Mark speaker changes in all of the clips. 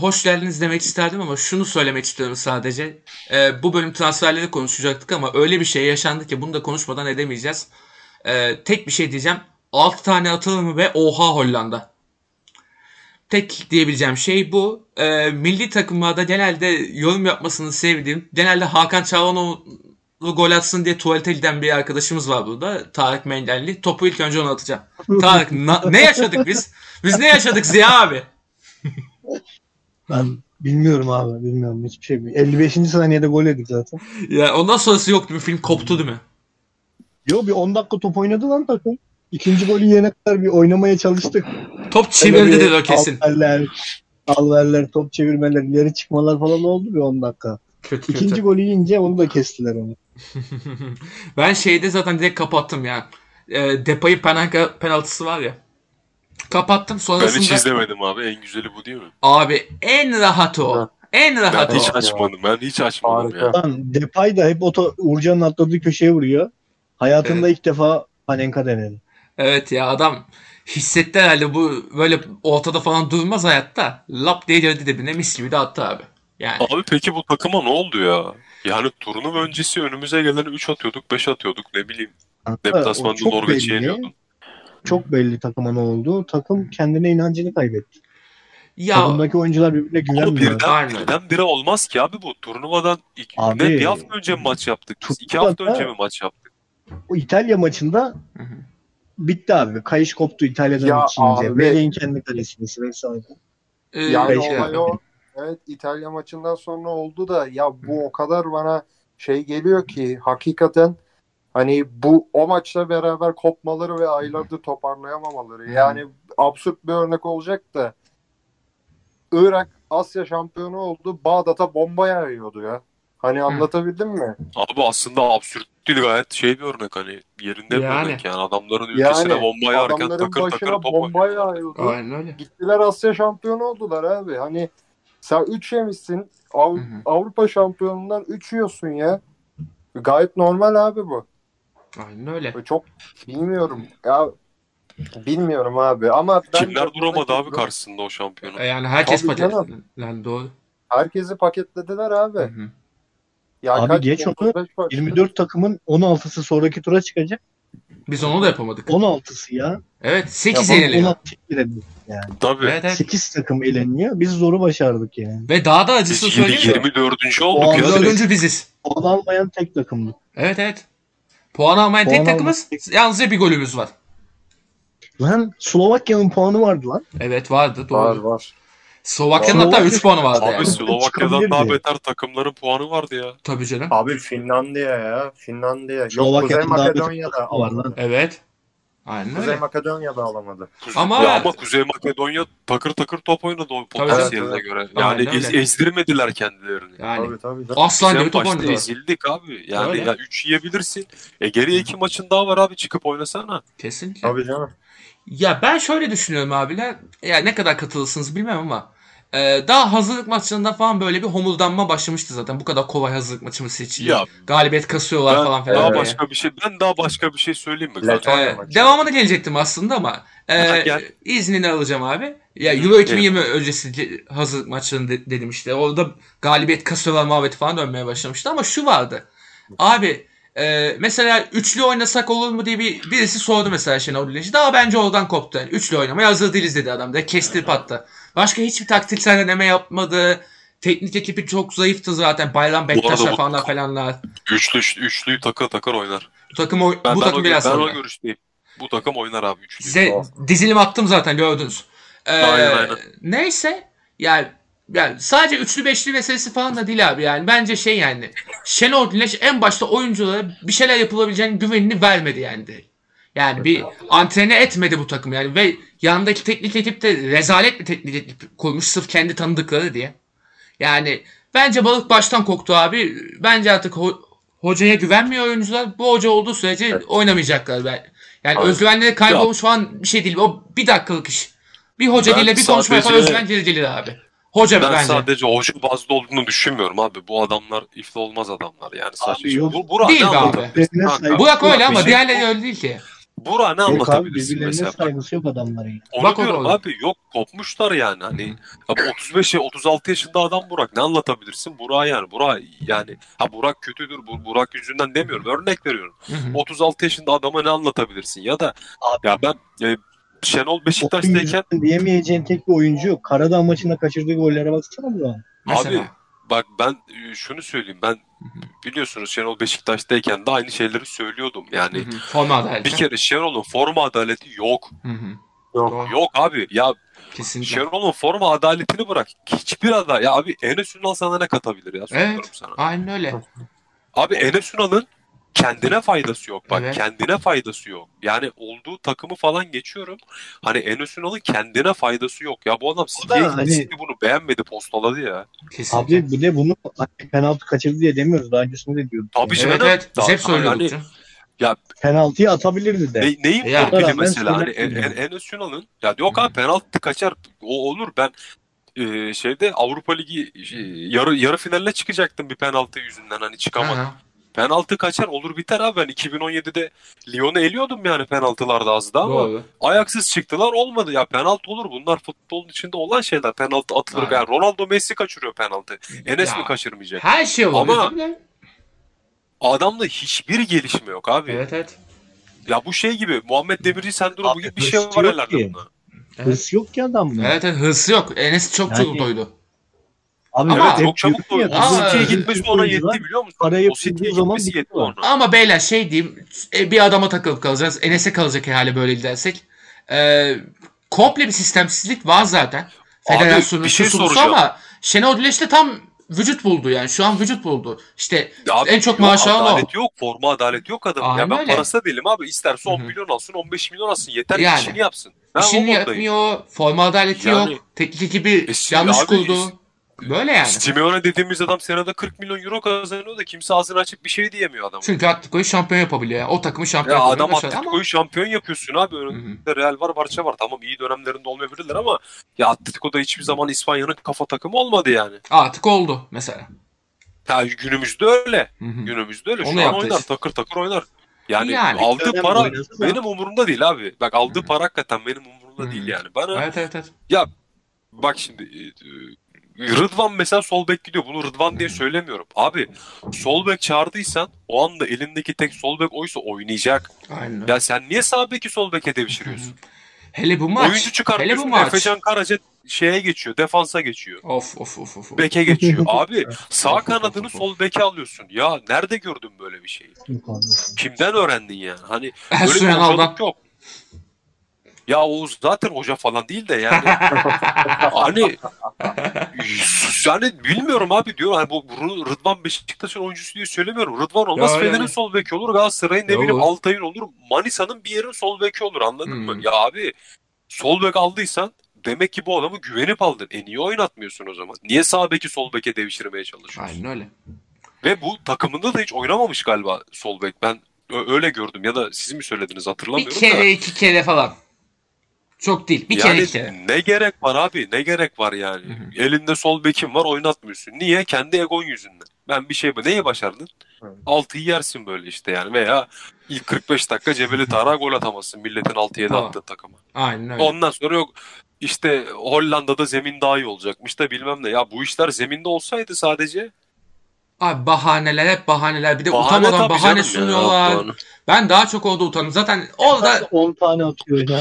Speaker 1: hoş geldiniz demek isterdim ama şunu söylemek istiyorum sadece. Ee, bu bölüm transferleri konuşacaktık ama öyle bir şey yaşandı ki bunu da konuşmadan edemeyeceğiz. Ee, tek bir şey diyeceğim. 6 tane atılır mı ve oha Hollanda. Tek diyebileceğim şey bu. Ee, milli takımlarda genelde yorum yapmasını sevdiğim, genelde Hakan Çalhanoğlu gol atsın diye tuvalete giden bir arkadaşımız var burada. Tarık Mengelli. Topu ilk önce ona atacağım. Tarık na- ne yaşadık biz? Biz ne yaşadık Ziya abi?
Speaker 2: Ben bilmiyorum abi. Bilmiyorum hiçbir şey. 55. saniyede gol yedik zaten.
Speaker 1: Ya ondan sonrası yoktu. Bir film koptu değil mi?
Speaker 2: Yo bir 10 dakika top oynadı lan takım. İkinci golü yene kadar bir oynamaya çalıştık.
Speaker 1: Top
Speaker 2: Böyle
Speaker 1: çevirdi
Speaker 2: bir
Speaker 1: dedi o kesin.
Speaker 2: Alverler, alverler, top çevirmeler, ileri çıkmalar falan oldu bir 10 dakika.
Speaker 1: Kötü kötü.
Speaker 2: İkinci golü yiyince onu da kestiler onu.
Speaker 1: ben şeyde zaten direkt kapattım ya. E, Depay'ın penalka, penaltısı var ya. Kapattım
Speaker 3: Ben hiç
Speaker 1: sonrasında.
Speaker 3: izlemedim abi. En güzeli bu değil mi?
Speaker 1: abi en rahatı o. En
Speaker 3: Ben
Speaker 1: rahatı
Speaker 3: hiç
Speaker 1: o.
Speaker 3: açmadım. Ben hiç açmadım
Speaker 4: Harika.
Speaker 3: ya.
Speaker 2: Lan Depay da hep oto, Uğurcan'ın atladığı köşeye vuruyor. Hayatında ilk defa Panenka denedi.
Speaker 1: Evet ya adam hissetti herhalde bu böyle ortada falan durmaz hayatta. Lap diye girdi dibine mis gibi de attı abi. Yani
Speaker 3: Abi peki bu takıma ne oldu ya? Yani turnuva öncesi önümüze gelen 3 atıyorduk, 5 atıyorduk ne bileyim.
Speaker 2: Kanka, o
Speaker 3: Deplasmanda
Speaker 2: çok
Speaker 3: Norveç'i
Speaker 2: belli.
Speaker 3: yeniyordun.
Speaker 2: Çok belli takıma ne oldu. Takım kendine inancını kaybetti.
Speaker 1: ya
Speaker 2: Takımdaki oyuncular birbirine
Speaker 3: Ama
Speaker 2: güvenmiyor.
Speaker 3: birden,
Speaker 1: Aynen.
Speaker 3: birden bire olmaz ki abi bu. Turnuvadan ilk,
Speaker 2: Abi,
Speaker 3: ne, bir hafta önce mi maç yaptık? Biz iki
Speaker 2: turnuvada-
Speaker 3: hafta önce mi maç yaptık?
Speaker 2: O İtalya maçında
Speaker 1: Hı hı.
Speaker 2: bitti abi. Kayış koptu İtalya'dan
Speaker 4: Ya
Speaker 2: içince.
Speaker 4: abi.
Speaker 2: Vele'in kendi kalesini vesaire.
Speaker 3: Ee,
Speaker 1: e,
Speaker 2: Beş
Speaker 4: Yani
Speaker 1: şey
Speaker 4: olay
Speaker 1: abi.
Speaker 4: o. Evet İtalya maçından sonra oldu da ya bu o kadar bana şey geliyor ki hakikaten hani bu o maçla beraber kopmaları ve aylardır toparlayamamaları. Yani absürt bir örnek olacak da Irak Asya şampiyonu oldu. Bağdat'a bomba yağıyordu ya. Hani anlatabildim mi?
Speaker 3: Abi aslında absürt değil gayet şey bir örnek hani yerinde bir
Speaker 1: Yani.
Speaker 3: örnek yani adamların ülkesine
Speaker 4: Yani
Speaker 3: bomba yağarken
Speaker 4: adamların
Speaker 3: takır takır
Speaker 4: başına
Speaker 3: top
Speaker 4: bomba
Speaker 3: oynuyorlar.
Speaker 4: yağıyordu.
Speaker 1: Aynen öyle.
Speaker 4: Gittiler Asya şampiyonu oldular abi. Hani sen 3 yemişsin. Av-
Speaker 1: Hı hı.
Speaker 4: Avrupa şampiyonundan 3 yiyorsun ya. Gayet normal abi bu.
Speaker 1: Aynen öyle.
Speaker 4: Çok bilmiyorum. Ya bilmiyorum abi ama bence
Speaker 3: Kimler duramadı
Speaker 4: buradaki
Speaker 3: abi
Speaker 4: durum-
Speaker 3: karşısında o şampiyonu?
Speaker 1: E, Yani herkes
Speaker 4: Tabii
Speaker 1: paket.
Speaker 4: canım.
Speaker 1: Yani doğru.
Speaker 4: Herkesi paketlediler abi.
Speaker 1: Hı hı.
Speaker 4: Ya
Speaker 2: Abi
Speaker 4: kaç-
Speaker 2: geç oldu.
Speaker 4: 35 maç-
Speaker 2: 24 takımın 16'sı sonraki tura çıkacak.
Speaker 1: Biz onu da yapamadık.
Speaker 2: 16'sı ya.
Speaker 1: Evet 8
Speaker 2: Tamam,
Speaker 1: yeniliyor.
Speaker 2: 16 eleniyor.
Speaker 3: Tabii.
Speaker 1: Evet, evet.
Speaker 2: 8 takım eleniyor. Biz zoru başardık yani.
Speaker 1: Ve daha da acısı
Speaker 3: Biz 20,
Speaker 1: söyleyeyim mi?
Speaker 3: 24.
Speaker 2: O
Speaker 3: olduk
Speaker 2: anda
Speaker 3: ya direkt.
Speaker 1: Dördüncü biziz.
Speaker 2: Puan almayan tek takımdı.
Speaker 1: Evet evet. Puan almayan
Speaker 2: Puan
Speaker 1: tek takımız. Yalnızca bir golümüz var.
Speaker 2: Lan Slovakya'nın puanı vardı lan.
Speaker 1: Evet vardı doğru.
Speaker 4: var var.
Speaker 1: Slovakya'nın hatta
Speaker 2: Slovakya-
Speaker 1: 3 puanı vardı
Speaker 3: Abi
Speaker 1: yani.
Speaker 3: Slovakya'dan daha
Speaker 2: Çıkabilirdi.
Speaker 3: beter takımların puanı vardı ya.
Speaker 1: Tabii canım.
Speaker 4: Abi Finlandiya ya. Finlandiya. Yok Kuzey
Speaker 2: Slovakya'dan daha
Speaker 4: Makedonya'da
Speaker 2: Var lan.
Speaker 1: Evet. Aynen
Speaker 4: Kuzey
Speaker 1: öyle.
Speaker 4: Makedonya'da alamadı.
Speaker 3: Kuze-
Speaker 1: Ama-
Speaker 3: ya ama Kuzey Makedonya takır takır top oynadı o potansiyeline
Speaker 4: evet.
Speaker 3: göre.
Speaker 1: Aynen
Speaker 3: Yani
Speaker 1: öyle.
Speaker 3: ez- ezdirmediler kendilerini.
Speaker 1: Yani.
Speaker 4: Tabii tabii.
Speaker 1: Aslan gibi
Speaker 3: Sen
Speaker 1: top
Speaker 3: başta
Speaker 1: oynadılar.
Speaker 3: ezildik abi. Yani
Speaker 1: Öyle.
Speaker 3: ya 3 yiyebilirsin. E geriye 2 maçın daha var abi çıkıp oynasana.
Speaker 1: Kesinlikle.
Speaker 4: Tabii canım.
Speaker 1: Ya ben şöyle düşünüyorum abiler. Ya ne kadar katılırsınız bilmem ama e, daha hazırlık maçlarında falan böyle bir homurdanma başlamıştı zaten. Bu kadar kolay hazırlık maçı mı seçildi?
Speaker 3: Ya
Speaker 1: Galibiyet kasıyorlar
Speaker 3: ben
Speaker 1: falan filan.
Speaker 3: daha
Speaker 1: diye.
Speaker 3: başka bir şey ben daha başka bir şey söyleyeyim mi?
Speaker 4: Letonya
Speaker 1: Ee,
Speaker 4: maçı.
Speaker 1: devamını gelecektim aslında ama
Speaker 3: Ha,
Speaker 1: e,
Speaker 3: gel.
Speaker 1: iznini alacağım abi. Ya Euro
Speaker 3: Evet.
Speaker 1: 2020 öncesi ce- hazırlık maçlarını de- dedim işte. Orada galibiyet kasıyorlar muhabbeti falan dönmeye başlamıştı ama şu vardı. Abi e, mesela üçlü oynasak olur mu diye bir birisi sordu mesela Şenol Güneş'i. Daha bence oradan koptu. Yani üçlü oynamaya hazır değiliz dedi adam da. Kestirip attı. Başka hiçbir taktiksel deneme yapmadı. Teknik ekibi çok zayıftı zaten. Bayram Bektaşlar
Speaker 3: bu-
Speaker 1: falanlar falanlar.
Speaker 3: Üçlü üçlüyü takır takır oynar.
Speaker 1: Bu takım, oy-
Speaker 3: Ben,
Speaker 1: bu
Speaker 3: ben,
Speaker 1: takım
Speaker 3: o,
Speaker 1: biraz
Speaker 3: ben
Speaker 1: sonra.
Speaker 3: o görüşteyim. Bu takım oynar abi üçlüyü.
Speaker 1: Size dizilim attım zaten gördünüz. Ee,
Speaker 3: Aynen, aynen.
Speaker 1: Neyse yani yani sadece üçlü beşli meselesi falan da değil abi yani. Bence şey yani Şenol Güneş en başta oyunculara bir şeyler yapılabileceğinin güvenini vermedi yani. de. Yani bir antrene etmedi bu takım yani ve yanındaki teknik ekip de rezalet bir teknik ekip kurmuş sırf kendi tanıdıkları diye. Yani bence balık baştan koktu abi. Bence artık ho- hocaya güvenmiyor oyuncular. Bu hoca olduğu sürece oynamayacaklar. Ben. Yani
Speaker 3: Aynen.
Speaker 1: özgüvenleri kaybolmuş falan bir şey değil. O bir dakikalık iş. Bir hoca
Speaker 3: Ben
Speaker 1: ile bir konuşma yapar
Speaker 3: sadece-
Speaker 1: özgüven geri gelir abi. Hoca
Speaker 3: Ben
Speaker 1: bence.
Speaker 3: sadece hoca bazlı olduğunu düşünmüyorum abi. Bu adamlar ifla olmaz adamlar yani saçma.
Speaker 2: yok.
Speaker 3: Bu, Burak
Speaker 1: Değil
Speaker 3: ne
Speaker 1: be abi.
Speaker 3: anlatıyorsun
Speaker 2: Birbirine
Speaker 3: kanka?
Speaker 2: saygı-
Speaker 1: Burak öyle ama
Speaker 3: şey-
Speaker 1: diğerleri öyle değil ki.
Speaker 3: Burak'a ne
Speaker 2: Yok abi
Speaker 3: anlatabilirsin
Speaker 2: birbirlerine
Speaker 3: mesela?
Speaker 2: saygısı yok adamların ya.
Speaker 3: Onu
Speaker 1: Bak o da
Speaker 3: diyorum
Speaker 1: olur.
Speaker 3: abi yok kopmuşlar yani hani abi 35 ya 36 yaşında adam Burak ne anlatabilirsin Burak yani Burak yani ha Burak kötüdür bu Burak yüzünden demiyorum örnek veriyorum
Speaker 1: Hı hı.
Speaker 3: 36 yaşında adama ne anlatabilirsin ya da abi ya ben e, Şenol
Speaker 2: Oyun
Speaker 3: Beşiktaş'tayken
Speaker 2: yüzünden diyemeyeceğin tek bir oyuncu yok. Karadağ maçında kaçırdığı gollere baksana bu an.
Speaker 1: Mesela.
Speaker 3: abi bak ben e, şunu söyleyeyim ben biliyorsunuz Şenol Beşiktaş'tayken de aynı şeyleri söylüyordum
Speaker 1: Hı
Speaker 3: yani
Speaker 1: hı. Forma adaleti.
Speaker 3: hani bir kere Şenol'un forma adaleti yok
Speaker 1: Hı hı.
Speaker 4: Yok.
Speaker 1: Doğru.
Speaker 3: yok Şey abi ya
Speaker 1: Kesinlikle.
Speaker 3: Şenol'un forma adaletini bırak. Hiçbir aday. Ya abi Enes Ünal sana ne katabilir ya? Soruyorum
Speaker 1: Evet.
Speaker 3: sana.
Speaker 1: Aynen öyle.
Speaker 3: Abi Enes Ünal'ın kendine faydası yok. Bak
Speaker 1: Evet.
Speaker 3: kendine faydası yok. Yani olduğu takımı falan geçiyorum. Hani Enes Ünal'ın kendine faydası yok. Ya bu adam City'ye gitti.
Speaker 2: hani-
Speaker 3: City bunu beğenmedi postaladı ya.
Speaker 1: Kesinlikle.
Speaker 2: Abi bir de bunu hani penaltı kaçırdı diye demiyoruz. Daha öncesinde de diyorduk.
Speaker 3: Tabii
Speaker 2: yani.
Speaker 1: evet
Speaker 3: Şenol-
Speaker 1: evet. Biz hep
Speaker 3: Tamam,
Speaker 1: söylüyorduk
Speaker 3: şey yani-
Speaker 1: canım.
Speaker 2: Penaltıyı atabilirdi de.
Speaker 3: Ne, neyin
Speaker 1: Ya.
Speaker 3: torpili
Speaker 2: Rağmen
Speaker 3: mesela? Hani en,
Speaker 2: söylenmiyor.
Speaker 3: en, Enes Ünal'ın ya yok abi penaltı kaçar. O olur ben e, şeyde Avrupa Ligi şey, yarı yarı finaline çıkacaktım bir penaltı yüzünden hani çıkamadım.
Speaker 1: Hı hı.
Speaker 3: Penaltı kaçar olur biter abi. Ben 2017'de Lyon'u eliyordum yani penaltılarda az daha ama
Speaker 1: Doğru.
Speaker 3: ayaksız çıktılar olmadı. Ya penaltı olur bunlar futbolun içinde olan şeyler. Penaltı atılır.
Speaker 1: Aynen.
Speaker 3: Yani Ronaldo Messi kaçırıyor penaltı. Enes
Speaker 1: Ya.
Speaker 3: mi kaçırmayacak?
Speaker 1: Her şey olabilir.
Speaker 3: Ama-
Speaker 1: tabii.
Speaker 3: Adamda hiçbir gelişme yok abi.
Speaker 1: Evet evet.
Speaker 3: Ya bu şey gibi Muhammed Demirci sendromu
Speaker 2: Abi
Speaker 3: gibi bir şey
Speaker 2: hırsı
Speaker 3: var
Speaker 2: yok
Speaker 3: herhalde
Speaker 2: ki.
Speaker 3: bunda.
Speaker 1: Evet
Speaker 2: Hırs yok ki adamda.
Speaker 1: evet, evet. hırsı yok. Enes çok
Speaker 2: Yani-
Speaker 1: çok doydu.
Speaker 2: Abi
Speaker 1: Ama-
Speaker 2: hep
Speaker 3: çok çabuk
Speaker 2: diyorsun
Speaker 3: doydu.
Speaker 2: ya,
Speaker 3: O
Speaker 1: Ama-
Speaker 3: City'ye
Speaker 2: bizim
Speaker 3: gitmesi ona
Speaker 2: oyuncular
Speaker 3: yetti biliyor musun?
Speaker 2: Parayı
Speaker 3: O City'ye
Speaker 2: bulduğu zaman
Speaker 3: gitmesi yetti
Speaker 2: bitiyor.
Speaker 3: ona.
Speaker 1: Ama beyler şey diyeyim. e, Bir adama takılıp kalacağız. Enes'e kalacak herhalde böyle gidersek. Ee, komple bir sistemsizlik var zaten.
Speaker 3: Abi,
Speaker 1: Federasyonun
Speaker 3: bir şey
Speaker 1: kusurlusu
Speaker 3: soracağım.
Speaker 1: ama Şenol Güneş de tam vücut buldu yani. Şu an vücut buldu. İşte
Speaker 3: Ya abi
Speaker 1: En çok
Speaker 3: yok,
Speaker 1: maaşı alan o.
Speaker 3: adalet yok. Forma adalet yok adamın.
Speaker 1: Aynen
Speaker 3: ya ben
Speaker 1: öyle.
Speaker 3: parası da değilim abi. İsterse 10
Speaker 1: Hı hı.
Speaker 3: milyon alsın 15 milyon alsın. Yeter ki
Speaker 1: Yani.
Speaker 3: işini yapsın. Ben
Speaker 1: işini
Speaker 3: o moddayım.
Speaker 1: yapmıyor. Forma adaleti
Speaker 3: Yani-
Speaker 1: yok. Teknik ekibi
Speaker 3: E, şimdi
Speaker 1: yanlış
Speaker 3: abi,
Speaker 1: kurdu. Böyle yani.
Speaker 3: Simeone dediğimiz adam senede 40 milyon euro kazanıyor da kimse ağzını açıp bir şey diyemiyor adama.
Speaker 1: Çünkü Atletico'yu şampiyon yapabiliyor. Yani. O takımı şampiyon
Speaker 3: Ya
Speaker 1: yapabiliyor.
Speaker 3: adam
Speaker 1: Başarılı
Speaker 3: Atletico'yu şampiyon yapıyorsun abi.
Speaker 1: ama...
Speaker 3: Önünde
Speaker 1: Hı hı.
Speaker 3: Real var, Barça var. Tamam iyi dönemlerinde olmayabilirler ama ya Atletico'da hiçbir zaman İspanya'nın kafa takımı olmadı yani.
Speaker 1: Artık oldu mesela.
Speaker 3: Ya günümüzde öyle.
Speaker 1: Hı hı.
Speaker 3: Günümüzde öyle. Şu
Speaker 1: Onu
Speaker 3: an
Speaker 1: yaptı
Speaker 3: oynar.
Speaker 1: işte.
Speaker 3: Takır takır oynar. Yani,
Speaker 1: Yani.
Speaker 3: aldığı
Speaker 2: Önemli
Speaker 3: para
Speaker 2: oynasın da.
Speaker 3: benim umurumda değil abi. Bak aldığı
Speaker 1: Hı.
Speaker 3: para hakikaten benim umurumda
Speaker 1: Hı.
Speaker 3: değil yani. Bana
Speaker 1: Evet evet evet.
Speaker 3: Bak şimdi e, e, Rıdvan mesela sol bek gidiyor. Bunu Rıdvan diye söylemiyorum. Abi sol bek çağırdıysan o anda elindeki tek sol bek oysa oynayacak.
Speaker 1: Aynen. öyle.
Speaker 3: Ya sen niye sağ beki sol beke devşiriyorsun?
Speaker 1: Hele bu maç.
Speaker 3: Oyuncu
Speaker 1: Hele bu
Speaker 3: çıkartıyorsun.
Speaker 1: maç.
Speaker 3: Efecan Karaca şeye geçiyor. Defansa geçiyor.
Speaker 1: Of of of of. of.
Speaker 3: Beke geçiyor. Abi sağ
Speaker 1: Of, of, of,
Speaker 3: kanadını
Speaker 1: of.
Speaker 3: sol beke alıyorsun. Ya nerede gördün böyle bir şeyi?
Speaker 2: yok abi.
Speaker 3: Kimden öğrendin yani? Hani böyle bir
Speaker 1: Ersun Yanal'dan.
Speaker 3: hocalık yok. Ya Oğuz zaten hoca falan değil de yani hani yani bilmiyorum abi diyor hani bu Ru- Rıdvan Beşiktaş'ın oyuncusu diye söylemiyorum. Rıdvan olmaz
Speaker 1: Ya,
Speaker 3: Fener'in
Speaker 1: yani.
Speaker 3: sol beki olur, Galatasaray'ın
Speaker 1: Ya,
Speaker 3: ne bileyim
Speaker 1: olur.
Speaker 3: Altay'ın olur, Manisa'nın bir yerin sol beki olur anladın
Speaker 1: Hmm.
Speaker 3: mı? Ya abi sol bek aldıysan demek ki bu adamı güvenip aldın. E niye oynatmıyorsun o zaman? Niye sağ beki sol beke devşirmeye çalışıyorsun?
Speaker 1: Aynen öyle.
Speaker 3: Ve bu takımında da hiç oynamamış galiba sol bek. Ben ö- öyle gördüm ya da siz mi söylediniz
Speaker 1: Bir
Speaker 3: hatırlamıyorum da.
Speaker 1: kere iki kere falan. Çok değil. Bir kere
Speaker 3: yani
Speaker 1: iki kere.
Speaker 3: ne gerek var abi? Ne gerek var yani?
Speaker 1: Hı hı.
Speaker 3: Elinde sol bekin var oynatmıyorsun. Niye? Kendi egon yüzünden. Ben bir şey neyi başardın?
Speaker 4: Evet.
Speaker 3: Altıyı yersin böyle işte yani veya ilk 45 dakika Cebeli Tarık'a gol atamazsın milletin 6-7
Speaker 1: Tamam.
Speaker 3: attığı takıma.
Speaker 1: Aynen öyle.
Speaker 3: Ondan sonra yok işte Hollanda'da zemin daha iyi olacakmış da bilmem ne. Ya bu işler zeminde olsaydı sadece
Speaker 1: Abi bahaneler hep bahaneler. Bir de
Speaker 3: bahane
Speaker 1: utanmadan
Speaker 3: tabii
Speaker 1: E, bahane
Speaker 3: canım ya.
Speaker 1: sunuyorlar. Ben daha çok orada utandım. Zaten orada
Speaker 2: 10 tane atıyor ya.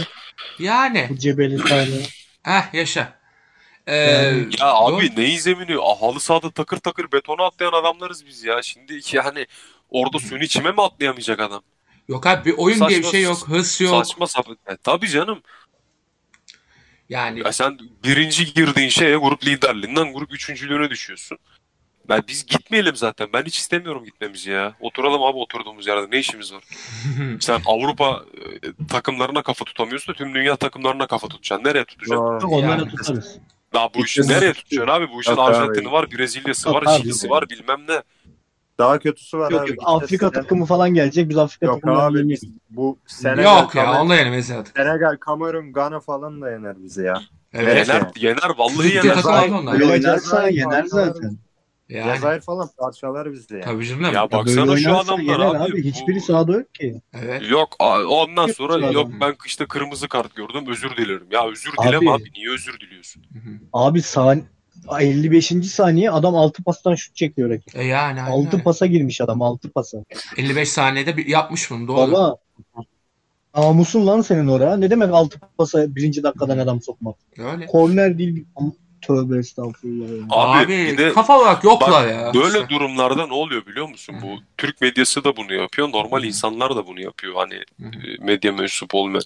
Speaker 1: yani.
Speaker 2: Bu cebeli tane.
Speaker 1: Heh yaşa. Ee,
Speaker 2: Yani-
Speaker 3: Ya abi neyin zemini? Ah, Halı sahada takır takır betona atlayan adamlarız biz ya. Şimdi yani orada suyun içime mi atlayamayacak adam?
Speaker 1: Yok abi bir oyun diye bir
Speaker 3: Saçma-
Speaker 1: şey yok. Hırs yok.
Speaker 3: Saçma sapan. E, tabii canım.
Speaker 1: Yani
Speaker 3: Ya sen birinci girdiğin şeye grup liderliğinden grup üçüncülüğüne düşüyorsun. Ben biz gitmeyelim zaten. Ben hiç istemiyorum gitmemizi ya. Oturalım abi oturduğumuz yerde. Ne işimiz var? Sen Avrupa e, takımlarına kafa tutamıyorsun da tüm dünya takımlarına kafa tutacaksın. Nereye tutacaksın?
Speaker 4: Doğru.
Speaker 2: Onları
Speaker 1: Yani.
Speaker 2: tutarız.
Speaker 3: Daha bu işi nereye tutacaksın abi? Bu işin
Speaker 4: Yok abi.
Speaker 3: Arjantin'i var, Brezilya'sı
Speaker 2: Yok
Speaker 3: var,
Speaker 2: abi.
Speaker 3: Şili'si var bilmem ne.
Speaker 4: Daha kötüsü var
Speaker 2: Yok
Speaker 4: abi.
Speaker 2: yok Afrika
Speaker 4: Gideceğiz.
Speaker 2: takımı falan gelecek. Biz Afrika
Speaker 4: Yok
Speaker 2: takımlarını
Speaker 4: abi
Speaker 2: yemeyiz.
Speaker 4: biz bu Senegal,
Speaker 1: yok ya
Speaker 4: Kamerun,
Speaker 1: onunla yenemeyiz artık.
Speaker 4: Senegal, Kamerun, Gana falan da yener bizi ya.
Speaker 1: Evet.
Speaker 4: Evet.
Speaker 3: Yener, yener vallahi
Speaker 1: Türkiye
Speaker 3: yener.
Speaker 1: takımı aldı onlar.
Speaker 2: Öyle
Speaker 4: Öyle
Speaker 2: oynarsa
Speaker 4: oynarsa
Speaker 2: yener
Speaker 4: oynar.
Speaker 2: zaten.
Speaker 1: Yani,
Speaker 5: Cezayir falan parçalar bizi. Yani.
Speaker 1: tabii canım.
Speaker 3: Ya bak-
Speaker 2: Böyle
Speaker 3: Baksana şu
Speaker 2: oynarsa
Speaker 3: adamlara
Speaker 2: yener
Speaker 3: abi, bu-
Speaker 2: Hiçbiri sahada yok ki.
Speaker 1: Evet.
Speaker 3: Yok a- ondan sonra
Speaker 2: Yok.
Speaker 3: yok ben işte kırmızı kart gördüm özür dilerim. Ya özür
Speaker 2: Abi.
Speaker 3: dileme abi niye özür diliyorsun?
Speaker 2: Abi sani- 55. saniye adam 6 pastan şut çekiyor rakip.
Speaker 1: E yani. aynen
Speaker 2: 6
Speaker 1: öyle.
Speaker 2: pasa girmiş adam 6 pasa.
Speaker 1: 55 saniyede bir yapmış bunu doğru.
Speaker 2: Baba namusun lan senin oraya. Ne demek 6 pasa birinci dakikadan adam sokmak.
Speaker 1: Öyle.
Speaker 2: Korner değil. bir- Tövbe estağfurullah. ya.
Speaker 3: Abi,
Speaker 1: Abi,
Speaker 3: bir de
Speaker 1: kafa olarak yoklar
Speaker 3: bak,
Speaker 1: ya.
Speaker 3: böyle
Speaker 1: İşte.
Speaker 3: durumlarda ne oluyor biliyor musun? Bu Türk medyası da bunu yapıyor. Normal insanlar da bunu yapıyor. Hani
Speaker 1: Hı hı.
Speaker 3: e, medya mensup olmayan.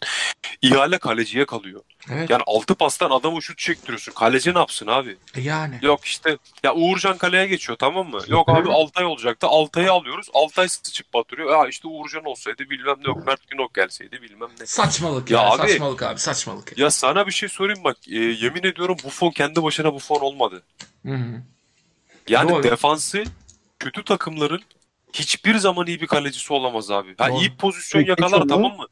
Speaker 3: İhale kaleciye kalıyor.
Speaker 1: Evet.
Speaker 3: Yani altı pastan adama şut çektiriyorsun. Kaleci ne yapsın abi?
Speaker 1: E Yani.
Speaker 3: Yok işte ya Uğurcan kaleye geçiyor tamam mı? Yok abi Altay olacaktı. Altay'ı alıyoruz. Altay sıçıp batırıyor. Ya işte Uğurcan olsaydı bilmem ne yok. Mert Günok gelseydi bilmem ne.
Speaker 1: Saçmalık ya.
Speaker 3: Ya abi-
Speaker 1: Saçmalık abi. Saçmalık.
Speaker 3: Ya sana bir şey sorayım bak. E, yemin ediyorum Buffon kendi başına Buffon olmadı.
Speaker 1: Hı hı.
Speaker 3: Yani
Speaker 1: Doğru.
Speaker 3: defansı kötü takımların hiçbir zaman iyi bir kalecisi olamaz abi. Ha,
Speaker 1: Doğru.
Speaker 3: iyi pozisyon
Speaker 2: Peki,
Speaker 3: yakalar
Speaker 2: çok
Speaker 3: tamam mı?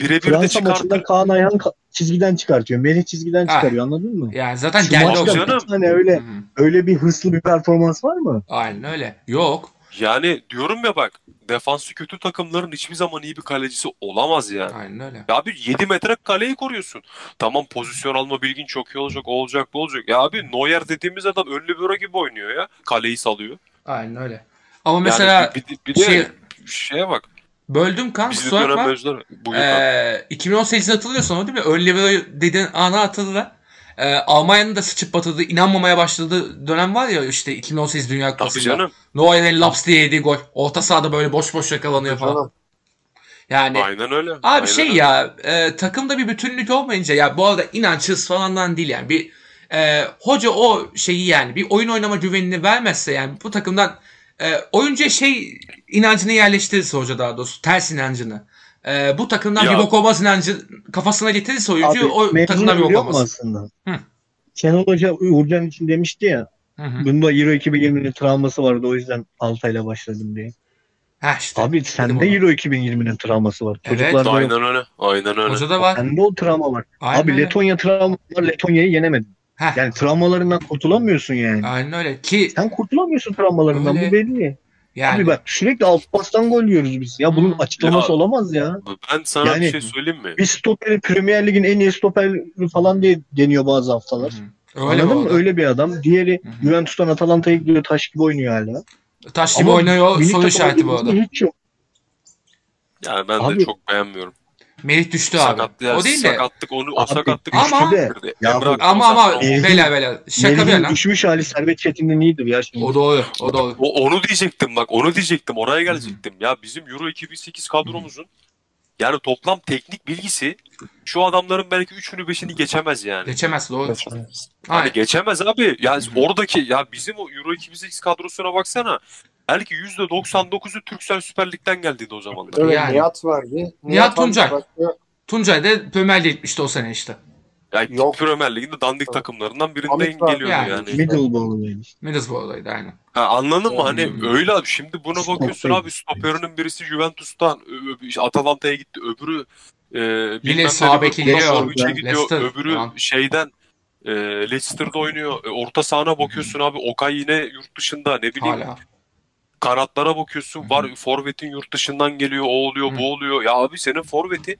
Speaker 3: Birebir de
Speaker 2: Fransa maçında
Speaker 3: çıkartır.
Speaker 2: Kaan Ayhan ka- çizgiden çıkartıyor. Melih çizgiden
Speaker 1: Ha.
Speaker 2: çıkarıyor anladın mı?
Speaker 1: Yani zaten
Speaker 2: Şu
Speaker 1: geldi
Speaker 3: maçta-
Speaker 1: o zaman.
Speaker 3: canım.
Speaker 2: Hani öyle
Speaker 1: Hı hı.
Speaker 2: öyle bir hırslı bir performans var mı?
Speaker 1: Aynen öyle. Yok.
Speaker 3: Yani diyorum ya bak defansı kötü takımların hiçbir zaman iyi bir kalecisi olamaz yani.
Speaker 1: Aynen öyle.
Speaker 3: Ya abi 7 metre kaleyi koruyorsun. Tamam pozisyon alma bilgin çok iyi olacak, o olacak, bu olacak. Ya abi Neuer dediğimiz adam önlü büro gibi oynuyor ya. Kaleyi salıyor.
Speaker 1: Aynen öyle. Ama
Speaker 3: Yani
Speaker 1: mesela
Speaker 3: bir, bir- bir de
Speaker 1: şey-
Speaker 3: şeye bak.
Speaker 1: böldüm kan.
Speaker 3: Bizi de
Speaker 1: Stuart
Speaker 3: dönen
Speaker 1: var.
Speaker 3: mevzular. Buyur abi.
Speaker 1: Ee, 2018'de hatırlıyorsun ama değil mi? Ön libero dediğin ana atıldı. Ee, Almanya'nın da sıçıp batırdığı, inanmamaya başladığı dönem var ya işte 2018 Dünya
Speaker 3: Tabii
Speaker 1: Kupası'nda.
Speaker 3: canım.
Speaker 1: Neuer'in laps diye yediği gol. Orta sahada böyle boş boş yakalanıyor falan.
Speaker 4: Canım,
Speaker 1: Yani
Speaker 3: Aynen öyle.
Speaker 1: Hani Abi
Speaker 3: Aynen
Speaker 1: şey
Speaker 3: öyle.
Speaker 1: ya e, takımda bir bütünlük olmayınca ya bu arada inançsız falandan değil yani bir e, hoca o şeyi yani bir oyun oynama güvenini vermezse yani bu takımdan e, oyuncuya şey inancını yerleştirirse hoca daha doğrusu ters inancını. E, bu takımdan
Speaker 3: Ya-
Speaker 1: bir bok olmaz inancı kafasına getirirse oyuncu o
Speaker 2: mevzu
Speaker 1: takımdan bir bok
Speaker 2: biliyor musun
Speaker 1: olmaz.
Speaker 2: aslında?
Speaker 1: Hı.
Speaker 2: Şenol Hoca Uğurcan için demişti ya.
Speaker 1: Hı hı.
Speaker 2: Bunda Euro 2020'nin travması vardı o yüzden Altay'la başladım diye.
Speaker 1: Ha işte.
Speaker 2: Abi
Speaker 1: Dedim
Speaker 2: sende
Speaker 1: onu.
Speaker 2: Euro 2020'nin travması var.
Speaker 1: Evet,
Speaker 2: Çocuklarda yok.
Speaker 3: Aynen öyle. Aynen öyle.
Speaker 1: Hoca da var.
Speaker 2: Sende o travma var.
Speaker 1: Aynen
Speaker 2: Abi
Speaker 1: öyle.
Speaker 2: Letonya travması var. Letonya'yı yenemedin.
Speaker 1: Heh,
Speaker 2: Yani travmalarından kurtulamıyorsun yani.
Speaker 1: Aynen öyle ki
Speaker 2: Sen kurtulamıyorsun travmalarından
Speaker 1: Öyle.
Speaker 2: bu belli.
Speaker 1: yani Hmm.
Speaker 2: Abi bak sürekli alt pastan gol yiyoruz biz. Ya bunun
Speaker 1: Hı.
Speaker 2: açıklaması
Speaker 3: Ya-
Speaker 2: olamaz ya.
Speaker 3: Ben sana bir
Speaker 2: Yani-
Speaker 3: şey söyleyeyim mi?
Speaker 2: Bir stoperi Premier Lig'in en iyi stoperi falan diye deniyor bazı haftalar.
Speaker 1: Hı. Hmm. öyle
Speaker 2: Anladın
Speaker 1: bu
Speaker 2: mı?
Speaker 1: arada. Hmm.
Speaker 2: Öyle bir adam. Diğeri
Speaker 1: Hı hı.
Speaker 2: Juventus'tan Atalanta'ya gidiyor taş gibi oynuyor hala.
Speaker 1: Taş gibi
Speaker 2: Ama
Speaker 1: oynuyor
Speaker 2: milli
Speaker 1: soru
Speaker 2: takıma
Speaker 1: işareti bu arada.
Speaker 2: girmesinde Hiç yok.
Speaker 3: Yani ben de
Speaker 2: Abi-
Speaker 3: çok beğenmiyorum.
Speaker 1: Melih düştü abi.
Speaker 3: Sakatlık,
Speaker 1: O değil de.
Speaker 3: sakatlık onu o
Speaker 2: Abi,
Speaker 3: sakatlık
Speaker 1: ama-
Speaker 3: düştü.
Speaker 2: Ya
Speaker 3: Emre Akın
Speaker 1: Ama ama
Speaker 3: sakat oldu.
Speaker 2: Melih'in-
Speaker 1: bela bela. Şaka bir
Speaker 2: Melih'in
Speaker 1: lan.
Speaker 2: düşmüş hali Servet Çetin'den iyidir ya şimdi.
Speaker 1: O doğru. O doğru.
Speaker 3: O- onu diyecektim bak onu diyecektim oraya gelecektim. Ya bizim Euro 2008 kadromuzun yani toplam teknik bilgisi şu adamların belki 3'ünü 5'ini geçemez yani.
Speaker 1: Geçemez doğru.
Speaker 3: Yani
Speaker 1: Aynen.
Speaker 3: geçemez abi. Ya
Speaker 1: Hı hı.
Speaker 3: oradaki ya bizim o Euro 2008 kadrosuna baksana. Belki %99'u Türksel Süper Lig'den geldiydi o zamanlar.
Speaker 4: evet,
Speaker 1: yani.
Speaker 4: Nihat vardı.
Speaker 1: Nihat
Speaker 4: abi
Speaker 1: Tuncay.
Speaker 4: başka-
Speaker 1: Tuncay da Pömer'le gitmişti o sene işte.
Speaker 3: Yani
Speaker 4: Yok.
Speaker 3: Premier Lig'in dandik takımlarından birinden
Speaker 4: Amit var.
Speaker 3: geliyordu
Speaker 1: Yani.
Speaker 3: yani.
Speaker 2: Middleborough yani.
Speaker 1: Middlesbrough'daydı aynen.
Speaker 3: Ha, anladın mı?
Speaker 1: Hı.
Speaker 3: Hani öyle abi. Şimdi buna
Speaker 2: Stoper.
Speaker 3: bakıyorsun abi. Stoperinin birisi Juventus'tan, ö- ö- işte Atalanta'ya gitti. Öbürü e, bilmem ne
Speaker 1: sağ beke
Speaker 3: Liverpool'dan
Speaker 1: geliyor.
Speaker 3: Norwich'e gidiyor.
Speaker 1: Leicester
Speaker 3: Öbürü
Speaker 1: falan.
Speaker 3: şeyden e, Leicester'da oynuyor. E, orta sahana bakıyorsun abi. Okay yine yurt dışında. Ne bileyim.
Speaker 1: Hala.
Speaker 3: Kanatlara bakıyorsun.
Speaker 1: Hı.
Speaker 3: Var forvetin yurt dışından geliyor. O oluyor,
Speaker 1: Hı.
Speaker 3: bu oluyor. Ya abi senin forvetin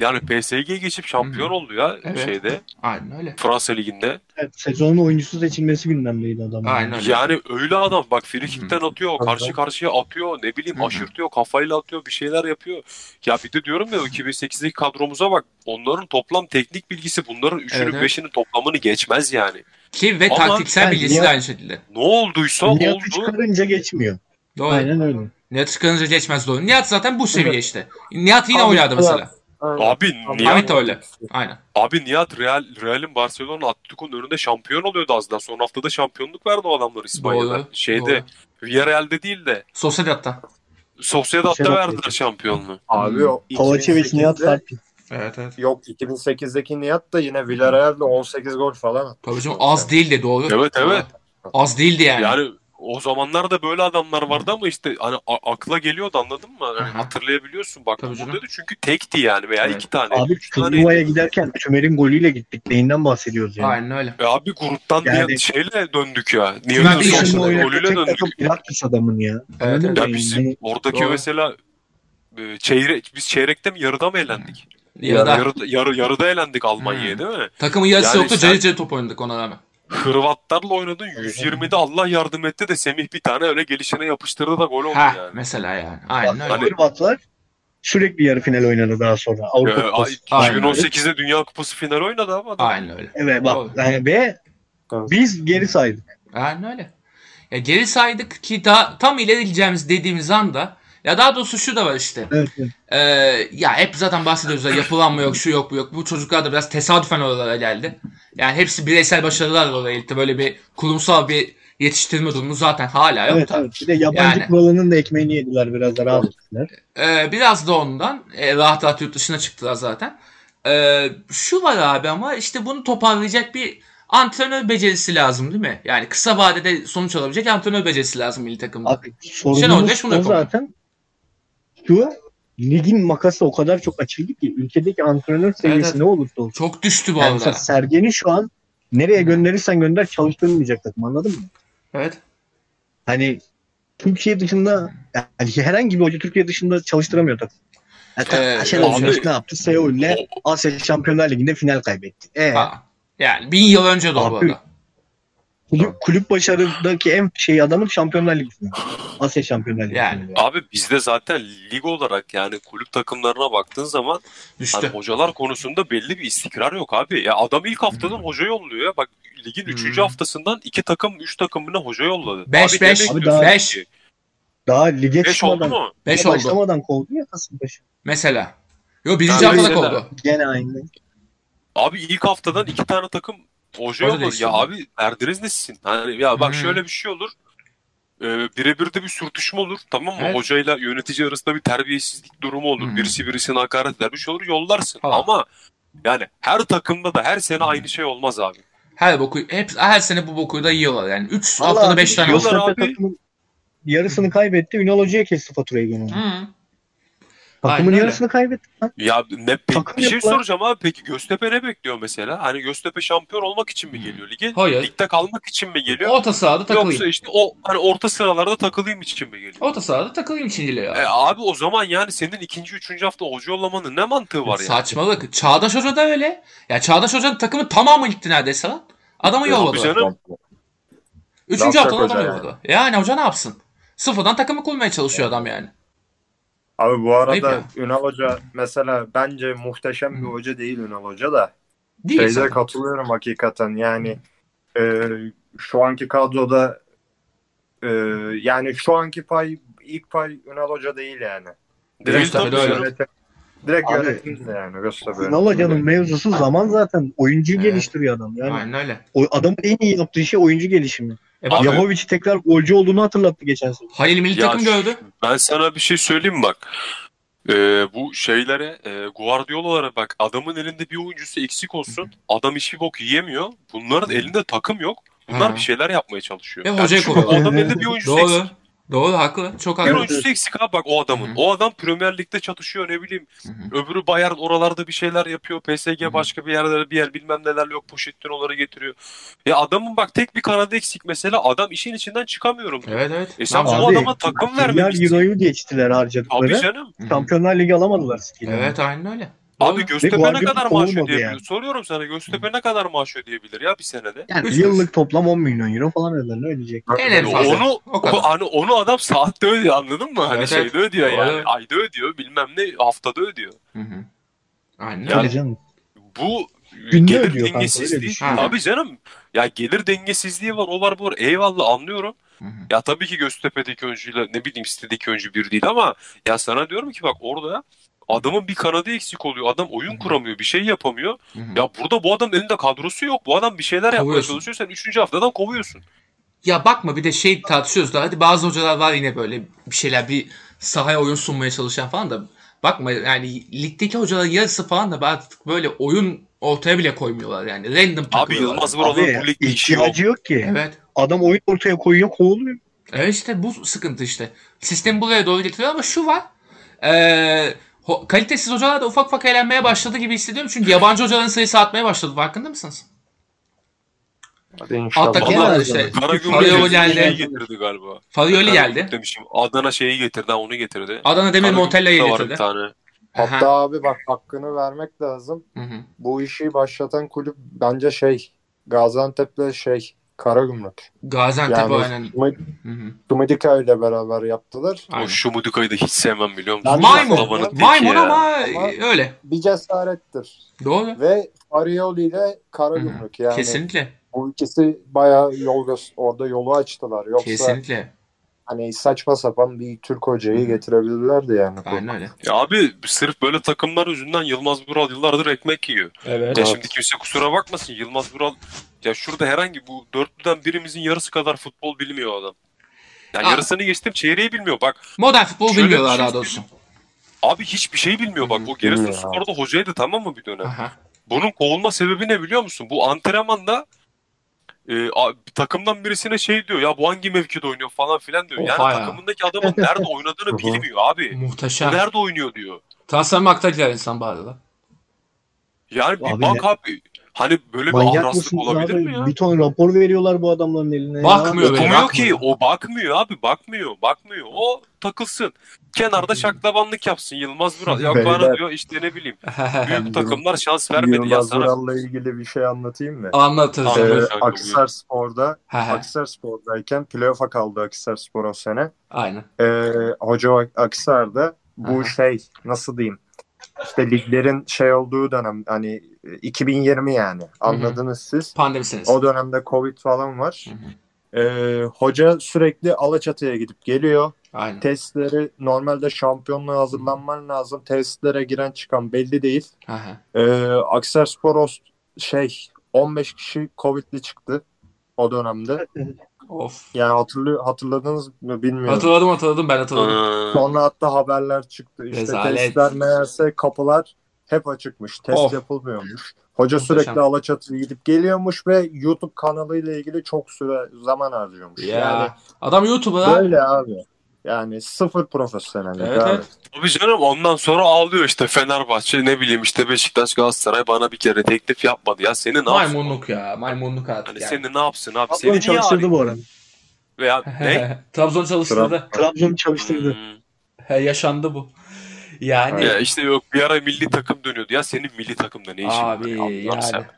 Speaker 3: yani PSG'ye geçip şampiyon oldu ya
Speaker 1: Evet.
Speaker 3: şeyde.
Speaker 1: Aynen öyle.
Speaker 3: Fransa liginde.
Speaker 2: Evet, sezonun oyuncusu seçilmesi gündemdeydi adam.
Speaker 1: Aynen öyle.
Speaker 3: Yani öyle adam bak frikikten atıyor, karşı karşıya atıyor, ne bileyim
Speaker 1: Hı hı.
Speaker 3: aşırtıyor, kafayla atıyor, bir şeyler yapıyor. Ya bir de diyorum ya 2008'deki kadromuza bak. Onların toplam teknik bilgisi bunların
Speaker 1: Evet,
Speaker 3: 3'ünün
Speaker 1: evet.
Speaker 3: 5'inin toplamını geçmez yani.
Speaker 1: Ki ve
Speaker 3: Ama-
Speaker 1: taktiksel
Speaker 2: Yani
Speaker 1: bilgisi de
Speaker 2: Nihat-
Speaker 1: aynı şekilde.
Speaker 3: Ne olduysa
Speaker 2: Nihat'ı
Speaker 3: oldu.
Speaker 2: çıkarınca geçmiyor.
Speaker 1: Doğru.
Speaker 2: Aynen öyle.
Speaker 1: Nihat çıkınca geçmez doğru. Nihat zaten bu seviye işte. Nihat yine
Speaker 4: Abi,
Speaker 1: oynardı
Speaker 4: Nihat.
Speaker 1: mesela.
Speaker 4: Aynen.
Speaker 3: Abi
Speaker 1: Ahmet
Speaker 3: Nihat,
Speaker 1: de öyle. Aynen.
Speaker 3: abi Nihat Real, Real'in Barcelona Atletico'nun önünde şampiyon oluyordu az daha. Son haftada şampiyonluk verdi o adamlar İspanya'da.
Speaker 1: Doğru,
Speaker 3: Şeyde Villarreal'de değil de
Speaker 1: Sosyalhatta.
Speaker 3: Sociedad'da
Speaker 2: Sociedad'da.
Speaker 3: verdiler şampiyonluğu.
Speaker 4: Abi o
Speaker 2: Kovacevic, Nihat
Speaker 4: 2008'de
Speaker 2: Sarp.
Speaker 1: Evet evet.
Speaker 4: Yok 2008'deki Nihat da yine Villarreal'de 18 gol falan attı.
Speaker 1: Tabii canım az değildi doğru.
Speaker 3: Evet, evet.
Speaker 1: Az değildi yani.
Speaker 3: Yani o zamanlar da böyle adamlar vardı ama işte hani a- akla geliyordu anladın mı? Hani
Speaker 1: Aha.
Speaker 3: hatırlayabiliyorsun bak
Speaker 1: Tabii
Speaker 3: bu
Speaker 1: canım.
Speaker 3: dedi çünkü tekti yani veya
Speaker 1: Evet.
Speaker 3: iki tane,
Speaker 2: Abi
Speaker 3: üç tane.
Speaker 2: turnuvaya giderken Tümer'in golüyle gittik. Neyinden bahsediyoruz yani?
Speaker 1: Aynen öyle.
Speaker 3: E abi gruptan
Speaker 2: Yani-
Speaker 3: diye şeyle döndük ya. Niye
Speaker 1: Tümer
Speaker 3: döndük?
Speaker 1: bir yaşında
Speaker 3: Golüyle
Speaker 2: oynayacak
Speaker 3: döndük.
Speaker 2: takım Pilates adamın ya.
Speaker 1: Evet, evet.
Speaker 3: Ya bizim
Speaker 2: Yani-
Speaker 3: oradaki
Speaker 1: Doğru.
Speaker 3: mesela e, çeyrek biz çeyrekte mi yarıda mı elendik?
Speaker 1: Ya da
Speaker 3: Yarıda, yarı, yarıda elendik Almanya'ya
Speaker 1: Hmm.
Speaker 3: değil mi?
Speaker 1: takımın yarısı
Speaker 3: Yani
Speaker 1: yoktu.
Speaker 3: sen-
Speaker 1: Cece top oynadık ona rağmen.
Speaker 3: Hırvatlarla oynadın 120'de Allah yardım etti de Semih bir tane öyle gelişine yapıştırdı da gol oldu
Speaker 1: Ha
Speaker 3: yani.
Speaker 1: mesela yani. Aynen
Speaker 2: Bak,
Speaker 1: öyle.
Speaker 3: Hani-
Speaker 2: Hırvatlar sürekli yarı final oynadı daha sonra.
Speaker 3: Ee,
Speaker 2: Avrupa Kupası.
Speaker 1: Aynen.
Speaker 3: 2018'de Dünya Kupası finali oynadı ama adam.
Speaker 1: Aynen öyle.
Speaker 2: Evet bak yani ve
Speaker 4: Evet.
Speaker 2: biz geri saydık.
Speaker 1: Aynen öyle. Ya geri saydık ki daha tam ileri gideceğimiz dediğimiz anda ya daha doğrusu şu da var işte.
Speaker 2: Evet, evet.
Speaker 1: Ee, ya hep zaten bahsediyoruz ya yapılanma yok, şu yok, bu yok. Bu çocuklar da biraz tesadüfen oralara geldi. Yani hepsi bireysel başarılarla oraya gitti. Böyle bir kurumsal bir yetiştirme durumu zaten hala yok.
Speaker 2: Evet,
Speaker 1: da.
Speaker 2: evet. Bir de yabancı
Speaker 1: Yani-
Speaker 2: kuralının da ekmeğini yediler biraz da rahat ettiler.
Speaker 1: Ee, biraz da ondan. Ee, rahat rahat yurt dışına çıktılar zaten. Ee, şu var abi ama işte bunu toparlayacak bir antrenör becerisi lazım değil mi? Yani kısa vadede sonuç alabilecek antrenör becerisi lazım milli takımda.
Speaker 2: Abi
Speaker 1: Şenol Güneş
Speaker 2: sorunumuz
Speaker 1: bunu
Speaker 2: o
Speaker 1: yapamıyor.
Speaker 2: zaten. Şu ligin makası o kadar çok açıldı ki ülkedeki antrenör seviyesi
Speaker 1: evet.
Speaker 2: ne olursa olsun.
Speaker 1: Çok düştü bu
Speaker 2: Yani
Speaker 1: arada.
Speaker 2: mesela Sergen'i şu an nereye gönderirsen gönder çalıştırmayacak takım anladın mı?
Speaker 1: Evet.
Speaker 2: Hani Türkiye dışında yani herhangi bir hoca Türkiye dışında çalıştıramıyor takım.
Speaker 1: Ee,
Speaker 2: Yani Şenol
Speaker 3: abi-
Speaker 2: Güneş ne yaptı? Seul'le Asya Şampiyonlar Ligi'nde final kaybetti. Ee,
Speaker 1: Ha. Yani bin yıl önce de o bu
Speaker 2: Abi-
Speaker 1: arada.
Speaker 2: kulüp, kulüp başarıdaki en şey adamın Şampiyonlar Ligi finali. Asya Şampiyonlar Ligi.
Speaker 1: Yani.
Speaker 2: finali.
Speaker 3: Abi bizde zaten lig olarak yani kulüp takımlarına baktığın zaman hani
Speaker 1: Düştü.
Speaker 3: hocalar konusunda belli bir istikrar yok abi. Ya adam ilk haftadan hoca yolluyor ya. Bak ligin 3.
Speaker 1: Hmm.
Speaker 3: haftasından 2 takım 3 takımına hoca yolladı.
Speaker 1: Beş,
Speaker 3: abi,
Speaker 1: beş,
Speaker 2: abi
Speaker 3: daha
Speaker 2: daha-
Speaker 1: 5
Speaker 2: Daha lige
Speaker 3: 5 oldu
Speaker 2: çıkmadan
Speaker 3: mu?
Speaker 1: 5
Speaker 2: lige
Speaker 1: oldu
Speaker 2: başlamadan kovdu ya Kasımpaşa.
Speaker 1: mesela. Yo birinci
Speaker 3: Yani
Speaker 1: haftada
Speaker 3: mesela-
Speaker 1: kovdu.
Speaker 2: Gene aynı.
Speaker 3: Abi ilk haftadan 2 tane takım hoca
Speaker 1: Hoca
Speaker 3: yolladı.
Speaker 1: değiştirdi.
Speaker 3: Ya abi Erdiriz nesin? Hani ya bak
Speaker 1: Hmm.
Speaker 3: şöyle bir şey olur. Ee, birebir de bir sürtüşme olur tamam mı?
Speaker 1: Evet.
Speaker 3: Hocayla yönetici arasında bir terbiyesizlik durumu olur.
Speaker 1: Hmm.
Speaker 3: Birisi birisine hakaret eder bir şey olur yollarsın.
Speaker 1: Tamam.
Speaker 3: Ama yani her takımda da her sene aynı şey olmaz abi.
Speaker 1: Her boku hep her sene bu boku da yiyorlar yani. 3
Speaker 2: Vallahi
Speaker 1: haftada
Speaker 2: abi,
Speaker 1: 5 tane oldu.
Speaker 3: yiyorlar.
Speaker 2: Göztepe
Speaker 3: abi.
Speaker 2: takımın yarısını kaybetti. Ünal Hoca'ya kesti faturayı gene.
Speaker 1: Hı. Aynen
Speaker 2: Takımın
Speaker 1: öyle.
Speaker 2: yarısını kaybetti. lan.
Speaker 3: Ya ne pe-
Speaker 2: Takım
Speaker 3: bir şey
Speaker 2: yok lan.
Speaker 3: soracağım abi peki Göztepe ne bekliyor mesela? Hani Göztepe şampiyon olmak için mi geliyor lige?
Speaker 1: Hayır.
Speaker 3: Ligde kalmak için mi geliyor?
Speaker 1: Orta sahada
Speaker 3: Yoksa
Speaker 1: takılayım.
Speaker 3: işte o hani orta sıralarda takılayım için mi geliyor?
Speaker 1: Orta sahada takılayım için geliyor
Speaker 3: E
Speaker 1: abi.
Speaker 3: abi o zaman yani senin ikinci, üçüncü hafta hoca yollamanın ne mantığı var ya?
Speaker 1: Saçmalık. Çağdaş Hoca da öyle. Ya Çağdaş Hoca'nın takımı tamamı gitti neredeyse lan. Adamı
Speaker 3: Ya E, abi
Speaker 1: yolladılar.
Speaker 3: canım.
Speaker 1: Üçüncü
Speaker 4: Yapacak
Speaker 1: haftada
Speaker 4: hoca
Speaker 1: adamı
Speaker 4: yani.
Speaker 1: yolladı. Yani hoca ne yapsın? Sıfırdan takımı kurmaya çalışıyor adam yani.
Speaker 5: Abi bu
Speaker 1: Ayıp
Speaker 5: arada
Speaker 1: ya.
Speaker 5: Ünal Hoca mesela bence muhteşem bir hoca değil Ünal Hoca da.
Speaker 1: Değil
Speaker 5: Şeyde
Speaker 1: zaten.
Speaker 5: katılıyorum hakikaten yani e, şu anki kadroda e, yani şu anki pay ilk pay Ünal Hoca değil yani.
Speaker 3: Değil
Speaker 1: tabii,
Speaker 3: tabii
Speaker 1: öyle.
Speaker 3: canım.
Speaker 5: yönetim- direkt
Speaker 2: Abi-
Speaker 5: yönetim de yani Göztepe.
Speaker 2: Ünal Hoca'nın mevzusu zaman zaten. Oyuncuyu
Speaker 1: Evet.
Speaker 2: geliştiriyor adam. Yani
Speaker 1: Aynen öyle.
Speaker 2: o adamın en iyi yaptığı şey oyuncu gelişimi.
Speaker 1: E
Speaker 3: Abi-
Speaker 1: bak,
Speaker 2: Yahovic tekrar golcü olduğunu hatırlattı geçen sene.
Speaker 1: Halil milli
Speaker 3: Ya
Speaker 1: takım
Speaker 3: şu-
Speaker 1: gördü.
Speaker 3: Ben sana bir şey söyleyeyim mi bak. Ee, bu şeylere e, Guardiola'lara bak adamın elinde bir oyuncusu eksik olsun. Adam hiçbir bok yiyemiyor. Bunların elinde takım yok. Bunlar
Speaker 1: Hı.
Speaker 3: bir şeyler yapmaya çalışıyor.
Speaker 1: Ve
Speaker 3: Yani
Speaker 1: hocayı
Speaker 3: çünkü
Speaker 1: kovalıyor.
Speaker 3: o adamın elinde bir oyuncusu eksik.
Speaker 1: Doğru. Doğru haklı. Çok
Speaker 3: Bir
Speaker 1: haklı.
Speaker 3: oyuncusu eksik abi bak o adamın.
Speaker 1: Hı hı.
Speaker 3: O adam Premier Lig'de çatışıyor ne bileyim.
Speaker 1: Hı hı.
Speaker 3: Öbürü Bayern oralarda bir şeyler yapıyor. PSG
Speaker 1: Hı hı.
Speaker 3: başka bir yerlere bir yer bilmem neler yok. Pochettino'ları getiriyor. Ya adamın bak tek bir kanadı eksik mesela. Adam işin içinden çıkamıyorum. diyor.
Speaker 1: Evet evet.
Speaker 3: E sen
Speaker 1: Tamam.
Speaker 3: bu
Speaker 2: Abi,
Speaker 3: adama takım
Speaker 2: Milyar
Speaker 3: vermemişsin.
Speaker 2: euroyu geçtiler
Speaker 3: Abi şey-
Speaker 2: harcadıkları.
Speaker 3: canım.
Speaker 1: Hı hı.
Speaker 2: Şampiyonlar Ligi alamadılar skillini.
Speaker 1: Evet aynen öyle. Doğru.
Speaker 3: Abi Göztepe ne
Speaker 2: Guardiola
Speaker 3: kadar maaş
Speaker 2: olmadı
Speaker 3: ödeyebilir?
Speaker 2: yani.
Speaker 3: Soruyorum sana Göztepe ne kadar maaş ödeyebilir ya bir senede?
Speaker 2: Yani
Speaker 1: Üç
Speaker 2: yıllık toplam 10 milyon euro falan öderler ödeyecek.
Speaker 1: En en
Speaker 5: şey.
Speaker 1: fazla.
Speaker 3: Onu
Speaker 1: O kadar.
Speaker 3: hani onu adam saatte ödüyor anladın mı? Hani
Speaker 1: Evet,
Speaker 3: şeyde
Speaker 1: evet.
Speaker 3: ödüyor yani.
Speaker 1: Doğru.
Speaker 3: Ayda ödüyor, bilmem ne haftada ödüyor.
Speaker 1: Hı hı. Aynen
Speaker 3: Yani-
Speaker 2: Tabii
Speaker 1: öyle.
Speaker 2: canım.
Speaker 3: Bu
Speaker 2: Günde
Speaker 3: gelir
Speaker 2: ödüyor kanka, öyle
Speaker 3: dengesizliği.
Speaker 2: düşün.
Speaker 1: Ha.
Speaker 3: Tabii canım. Ya gelir dengesizliği var, o var bu var. Eyvallah anlıyorum.
Speaker 1: Hı hı.
Speaker 3: Ya tabii ki Göztepe'deki oyuncuyla ne bileyim sitedeki oyuncu bir değil ama ya sana diyorum ki bak orada adamın bir kanadı eksik oluyor. Adam oyun kuramıyor, bir şey yapamıyor.
Speaker 1: Hı hı.
Speaker 3: Ya burada bu adamın elinde kadrosu yok. Bu adam bir şeyler yapmaya
Speaker 1: Kovuyorsun.
Speaker 3: çalışıyor. Sen 3. haftadan kovuyorsun.
Speaker 1: Ya bakma bir de şey tartışıyoruz da hadi bazı hocalar var yine böyle bir şeyler bir sahaya oyun sunmaya çalışan falan da bakma yani ligdeki hocaların yarısı falan da artık böyle oyun ortaya bile koymuyorlar yani random
Speaker 3: Abi
Speaker 1: takılıyorlar.
Speaker 3: Yılmaz Vural'ın
Speaker 2: Abi
Speaker 3: bu ligde işi yok.
Speaker 2: ihtiyacı yok ki.
Speaker 1: Evet.
Speaker 2: Adam oyun ortaya koyuyor kovuluyor.
Speaker 1: Evet işte bu sıkıntı işte. Sistemi buraya doğru getiriyor ama şu var. Ee, ho- kalitesiz hocalar da ufak ufak eğlenmeye başladı gibi hissediyorum. Çünkü yabancı hocaların sayısı artmaya başladı. Farkında mısınız?
Speaker 4: Hadi inşallah.
Speaker 1: Alttaki
Speaker 3: Vallahi
Speaker 1: var işte.
Speaker 3: Karagümrük
Speaker 1: Fabio
Speaker 3: Ezgi'yi
Speaker 1: geldi.
Speaker 3: getirdi galiba.
Speaker 1: Farioli
Speaker 3: Karagümrük
Speaker 1: geldi.
Speaker 3: Demişim. Adana şeyi getirdi ha onu getirdi.
Speaker 1: Adana Demir
Speaker 3: Karagümrük'te
Speaker 1: Montella'yı
Speaker 3: var bir
Speaker 1: getirdi.
Speaker 3: tane.
Speaker 1: Aha.
Speaker 4: Hatta abi bak hakkını vermek lazım.
Speaker 1: Hı hı.
Speaker 4: Bu işi başlatan kulüp bence şey Gaziantep'le şey Karagümrük.
Speaker 1: Gaziantep
Speaker 4: Yani
Speaker 1: aynen.
Speaker 4: Sumi-
Speaker 1: Hı hı.
Speaker 4: Sumidika ile beraber yaptılar.
Speaker 1: Aynen.
Speaker 3: O Şumuduka'yı da hiç sevmem biliyor musun?
Speaker 4: Ben de
Speaker 1: Maymun.
Speaker 4: Babanın
Speaker 3: teki
Speaker 1: Maymun
Speaker 3: ya.
Speaker 1: ama
Speaker 4: Ama-
Speaker 1: öyle.
Speaker 4: Bir cesarettir.
Speaker 1: Doğru.
Speaker 4: Ve Arioli ile Karagümrük yani
Speaker 1: Kesinlikle.
Speaker 4: bu ikisi bayağı yol gö- orada yolu açtılar. Yoksa
Speaker 1: Kesinlikle.
Speaker 4: hani saçma sapan bir Türk hocayı getirebilirlerdi yani.
Speaker 1: Aynen öyle.
Speaker 3: Ya abi sırf böyle takımlar yüzünden Yılmaz Vural yıllardır ekmek yiyor.
Speaker 6: Evet.
Speaker 3: Ya şimdi kimse kusura bakmasın Yılmaz Vural ya şurada herhangi bu dörtlüden birimizin yarısı kadar futbol bilmiyor adam. Ya
Speaker 1: Aa.
Speaker 3: yarısını geçtim çeyreği bilmiyor bak.
Speaker 1: Modern futbol
Speaker 3: Şöyle
Speaker 1: bilmiyorlar
Speaker 3: bir şey
Speaker 1: daha doğrusu.
Speaker 3: Abi hiçbir şey bilmiyor bak.
Speaker 1: Hı,
Speaker 3: O Giresun
Speaker 4: bilmiyor abi.
Speaker 3: Spor'da hocaydı tamam mı bir dönem?
Speaker 1: Aha.
Speaker 3: Bunun kovulma sebebi ne biliyor musun? Bu antrenmanda e, a- takımdan birisine şey diyor ya bu hangi mevkide oynuyor falan filan diyor.
Speaker 1: Oha
Speaker 3: yani
Speaker 1: ya.
Speaker 3: takımındaki adamın nerede oynadığını bilmiyor abi.
Speaker 1: Muhteşem.
Speaker 3: Nerede oynuyor diyor.
Speaker 1: Transfer makta gider insan bari lan.
Speaker 3: Yani bir
Speaker 2: Abi
Speaker 3: bak abi hani böyle bir
Speaker 2: Manyak
Speaker 3: ahraslık
Speaker 2: mısınız
Speaker 3: olabilir mi
Speaker 2: abi?
Speaker 3: ya?
Speaker 2: Bir ton rapor veriyorlar bu adamların eline. ya.
Speaker 1: Bakmıyor böyle.
Speaker 3: Okumuyor ki.
Speaker 1: bakmıyor.
Speaker 3: O bakmıyor abi. Bakmıyor. Bakmıyor. O takılsın. Kenarda şaklabanlık yapsın Yılmaz Vural. Ya bana
Speaker 5: Beyler.
Speaker 3: diyor işte ne bileyim.
Speaker 5: Yılmaz-
Speaker 3: Büyük takımlar şans vermedi. Ya
Speaker 5: Yılmaz
Speaker 3: sana
Speaker 5: Vural'la ilgili bir şey anlatayım mı?
Speaker 1: Anlatırız.
Speaker 3: Anlatırız.
Speaker 5: Ee,
Speaker 1: Evet.
Speaker 3: Evet.
Speaker 5: Akhisar Spor'da
Speaker 1: Ha, ha.
Speaker 5: Akhisar Spor'dayken playoff'a kaldı Akhisar Spor o sene.
Speaker 1: Aynen.
Speaker 5: Ee, Hoca Akhisar'da bu
Speaker 1: Aha.
Speaker 5: şey nasıl diyeyim işte liglerin şey olduğu dönem hani 2020 yani anladınız siz.
Speaker 1: Pandemisiniz.
Speaker 5: O dönemde Covid falan var.
Speaker 1: Hı
Speaker 5: Ee, hoca sürekli Alaçatı'ya gidip geliyor.
Speaker 1: Aynen.
Speaker 5: Testleri normalde şampiyonluğa hazırlanman lazım. Testlere giren çıkan belli değil.
Speaker 1: Ha, ha.
Speaker 5: Ee, Aksar Sporos şey 15 kişi Covid'li çıktı o dönemde.
Speaker 1: Of.
Speaker 5: Yani hatırlı hatırladınız mı bilmiyorum.
Speaker 1: Hatırladım hatırladım ben hatırladım.
Speaker 3: Ee,
Speaker 5: Sonra hatta haberler çıktı. İşte
Speaker 1: Rezalet.
Speaker 5: testler meğerse kapılar hep açıkmış. Test
Speaker 1: Of.
Speaker 5: yapılmıyormuş. Hoca
Speaker 1: Muhteşem.
Speaker 5: sürekli Alaçatı'ya gidip geliyormuş ve YouTube kanalıyla ilgili çok süre zaman harcıyormuş.
Speaker 1: Ya.
Speaker 5: Yani
Speaker 1: Adam YouTube'da.
Speaker 5: böyle abi. Yani sıfır profesyonellik
Speaker 1: Evet,
Speaker 5: abi.
Speaker 1: evet.
Speaker 3: Tabii canım ondan sonra ağlıyor işte Fenerbahçe ne bileyim işte Beşiktaş Galatasaray bana bir kere teklif yapmadı ya seni ne yapsın?
Speaker 1: Maymunluk ya. Maymunluk artık
Speaker 3: Hani
Speaker 1: yani.
Speaker 3: seni ne yapsın abi?
Speaker 2: Trabzon'u
Speaker 3: Seni niye
Speaker 2: çalıştırdı
Speaker 3: arayayım?
Speaker 2: bu arada.
Speaker 3: Veya ne?
Speaker 1: Trabzon çalıştırdı.
Speaker 2: Trabzon'u çalıştırdı.
Speaker 3: Hmm.
Speaker 1: He, yaşandı bu. Yani
Speaker 3: Ya işte yok bir ara milli takım dönüyordu. Ya senin milli takımda ne işin var?
Speaker 1: Abi,
Speaker 3: Allah'ını
Speaker 1: yani.
Speaker 3: seversen.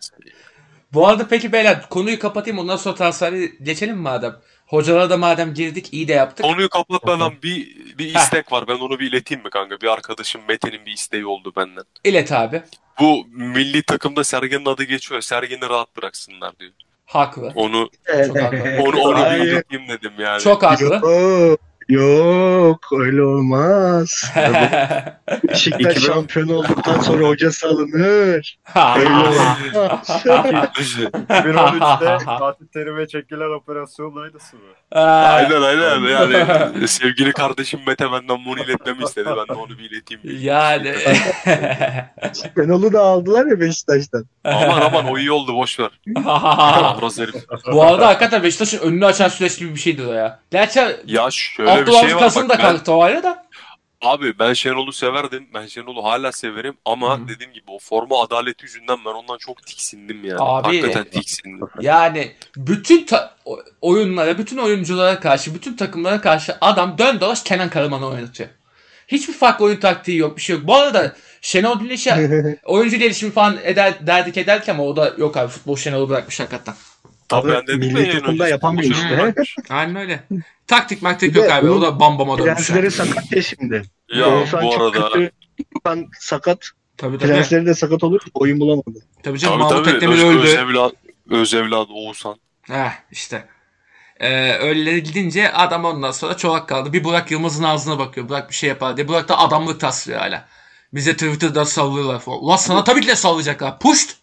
Speaker 1: bu arada peki beyler konuyu kapatayım ondan sonra transferi geçelim mi madem? Hocalara da madem girdik iyi de yaptık.
Speaker 3: Konuyu kapatmadan bir bir istek var. Ben onu bir ileteyim mi kanka? Bir arkadaşım Mete'nin bir isteği oldu benden.
Speaker 1: İlet abi.
Speaker 3: Bu milli takımda Sergen'in adı geçiyor. Sergen'i rahat bıraksınlar diyor.
Speaker 1: Haklı.
Speaker 3: Onu
Speaker 1: Çok haklı.
Speaker 3: onu onu bir
Speaker 2: Hayır.
Speaker 3: ileteyim dedim yani.
Speaker 1: Çok haklı.
Speaker 2: Yok, yok öyle olmaz. Beşiktaş
Speaker 5: İki bin-
Speaker 2: şampiyon olduktan sonra hocası alınır. Öyle
Speaker 1: Ha.
Speaker 2: olmaz.
Speaker 5: 2013'te Fatih Terim'e çekilen operasyon aynısı mı?
Speaker 3: Aynen aynen yani sevgili kardeşim Mete benden bunu iletmemi istedi. Ben de onu bir ileteyim.
Speaker 1: Yani
Speaker 2: Şenol'u da aldılar ya Beşiktaş'tan.
Speaker 3: Aman aman o iyi oldu boş ver. Ahraz herif.
Speaker 1: Bu arada hakikaten Beşiktaş'ın önünü açan süreç gibi bir şeydi o ya. Gerçi
Speaker 3: Ya şöyle bir
Speaker 1: Abdülhamit
Speaker 3: şey var
Speaker 1: Kasım
Speaker 3: bak.
Speaker 1: da
Speaker 3: ben-
Speaker 1: kalktı o ayrı da.
Speaker 3: Abi ben Şenol'u severdim. Ben Şenol'u hala severim ama
Speaker 1: Hı.
Speaker 3: dediğim gibi o forma adaleti yüzünden ben ondan çok tiksindim yani.
Speaker 1: Abi.
Speaker 3: Hakikaten tiksindim.
Speaker 1: Yani bütün ta- o- oyunlara, bütün oyunculara karşı, bütün takımlara karşı adam dön dolaş Kenan Karaman'ı oynatıyor. Hiçbir farklı oyun taktiği yok, bir şey yok. Bu arada Şenol Güneş'e oyuncu gelişimi falan eder, derdik ederdik ama o da yok abi futbol Şenol'u bırakmış hakikaten.
Speaker 3: Tabii ben dedim
Speaker 2: milli
Speaker 3: ya yayın
Speaker 2: takımda
Speaker 3: öncesi,
Speaker 2: yapan bir
Speaker 3: boşuna
Speaker 2: işte.
Speaker 3: bırakmış.
Speaker 1: Aynen öyle. Taktik maktik
Speaker 2: Bir de
Speaker 1: yok abi o
Speaker 2: bunun
Speaker 1: da bambama dönmüş.
Speaker 2: Prensleri
Speaker 1: Yani.
Speaker 2: sakat ya şimdi.
Speaker 3: Ya
Speaker 2: Oğuzhan
Speaker 3: bu
Speaker 2: çok
Speaker 3: arada
Speaker 2: kötü. Oğuzhan sakat.
Speaker 1: Tabii tabii.
Speaker 2: Prensleri de sakat olur. Oyun bulamadı.
Speaker 1: Tabii canım
Speaker 3: tabii
Speaker 1: Mahmut
Speaker 3: tabii
Speaker 1: Ekdemir
Speaker 3: öz,
Speaker 1: öldü.
Speaker 3: öz evladı, öz evladı Oğuzhan.
Speaker 1: Heh işte. Ee, öyleleri gidince adam ondan sonra çorak kaldı. Bir Burak Yılmaz'ın ağzına bakıyor. Burak bir şey yapar diye. Burak da adamlık taslıyor hala. Bize Twitter'da sallıyorlar falan. Ulan sana tabii ki de sallayacaklar. Puşt!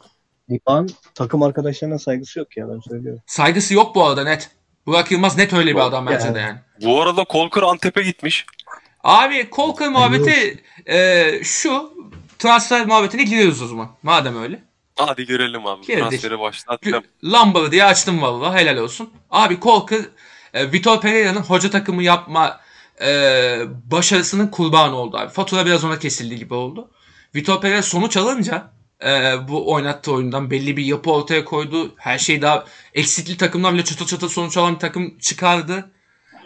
Speaker 2: Burak'ın takım arkadaşlarına saygısı yok ya ben söylüyorum.
Speaker 1: Saygısı yok bu arada net. Burak Yılmaz net öyle bir adam bence de yani.
Speaker 3: Bu arada Kolkır Antep'e gitmiş.
Speaker 1: Abi Kolkır muhabbeti e, şu transfer muhabbetine giriyoruz o zaman. Madem öyle.
Speaker 3: Hadi girelim abi.
Speaker 1: Girdik.
Speaker 3: Transferi başlat.
Speaker 1: Lambada diye açtım vallahi helal olsun. Abi Kolkır e, Vitor Pereira'nın hoca takımı yapma e, başarısının kurbanı oldu abi. Fatura biraz ona kesildi gibi oldu. Vitor Pereira sonuç alınca e, bu oynattığı oyundan belli bir yapı ortaya koydu. Her şey daha eksikli takımdan bile çatı çatı sonuç alan bir takım çıkardı.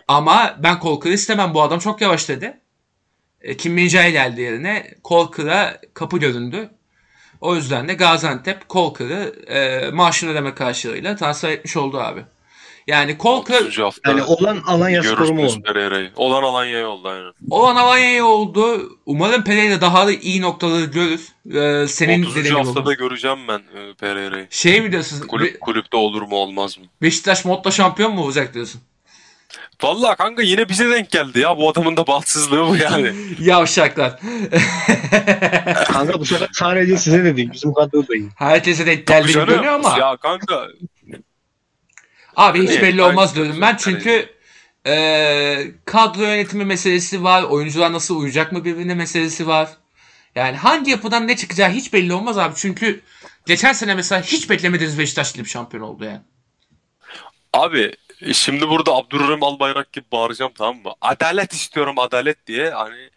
Speaker 1: Ama ben Kolkır'ı istemem. Bu adam çok yavaş dedi. E, Kim Min-jae geldi yerine. Kolkır'a kapı göründü. O yüzden de Gaziantep Kolkır'ı e, maaşını ödeme karşılığıyla transfer etmiş oldu abi. Yani Kolkır
Speaker 3: 30. hafta
Speaker 2: Yani olan Alanya Spor mu
Speaker 3: görürsünüz
Speaker 2: oldu?
Speaker 3: Pereira'yı. Olan Alanya'ya oldu aynen.
Speaker 1: olan Alanya'ya oldu. Umarım Pereira daha da iyi noktaları görür. E, senin
Speaker 3: 30.
Speaker 1: dediğin gibi
Speaker 3: haftada
Speaker 1: olur.
Speaker 3: göreceğim ben e, Pereira'yı.
Speaker 1: Şey mi diyorsun? Be-
Speaker 3: Kulüp, kulüpte olur mu olmaz mı?
Speaker 1: Beşiktaş modda şampiyon mu olacak diyorsun?
Speaker 3: Vallahi kanka yine bize denk geldi ya. Bu adamın da bahtsızlığı bu yani.
Speaker 1: Yavşaklar.
Speaker 2: Kanka bu sefer sadece size de değil. Bizim kadro da iyi.
Speaker 1: Herkese de geldiğini
Speaker 3: Canım,
Speaker 1: görünüyor ama.
Speaker 3: Ya kanka
Speaker 1: Abi hiç
Speaker 3: Evet,
Speaker 1: belli
Speaker 3: ben-
Speaker 1: olmaz diyorum ben çünkü eee, kadro yönetimi meselesi var. Oyuncular nasıl uyacak mı birbirine meselesi var. Yani hangi yapıdan ne çıkacağı hiç belli olmaz abi. Çünkü geçen sene mesela hiç beklemediğiniz Beşiktaş gibi şampiyon oldu yani.
Speaker 3: Abi şimdi burada Abdurrahim Albayrak gibi bağıracağım tamam mı? Adalet istiyorum adalet diye hani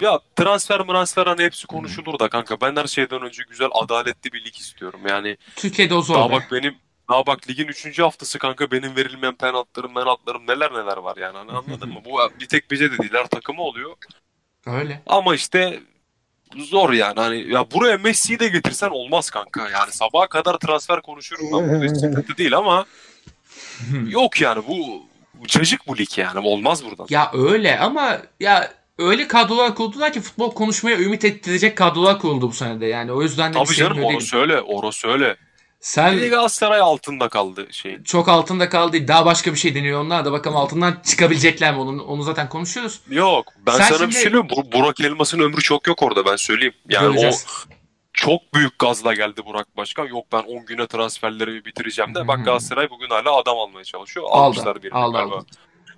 Speaker 3: ya transfer transfer hani hepsi konuşulur da kanka ben her şeyden önce güzel adaletli bir lig istiyorum. Yani
Speaker 1: Türkiye'de o
Speaker 3: daha
Speaker 1: zor. be.
Speaker 3: bak benim daha bak ligin 3. haftası kanka benim verilmeyen penaltılarım penaltılarım neler neler var yani hani anladın mı? Bu bir tek bize de değil her takıma oluyor.
Speaker 1: Öyle.
Speaker 3: Ama işte zor yani hani ya buraya Messi'yi de getirsen olmaz kanka yani sabaha kadar transfer konuşurum ben burada hiç sıkıntı değil ama yok yani bu bu cacık bu lig yani olmaz buradan.
Speaker 1: Ya öyle ama ya öyle kadrolar kurdular ki futbol konuşmaya ümit ettirecek kadrolar kuruldu bu sene de. Yani o yüzden de bir
Speaker 3: Tabii
Speaker 1: şey
Speaker 3: canım
Speaker 1: öyle
Speaker 3: onu
Speaker 1: değil.
Speaker 3: söyle onu söyle. Bir de
Speaker 1: Sen
Speaker 3: Galatasaray altında kaldı şey.
Speaker 1: çok altında kaldı. Daha başka bir şey deniyor onlar da. Bakalım altından çıkabilecekler mi? Onu, onu zaten konuşuyoruz.
Speaker 3: Yok ben
Speaker 1: Sen
Speaker 3: sana
Speaker 1: şimdi-
Speaker 3: bir şey söyleyeyim Bur- Burak Elmas'ın ömrü çok yok orada ben söyleyeyim. Yani
Speaker 1: Göreceğiz.
Speaker 3: o çok büyük gazla geldi Burak Başkan. Yok ben 10 güne transferleri bitireceğim de. Bak
Speaker 1: Hı hı.
Speaker 3: Galatasaray bugün hala adam almaya çalışıyor.
Speaker 1: Hmm. Aldı,
Speaker 3: Almışlar birini
Speaker 1: aldı,
Speaker 3: galiba.
Speaker 1: aldı.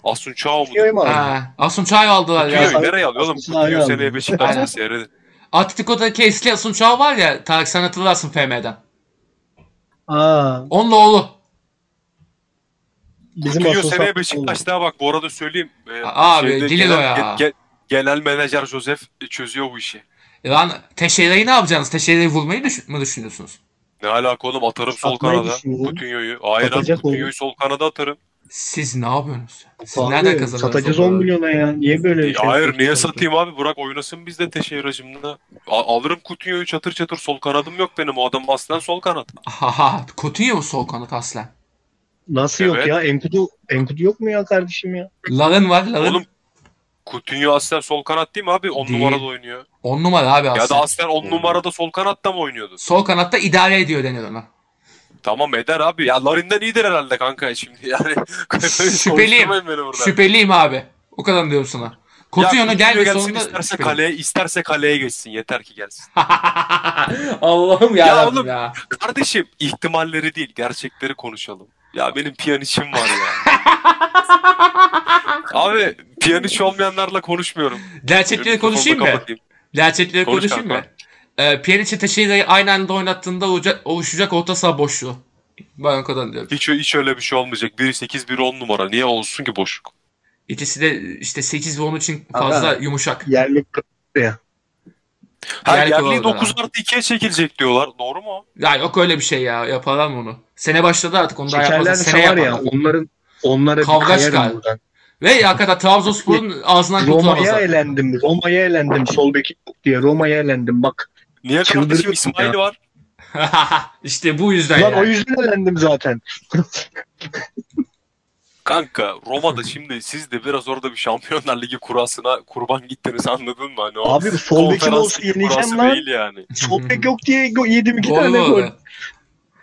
Speaker 3: Asun Çağ mı?
Speaker 2: Biliyor mu abi?
Speaker 1: Ha, Asun Çağ'ı aldılar ya.
Speaker 3: Kutuyu nereye alıyor oğlum?
Speaker 2: Aslında
Speaker 3: Kutuyu
Speaker 2: aynen.
Speaker 3: seneye
Speaker 1: Aynen.
Speaker 3: Beşiktaş'ta seyredin.
Speaker 1: Atletico'daki eski Asun Çağ var ya. Tarık sen hatırlarsın FM'den.
Speaker 2: Aa,
Speaker 1: Onunla oğlu.
Speaker 2: bizim
Speaker 3: Kutuyu
Speaker 2: asıl
Speaker 3: seneye
Speaker 2: saklı-
Speaker 3: Beşiktaş'ta bak bu arada söyleyeyim. Ee,
Speaker 1: Aa, abi,
Speaker 3: şeyde
Speaker 1: Dililo
Speaker 3: genel-
Speaker 1: ya.
Speaker 3: ge- ge- genel menajer Josef çözüyor bu işi.
Speaker 1: E Lan Teşere'yi ne yapacaksınız? Teşere'yi vurmayı düş- mı düşünüyorsunuz?
Speaker 3: Ne alaka oğlum atarım sol
Speaker 2: Atmayı
Speaker 3: kanada.
Speaker 2: düşünüyorum.
Speaker 3: Kutuyu. Hayır abi,
Speaker 2: Satacak
Speaker 3: Kutuyu
Speaker 2: oğlum.
Speaker 3: sol kanada atarım.
Speaker 1: Siz ne yapıyorsunuz? Siz
Speaker 2: Abi,
Speaker 1: nereden kazanıyorsunuz?
Speaker 2: Satacağız
Speaker 1: onları?
Speaker 2: 10 milyona ya. Niye böyle
Speaker 3: E,
Speaker 2: şey
Speaker 3: Hayır niye
Speaker 2: yapıyorsun?
Speaker 3: satayım abi? Burak oynasın biz de teşehir hacımda. A- alırım Kutuyu çatır çatır sol kanadım yok benim. O adam aslen sol kanat.
Speaker 1: Aha, Coutinho mu sol kanat aslen?
Speaker 2: Nasıl yok
Speaker 3: Evet.
Speaker 2: ya? Enkudu, Enkudu yok mu ya kardeşim ya?
Speaker 1: Laren var, Laren.
Speaker 3: Oğlum Kutuyu aslen sol kanat değil mi abi? 10
Speaker 1: Değil.
Speaker 3: numarada oynuyor.
Speaker 1: 10 numara abi
Speaker 3: Ya
Speaker 1: aslen.
Speaker 3: da aslen 10 numarada sol kanatta mı oynuyordu?
Speaker 1: Sol kanatta idare ediyor denir ona.
Speaker 3: Tamam eder abi. Ya Larin'den iyidir herhalde kanka şimdi. Yani
Speaker 1: Şüpheliyim.
Speaker 3: konuşturmayın beni burada.
Speaker 1: Şüpheliyim abi. O kadar diyorum sana. Coutinho'nun geldi
Speaker 3: gelsin
Speaker 1: sonunda...
Speaker 3: isterse
Speaker 1: şüpheliyim.
Speaker 3: kaleye, isterse kaleye geçsin. Yeter ki gelsin.
Speaker 1: Allah'ım ya,
Speaker 3: Ya
Speaker 1: ya,
Speaker 3: oğlum,
Speaker 1: ya.
Speaker 3: Kardeşim ihtimalleri değil gerçekleri konuşalım. Ya benim piyanişim var ya. Abi piyaniş olmayanlarla konuşmuyorum.
Speaker 1: Gerçekleri
Speaker 3: Mikrofonla
Speaker 1: konuşayım mı?
Speaker 3: kapatayım.
Speaker 1: Gerçekleri
Speaker 3: Konuş
Speaker 1: konuşayım mı?
Speaker 3: kanka.
Speaker 1: Ee, Pjanic Teşehir'i aynı anda oynattığında olacak, oluşacak orta saha boşluğu. Ben o kadar diyorum.
Speaker 3: Hiç, hiç öyle bir şey olmayacak. Biri 8 biri 10 numara. Niye olsun ki boşluk?
Speaker 1: İkisi de işte 8 ve 10 için fazla
Speaker 2: Aga.
Speaker 1: yumuşak.
Speaker 2: Yerli
Speaker 3: Her
Speaker 1: Yer
Speaker 3: yerli
Speaker 1: kovalıyor
Speaker 3: 9
Speaker 1: abi.
Speaker 3: artı 2'ye çekilecek diyorlar. Doğru mu?
Speaker 1: Ya yok öyle bir şey ya. Yaparlar mı onu? Sene başladı artık onu daha
Speaker 2: şekerler
Speaker 1: yapmazlar.
Speaker 2: de
Speaker 1: Sene
Speaker 2: var ya
Speaker 1: yaparlar.
Speaker 2: onların onlara
Speaker 1: Kavga
Speaker 2: bir
Speaker 1: çıkar.
Speaker 2: kayarım buradan.
Speaker 1: Ve hakikaten Trabzonspor'un ağzından
Speaker 2: Roma'ya
Speaker 1: kurtulamazlar.
Speaker 2: elendim. Roma'ya elendim. Sol bekim yok diye Roma'ya elendim. Bak.
Speaker 3: Niye kardeşim
Speaker 2: Çıldırıyorum
Speaker 3: İsmail
Speaker 2: ya.
Speaker 3: var?
Speaker 1: işte bu yüzden
Speaker 2: Lan
Speaker 1: yani.
Speaker 2: o yüzden elendim zaten.
Speaker 3: Kanka Roma'da şimdi siz de biraz orada bir Şampiyonlar Ligi kurasına kurban gittiniz anladın mı? Hani o
Speaker 2: Abi sol bekim
Speaker 3: konferans
Speaker 2: olsa
Speaker 3: ligi kurası
Speaker 2: yeneceğim lan.
Speaker 3: değil yani.
Speaker 2: Sol bek yok diye go- yedim iki
Speaker 1: Gol
Speaker 2: tane
Speaker 1: bu
Speaker 2: gol.
Speaker 1: arada.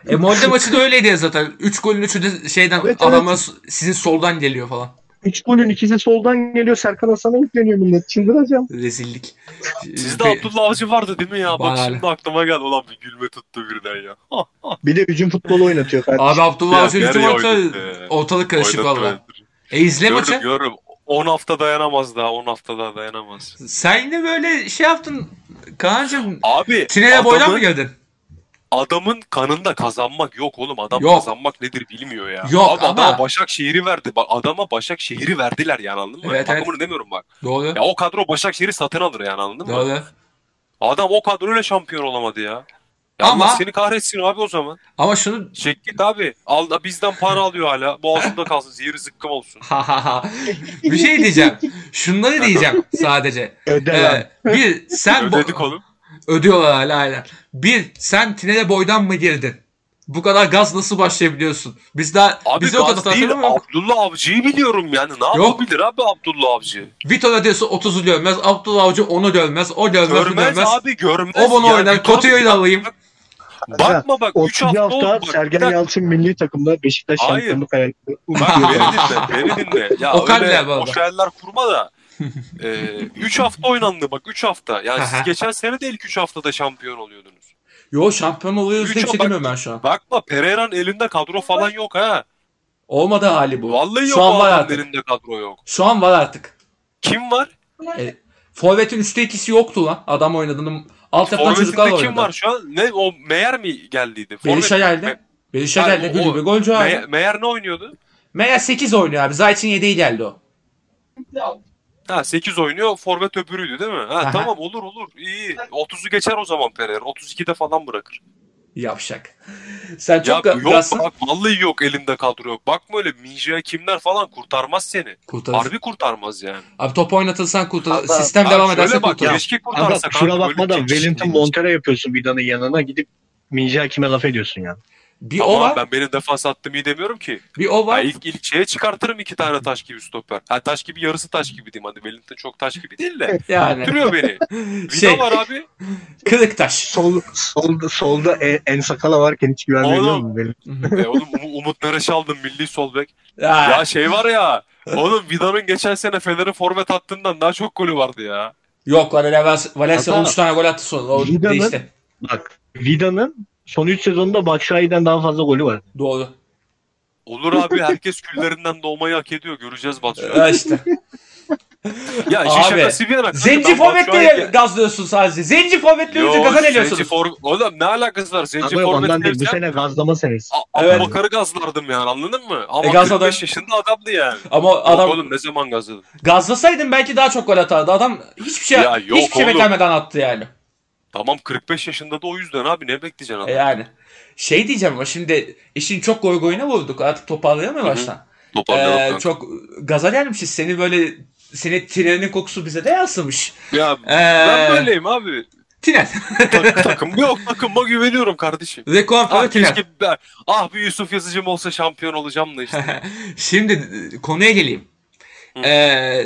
Speaker 1: E Molde maçı da öyleydi ya zaten. 3 golün 3'ü de şeyden
Speaker 2: Evet, evet.
Speaker 1: adama sizin soldan geliyor falan.
Speaker 2: Üç golün ikisi soldan geliyor. Serkan Hasan'a yükleniyor millet. Çıldıracağım.
Speaker 1: Rezillik.
Speaker 3: Sizde
Speaker 1: Ve-
Speaker 3: Abdullah Avcı vardı değil mi ya? Bak
Speaker 1: Var.
Speaker 3: şimdi aklıma geldi. Ulan bir gülme tuttu birden ya. Ah, ah.
Speaker 2: Bir de hücum futbolu oynatıyor kardeşim.
Speaker 1: Abi Abdullah
Speaker 3: Ya,
Speaker 1: Avcı hücum
Speaker 3: nereye
Speaker 1: orta,
Speaker 3: oynadı?
Speaker 1: ortalık karışık
Speaker 3: Oynadı,
Speaker 1: valla.
Speaker 3: oynadı.
Speaker 1: E izle
Speaker 3: Görürüm
Speaker 1: maçı.
Speaker 3: görürüm. 10 hafta dayanamaz daha. 10 hafta daha dayanamaz.
Speaker 1: Sen yine böyle şey yaptın Kaan'cığım.
Speaker 3: Abi
Speaker 1: Tinele
Speaker 3: adamın-
Speaker 1: boydan mı geldin?
Speaker 3: adamın kanında kazanmak yok oğlum. Adam
Speaker 1: Yok.
Speaker 3: kazanmak nedir bilmiyor ya.
Speaker 1: Yok
Speaker 3: Abi
Speaker 1: ama-
Speaker 3: adama Başakşehir'i verdi. Bak adama Başakşehir'i verdiler yani anladın mı?
Speaker 1: Evet,
Speaker 3: Takımını demiyorum bak.
Speaker 1: Doğru.
Speaker 3: Ya o kadro Başakşehir'i satın alır yani anladın mı?
Speaker 1: Doğru.
Speaker 3: Adam o kadroyla şampiyon olamadı ya. Ya
Speaker 1: Ama-
Speaker 3: Allah seni kahretsin abi o zaman.
Speaker 1: Ama şunu
Speaker 3: Çek git abi. Al, bizden puan alıyor hala. Boğazında kalsın. Zehri zıkkım olsun.
Speaker 1: bir şey diyeceğim. Şunları diyeceğim sadece.
Speaker 2: Öde lan.
Speaker 1: Ee, bir sen bo-
Speaker 3: Ödedik oğlum.
Speaker 1: ödüyorlar hala aynen. Bir sen Tinele boydan mı girdin? Bu kadar gaz nasıl başlayabiliyorsun? Biz daha
Speaker 3: Abi
Speaker 1: bizi o kadar
Speaker 3: gaz değil.
Speaker 1: tanıtılmıyor.
Speaker 3: Abdullah Avcı'yı biliyorum yani. Ne yapabilir abi Abdullah Avcı?
Speaker 1: Vitola diyorsa 30'u dövmez. Abdullah Avcı 10'u dövmez. O dövmez, bu
Speaker 3: Görmez
Speaker 1: dövmez.
Speaker 3: abi görmez.
Speaker 1: O bunu
Speaker 3: Yani
Speaker 1: oynar.
Speaker 3: bir
Speaker 1: Kotiyo'yu da
Speaker 3: tane-
Speaker 1: alayım.
Speaker 3: Bakma bak. 3
Speaker 2: 30.
Speaker 3: hafta, oldu.
Speaker 2: hafta
Speaker 3: Bak, bir
Speaker 2: Sergen
Speaker 3: dakika.
Speaker 2: Yalçın milli takımda Beşiktaş
Speaker 3: Hayır. şey
Speaker 2: şampiyonluk hayalini
Speaker 3: Bak beni dinle, beni dinle. Ya
Speaker 1: O kadar
Speaker 3: öyle
Speaker 1: bu arada.
Speaker 3: boş hayaller kurma da. 3 hafta oynandı bak 3 hafta. Yani
Speaker 1: Aha.
Speaker 3: siz geçen sene de ilk 3 haftada şampiyon oluyordunuz.
Speaker 1: Yo şampiyon oluyoruz diye
Speaker 3: Üçe
Speaker 1: bir şey
Speaker 3: bak-
Speaker 1: demiyorum ben şu an.
Speaker 3: Bakma Pereira'nın elinde kadro falan yok ha.
Speaker 1: Olmadı hali bu.
Speaker 3: Vallahi yok
Speaker 1: Şu an
Speaker 3: o
Speaker 1: var
Speaker 3: adamın
Speaker 1: artık.
Speaker 3: elinde kadro yok.
Speaker 1: Şu an var artık.
Speaker 3: Kim var?
Speaker 1: Forvet'in üstte ikisi yoktu lan. Adam oynadığında altyapıdan çocuklar
Speaker 3: Forvet'inde
Speaker 1: oynadı.
Speaker 3: kim var şu an? Ne o Meyer mi geldiydi?
Speaker 1: Berisha geldi.
Speaker 3: Me-
Speaker 1: Berisha
Speaker 3: Hayır,
Speaker 1: geldi.
Speaker 3: o-
Speaker 1: Gül bir golcü abi.
Speaker 3: Me- Meyer ne oynuyordu?
Speaker 1: Meğer 8 oynuyor abi. Zayt'in 7'yi geldi o.
Speaker 3: Ha 8 oynuyor. Forvet öbürüydü değil mi? Ha
Speaker 1: Aha.
Speaker 3: tamam olur olur. İyi. 30'u geçer o zaman Pereira. 32'de falan bırakır.
Speaker 1: Yavşak. Sen
Speaker 3: Ya
Speaker 1: çok
Speaker 3: yok
Speaker 1: gazsın.
Speaker 3: bak vallahi yok elinde kadro yok. Bakma öyle Minjia kimler falan kurtarmaz seni.
Speaker 1: Kurtarır.
Speaker 3: Harbi kurtarmaz yani.
Speaker 1: Abi top oynatılsan kurtarır.
Speaker 2: Hatta-
Speaker 1: Sistem
Speaker 3: Ya
Speaker 1: devam
Speaker 3: şöyle
Speaker 1: ederse
Speaker 3: bak
Speaker 1: kurtarır.
Speaker 3: keşke kurtarsa.
Speaker 2: Aga şuna
Speaker 3: kanka, böyle
Speaker 2: bakmadan
Speaker 3: çekiş-
Speaker 2: Wellington Montero yapıyorsun Vida'nın yanına gidip Minci Hakim'e laf ediyorsun ya.
Speaker 1: Bir o
Speaker 3: Tamam
Speaker 1: var.
Speaker 3: ben benim defans attım iyi demiyorum ki.
Speaker 1: Bir o
Speaker 3: Ya
Speaker 1: var.
Speaker 3: ilk, ilk şeye çıkartırım iki tane taş gibi stoper. Ha taş gibi yarısı taş gibi diyeyim hadi Wellington çok taş gibi değil de.
Speaker 1: Yani
Speaker 3: Duruyor beni. Vida
Speaker 1: şey
Speaker 3: var abi.
Speaker 1: kırık taş.
Speaker 2: Sol, solda solda e- en sakala varken hiç güven
Speaker 3: Oğlum.
Speaker 2: veriyor mu? Benim?
Speaker 3: E oğlum Um- Umut Meraş'ı aldım milli sol bek.
Speaker 1: Ha,
Speaker 3: Ya şey var ya. Oğlum Vida'nın geçen sene Fener'e forvet attığından daha çok golü vardı ya.
Speaker 1: Yok Valencia, Valencia
Speaker 2: Hatta-
Speaker 1: 13 tane gol attı sonra. O
Speaker 2: Vida'nın-
Speaker 1: değişti.
Speaker 2: Bak Vida'nın son 3 sezonda Bakşahi'den daha fazla golü var.
Speaker 1: Doğru.
Speaker 3: Olur abi herkes küllerinden doğmayı hak ediyor. Göreceğiz Batu.
Speaker 1: Ee, işte.
Speaker 3: ya işin
Speaker 1: Abi,
Speaker 3: şakası bir yana. kanka,
Speaker 1: Zenci
Speaker 3: ben
Speaker 1: forvetle
Speaker 3: Batshuayi'ye-
Speaker 1: gazlıyorsun sadece. Zenci forvetle
Speaker 3: Yo,
Speaker 1: önce gaza geliyorsunuz.
Speaker 3: Zenci for... Oğlum ne alakası var? Zenci
Speaker 2: Aga ondan
Speaker 3: forvet
Speaker 2: değil şey- bu
Speaker 3: dersen
Speaker 2: sene gazlama senesi.
Speaker 3: A-
Speaker 1: Evet.
Speaker 3: Abubakar'ı gazlardım yani anladın mı? Ama
Speaker 1: E,
Speaker 3: 45
Speaker 1: gazladı.
Speaker 3: yaşında adamdı yani.
Speaker 1: Ama
Speaker 3: Adam...
Speaker 1: adam
Speaker 3: Yok oğlum ne zaman gazladı?
Speaker 1: gazlasaydın belki daha çok gol atardı. Adam hiçbir şey
Speaker 3: Ya yok
Speaker 1: hiçbir şey
Speaker 3: oğlum.
Speaker 1: beklemeden attı yani.
Speaker 3: Tamam 45 yaşında da o yüzden abi ne bekleyeceksin adam?
Speaker 1: E yani şey diyeceğim ama şimdi işin çok goy goyuna vurduk. Artık toparlayamıyor
Speaker 3: Hı hı.
Speaker 1: baştan.
Speaker 3: Toparlayalım
Speaker 1: Ee,
Speaker 3: kanka.
Speaker 1: çok gaza gelmişiz. Seni böyle senin tinerinin kokusu bize de yansımış.
Speaker 3: Ya
Speaker 1: Ee,
Speaker 3: ben böyleyim abi.
Speaker 1: Tiner.
Speaker 3: Tak, takım yok takıma güveniyorum kardeşim.
Speaker 1: Rekonfor
Speaker 3: Ah
Speaker 1: tiner.
Speaker 3: keşke ben, ah bir Yusuf Yazıcım olsa şampiyon olacağım da işte.
Speaker 1: Şimdi e, konuya geleyim.
Speaker 3: Hı.
Speaker 1: Ee,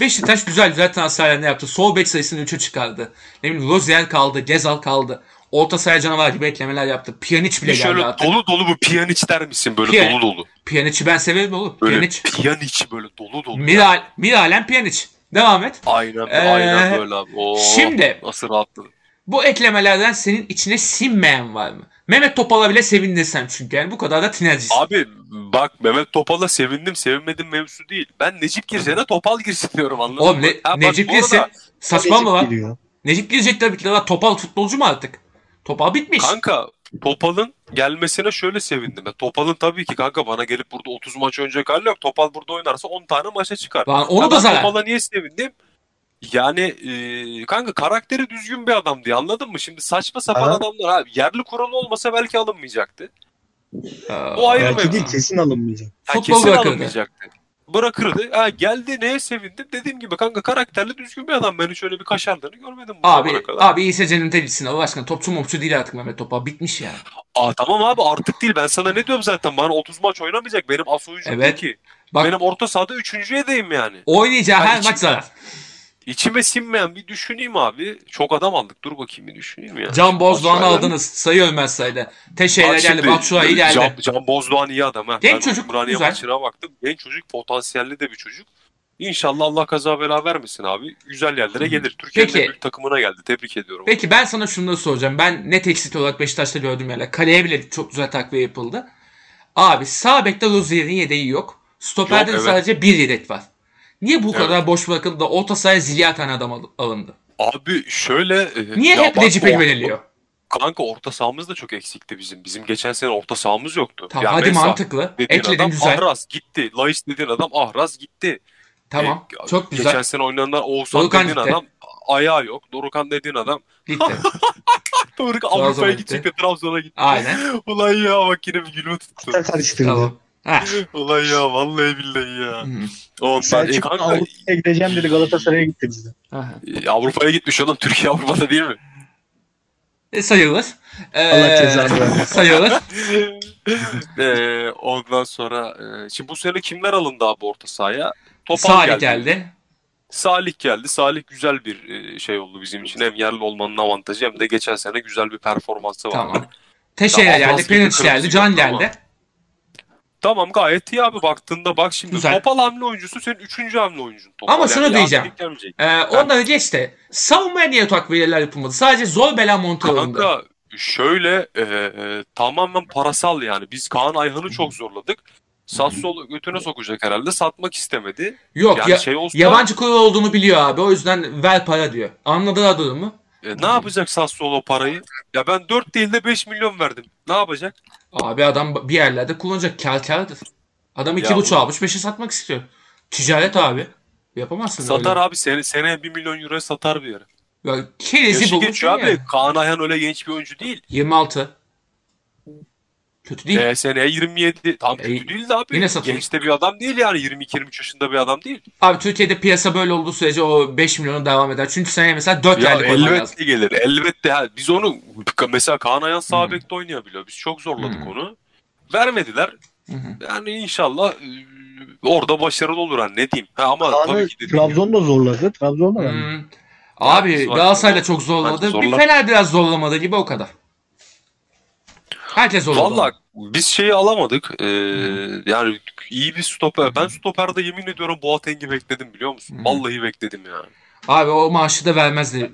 Speaker 1: Beşiktaş güzel güzel transferler yaptı. Sol bek sayısını 3'e çıkardı. Ne bileyim Rozier kaldı, Gezal kaldı. Orta sahaya canavar gibi eklemeler yaptı. Pjanic bile
Speaker 3: Bir şöyle
Speaker 1: geldi artık.
Speaker 3: dolu dolu bu piyaniç der misin böyle
Speaker 1: Piyan-
Speaker 3: dolu dolu?
Speaker 1: Pjanic'i ben severim oğlum.
Speaker 3: Böyle
Speaker 1: Pjanic.
Speaker 3: piyaniç böyle dolu dolu. ya.
Speaker 1: Miral, Miralem Pjanic. Devam et.
Speaker 3: Aynen
Speaker 1: Ee,
Speaker 3: aynen böyle abi. Oo,
Speaker 1: şimdi-
Speaker 3: nasıl rahatladı.
Speaker 1: Bu eklemelerden senin içine sinmeyen var mı? Mehmet Topal'a bile sevindin sen çünkü. Yani bu kadar da tinercisin.
Speaker 3: Abi bak Mehmet Topal'a sevindim sevinmedim mevzusu değil. Ben Necip Girsen'e Topal girsin diyorum anladın
Speaker 1: Oğlum
Speaker 3: mı?
Speaker 1: ne,
Speaker 3: Ha bak,
Speaker 1: Necip
Speaker 3: bu arada
Speaker 1: Girse saçma mı lan?
Speaker 2: Geliyor.
Speaker 1: Necip Girecek tabii ki de lan. Topal futbolcu mu artık? Topal bitmiş.
Speaker 3: Kanka Topal'ın gelmesine şöyle sevindim. Ben Topal'ın tabii ki kanka bana gelip burada 30 maç oynayacak hali yok. Topal burada oynarsa 10 tane maça çıkar.
Speaker 1: Lan onu
Speaker 3: Ya
Speaker 1: da
Speaker 3: ben
Speaker 1: zarar.
Speaker 3: Topal'a niye sevindim? Yani e, kanka karakteri düzgün bir adam diye anladın mı? Şimdi saçma sapan
Speaker 2: Aha.
Speaker 3: adamlar abi yerli kuralı olmasa belki alınmayacaktı.
Speaker 1: Aa,
Speaker 3: O ayrı
Speaker 2: Belki
Speaker 3: mevzu.
Speaker 2: değil kesin alınmayacak.
Speaker 3: Ha,
Speaker 1: Ee, Futbol
Speaker 3: kesin
Speaker 1: bırakırdı.
Speaker 3: alınmayacaktı. Bırakırdı. Ha, geldi neye sevindim? Dediğim gibi kanka karakterli düzgün bir adam. Ben hiç öyle bir kaşarlarını görmedim bu
Speaker 1: Abi,
Speaker 3: zamana kadar.
Speaker 1: abi İsa Cennet'e gitsin Allah aşkına. Topçu mopçu değil artık Mehmet Topal. Bitmiş ya.
Speaker 3: Aa, tamam abi artık değil. Ben sana ne diyorum zaten? Bana 30 maç oynamayacak. Benim as oyuncum
Speaker 1: Evet.
Speaker 3: değil ki.
Speaker 1: Bak-
Speaker 3: Benim orta sahada üçüncü edeyim yani.
Speaker 1: Oynayacağı
Speaker 3: Ben
Speaker 1: her
Speaker 3: içim-
Speaker 1: maç zarar.
Speaker 3: İçime sinmeyen bir düşüneyim abi. Çok adam aldık. Dur bakayım bir düşüneyim ya.
Speaker 1: Can Bozdoğan'ı
Speaker 3: Başka-
Speaker 1: aldınız. Sayı ölmez sayıda. Teşe'yle
Speaker 3: Bak
Speaker 1: geldi.
Speaker 3: şimdi,
Speaker 1: Batshuayi geldi.
Speaker 3: Can, Can Bozdoğan iyi adam ha.
Speaker 1: Genç
Speaker 3: Ben
Speaker 1: çocuk,
Speaker 3: Ümraniye
Speaker 1: güzel.
Speaker 3: maçına baktım. Genç çocuk potansiyelli de bir çocuk. İnşallah Allah kaza bela vermesin abi. Güzel yerlere gelir. Türkiye'nin
Speaker 1: Peki.
Speaker 3: en büyük takımına geldi. Tebrik ediyorum.
Speaker 1: Peki ben sana şunları soracağım. Ben net eksik olarak Beşiktaş'ta gördüm yani. Kaleye bile çok güzel takviye yapıldı. Abi sağ bekte Rozier'in yedeği yok. Stoperde
Speaker 3: Yok,
Speaker 1: de
Speaker 3: evet.
Speaker 1: sadece bir yedek var. Niye bu
Speaker 3: Evet.
Speaker 1: kadar boş bırakıldı da orta sahaya zilya tane adam al- alındı?
Speaker 3: Abi şöyle... e,
Speaker 1: Niye
Speaker 3: ya
Speaker 1: hep
Speaker 3: bak
Speaker 1: Necip'e
Speaker 3: o-
Speaker 1: güveniliyor?
Speaker 3: Kanka orta sahamız da çok eksikti bizim. Bizim geçen sene orta sahamız yoktu.
Speaker 1: Tamam
Speaker 3: Ya
Speaker 1: hadi
Speaker 3: Mensah
Speaker 1: mantıklı.
Speaker 3: dediğin
Speaker 1: Ekledin
Speaker 3: adam
Speaker 1: güzel.
Speaker 3: Ahraz gitti. Laiş dediğin adam Ahraz gitti.
Speaker 1: Tamam.
Speaker 3: E,
Speaker 1: çok güzel.
Speaker 3: Geçen sene oynanan Oğuzhan
Speaker 1: Dorukhan
Speaker 3: dediğin
Speaker 1: gitti.
Speaker 3: adam ayağı yok. Dorukan dediğin adam
Speaker 1: Bitti.
Speaker 3: Doruk Avrupa'ya
Speaker 1: gitti.
Speaker 3: gidecek de Trabzon'a gitti.
Speaker 1: Aynen.
Speaker 3: Ulan ya bak yine bir gülme tuttu.
Speaker 2: Sen karıştırdın.
Speaker 1: tamam. Ha.
Speaker 3: Ulan ya vallahi billahi ya.
Speaker 1: Hmm.
Speaker 3: Oğlum ben e,
Speaker 2: Selçuk
Speaker 3: kanka
Speaker 2: Avrupa'ya gideceğim dedi Galatasaray'a gitti bize.
Speaker 1: Aha.
Speaker 3: e, Avrupa'ya gitmiş oğlum. Türkiye Avrupa'da değil mi?
Speaker 1: E, sayılır. Ee,
Speaker 2: Allah cezanı versin.
Speaker 1: Sayılır.
Speaker 3: Ee, ondan sonra e, şimdi bu sene kimler alındı abi orta sahaya? Topal
Speaker 1: Salih
Speaker 3: geldi.
Speaker 1: geldi.
Speaker 3: Salih geldi. Salih güzel bir e, şey oldu bizim için. Hem yerli olmanın avantajı hem de geçen sene güzel bir performansı vardı.
Speaker 1: Tamam. Teşe'ye
Speaker 3: Tamam,
Speaker 1: geldi.
Speaker 3: Abbas gibi
Speaker 1: Penic geldi.
Speaker 3: kırmızı
Speaker 1: Can
Speaker 3: yok ama.
Speaker 1: geldi.
Speaker 3: Tamam gayet iyi abi baktığında bak şimdi
Speaker 1: Güzel.
Speaker 3: Topal hamle oyuncusu senin üçüncü hamle oyuncun Topal.
Speaker 1: Ama şunu
Speaker 3: Yani
Speaker 1: diyeceğim.
Speaker 3: artık gelmeyecek.
Speaker 1: Ee, onları geç de savunmaya niye takviyeler yapılmadı? Sadece zor bela monte alındı.
Speaker 3: Kanka şöyle e, e, tamamen parasal yani. Biz Kaan Ayhan'ı çok zorladık. Sassuolo götüne sokacak herhalde. Satmak istemedi.
Speaker 1: Yok
Speaker 3: Yani
Speaker 1: ya,
Speaker 3: şey olsa
Speaker 1: yabancı kural olduğunu biliyor abi. O yüzden ver para diyor. Anladılar durumu.
Speaker 3: E, ne yapacak Sassuolo parayı? Ya ben 4 değil de 5 milyon verdim. Ne yapacak?
Speaker 1: Abi adam bir yerlerde kullanacak. Kâr kârdır. Adam iki
Speaker 3: Ya
Speaker 1: buçuk
Speaker 3: bu-
Speaker 1: almış beşe satmak istiyor. Ticaret abi. Yapamazsın
Speaker 3: Satar
Speaker 1: öyle.
Speaker 3: abi sene, seneye 1 milyon euroya satar bir yere.
Speaker 1: Ya, kerezi
Speaker 3: Yaşı
Speaker 1: bulursun
Speaker 3: geçiyor
Speaker 1: ya.
Speaker 3: abi. Kaan Ayhan öyle genç bir oyuncu değil.
Speaker 1: 26. Kötü değil.
Speaker 3: E, seneye 27. Tam
Speaker 1: E,
Speaker 3: kötü değil de abi.
Speaker 1: yine satılır.
Speaker 3: Genç de bir adam değil yani. 22-23 yaşında bir adam değil.
Speaker 1: Abi Türkiye'de piyasa böyle olduğu sürece o 5 milyonu devam eder. Çünkü seneye mesela 4
Speaker 3: Ya
Speaker 1: aylık olman lazım.
Speaker 3: elbette gelir. Elbette. Ha, biz onu mesela Kaan Ayhan sağ
Speaker 1: Hmm.
Speaker 3: bekte oynayabiliyor. Biz çok zorladık
Speaker 1: Hmm.
Speaker 3: onu. Vermediler.
Speaker 1: Hı hı.
Speaker 3: Yani inşallah e, orada başarılı olur. ha, ne diyeyim. Ha, ama
Speaker 2: Kaan'ı
Speaker 3: tabii ki dediğim gibi.
Speaker 2: Trabzon'da zorladı. Trabzon'da da.
Speaker 1: Hmm. Abi
Speaker 3: zor-
Speaker 1: Galatasaray'la çok
Speaker 3: Bence
Speaker 1: zorladı. Bir
Speaker 3: zorlar.
Speaker 1: Fener biraz zorlamadı gibi o kadar. Herkes zorladı.
Speaker 3: Valla biz şeyi alamadık. Ee,
Speaker 1: Hmm.
Speaker 3: yani iyi bir stoper. Ben stoperde yemin ediyorum Boateng'i bekledim biliyor musun?
Speaker 1: Hı.
Speaker 3: Vallahi bekledim ya.
Speaker 1: Abi o maaşı da vermezdi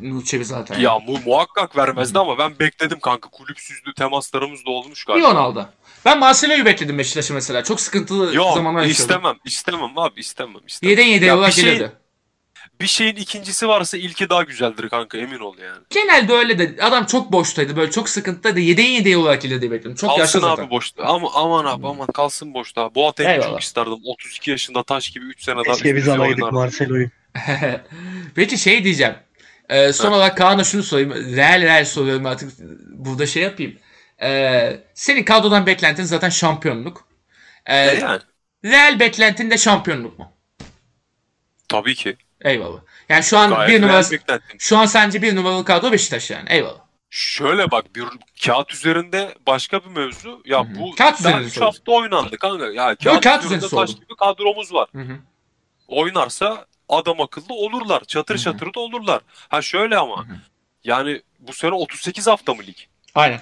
Speaker 1: Nurçevi zaten.
Speaker 3: Ya mu muhakkak
Speaker 1: Hmm.
Speaker 3: vermezdi ama ben bekledim kanka. Kulüpsüzlü temaslarımız da olmuş
Speaker 1: Bir
Speaker 3: galiba.
Speaker 1: on aldı. Ben Marcelo'yu bekledim Beşiktaş'ı mesela. Çok sıkıntılı zamanlar yaşıyordu.
Speaker 3: Yok istemem. istemem abi istemem. istemem.
Speaker 1: Yeden yedeye
Speaker 3: Ya
Speaker 1: olarak
Speaker 3: bir şey-
Speaker 1: gelirdi.
Speaker 3: Bir şeyin ikincisi varsa ilki daha güzeldir kanka emin ol yani.
Speaker 1: Genelde öyle de adam çok boştaydı. Böyle çok sıkıntıdaydı. Yeden yedeye olarak gelirdi bekledim. Çok yaşlı
Speaker 3: Kalsın
Speaker 1: zaten. Hmm.
Speaker 3: abi boşta. Ama aman abi aman kalsın boşta. Boateng'i
Speaker 1: Eyvallah.
Speaker 3: çok isterdim. 32 yaşında taş gibi 3 sene daha üst
Speaker 2: Keşke biz
Speaker 3: düzey
Speaker 2: alaydık
Speaker 3: oynardı.
Speaker 2: Marcelo'yu.
Speaker 1: Peki şey diyeceğim. Ee, son olarak Kaan'a şunu sorayım. Real real soruyorum artık. Burada şey yapayım. Ee, senin kadrodan beklentin zaten şampiyonluk. Ee,
Speaker 3: E yani,
Speaker 1: Real beklentin de şampiyonluk mu?
Speaker 3: tabii ki.
Speaker 1: Eyvallah. Yani şu an
Speaker 3: Gayet
Speaker 1: bir numara...
Speaker 3: real beklentim.
Speaker 1: Şu an sence bir numaralı kadro Beşiktaş yani. Eyvallah.
Speaker 3: Şöyle bak bir kağıt üzerinde başka bir mevzu. Ya
Speaker 1: Hı hı.
Speaker 3: bu
Speaker 1: Hmm. Kağıt üzerinde
Speaker 3: 3
Speaker 1: sordum.
Speaker 3: hafta oynandı kanka. Ya kağıt,
Speaker 1: kağıt
Speaker 3: üzerinde
Speaker 1: üzerinde
Speaker 3: taş
Speaker 1: sordum.
Speaker 3: gibi kadromuz var.
Speaker 1: Hı hı.
Speaker 3: Oynarsa adam akıllı olurlar. Çatır
Speaker 1: Hı hı.
Speaker 3: çatır da olurlar. Ha şöyle ama.
Speaker 1: Hı hı.
Speaker 3: Yani bu sene 38 hafta mı lig?
Speaker 1: Aynen.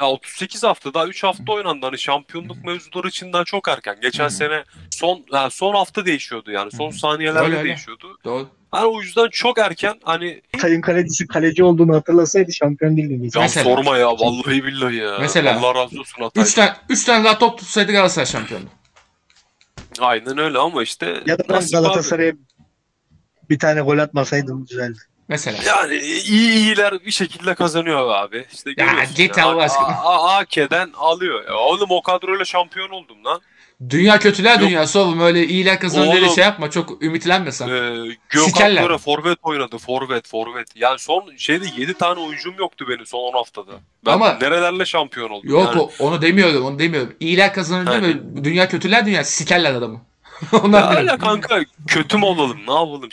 Speaker 3: Ya 38 hafta daha 3 hafta oynandı. Hani şampiyonluk mevzuları için daha çok erken. Geçen
Speaker 1: Hı hı.
Speaker 3: sene son ha, son hafta değişiyordu yani. Son
Speaker 1: Hı hı.
Speaker 3: saniyelerde
Speaker 1: Öyle, öyle.
Speaker 3: değişiyordu.
Speaker 1: Doğru.
Speaker 3: Hani o yüzden çok erken hani
Speaker 2: Tayın kalecisi kaleci olduğunu hatırlasaydı şampiyon değildi. biz.
Speaker 3: ya
Speaker 1: Mesela.
Speaker 3: sorma ya vallahi billahi ya.
Speaker 1: Mesela.
Speaker 3: Allah razı olsun Hatay.
Speaker 1: Üç tane, üç tane daha top tutsaydı Galatasaray şampiyonu.
Speaker 3: Aynen öyle ama işte
Speaker 2: Ya da ben
Speaker 3: nasip abi.
Speaker 2: Galatasaray'a bir tane gol atmasaydım güzeldi.
Speaker 1: Mesela.
Speaker 3: Yani iyi iyiler bir şekilde kazanıyor abi. İşte görüyorsun.
Speaker 1: git
Speaker 3: ya.
Speaker 1: Allah aşkına.
Speaker 3: A- A- AK'den alıyor. Ya oğlum o kadroyla şampiyon oldum lan.
Speaker 1: Dünya kötüler
Speaker 3: Yok.
Speaker 1: dünyası oğlum. Öyle iyiler kazanır diye
Speaker 3: Oğlum.
Speaker 1: şey yapma. Çok ümitlenme sen.
Speaker 3: Ee, Gökhan
Speaker 1: Sikerler.
Speaker 3: Töre forvet oynadı. Forvet, forvet. Yani son şeyde 7 tane oyuncum yoktu benim son 10 haftada. Ben
Speaker 1: Ama-
Speaker 3: nerelerle şampiyon oldum.
Speaker 1: Yok
Speaker 3: yani. e-
Speaker 1: o- onu demiyorum onu demiyorum. İyiler kazanır değil mi? Dünya kötüler dünya sikerler adamı.
Speaker 3: Ya
Speaker 1: Onlar
Speaker 3: öyle kanka kötü mü olalım? Ne yapalım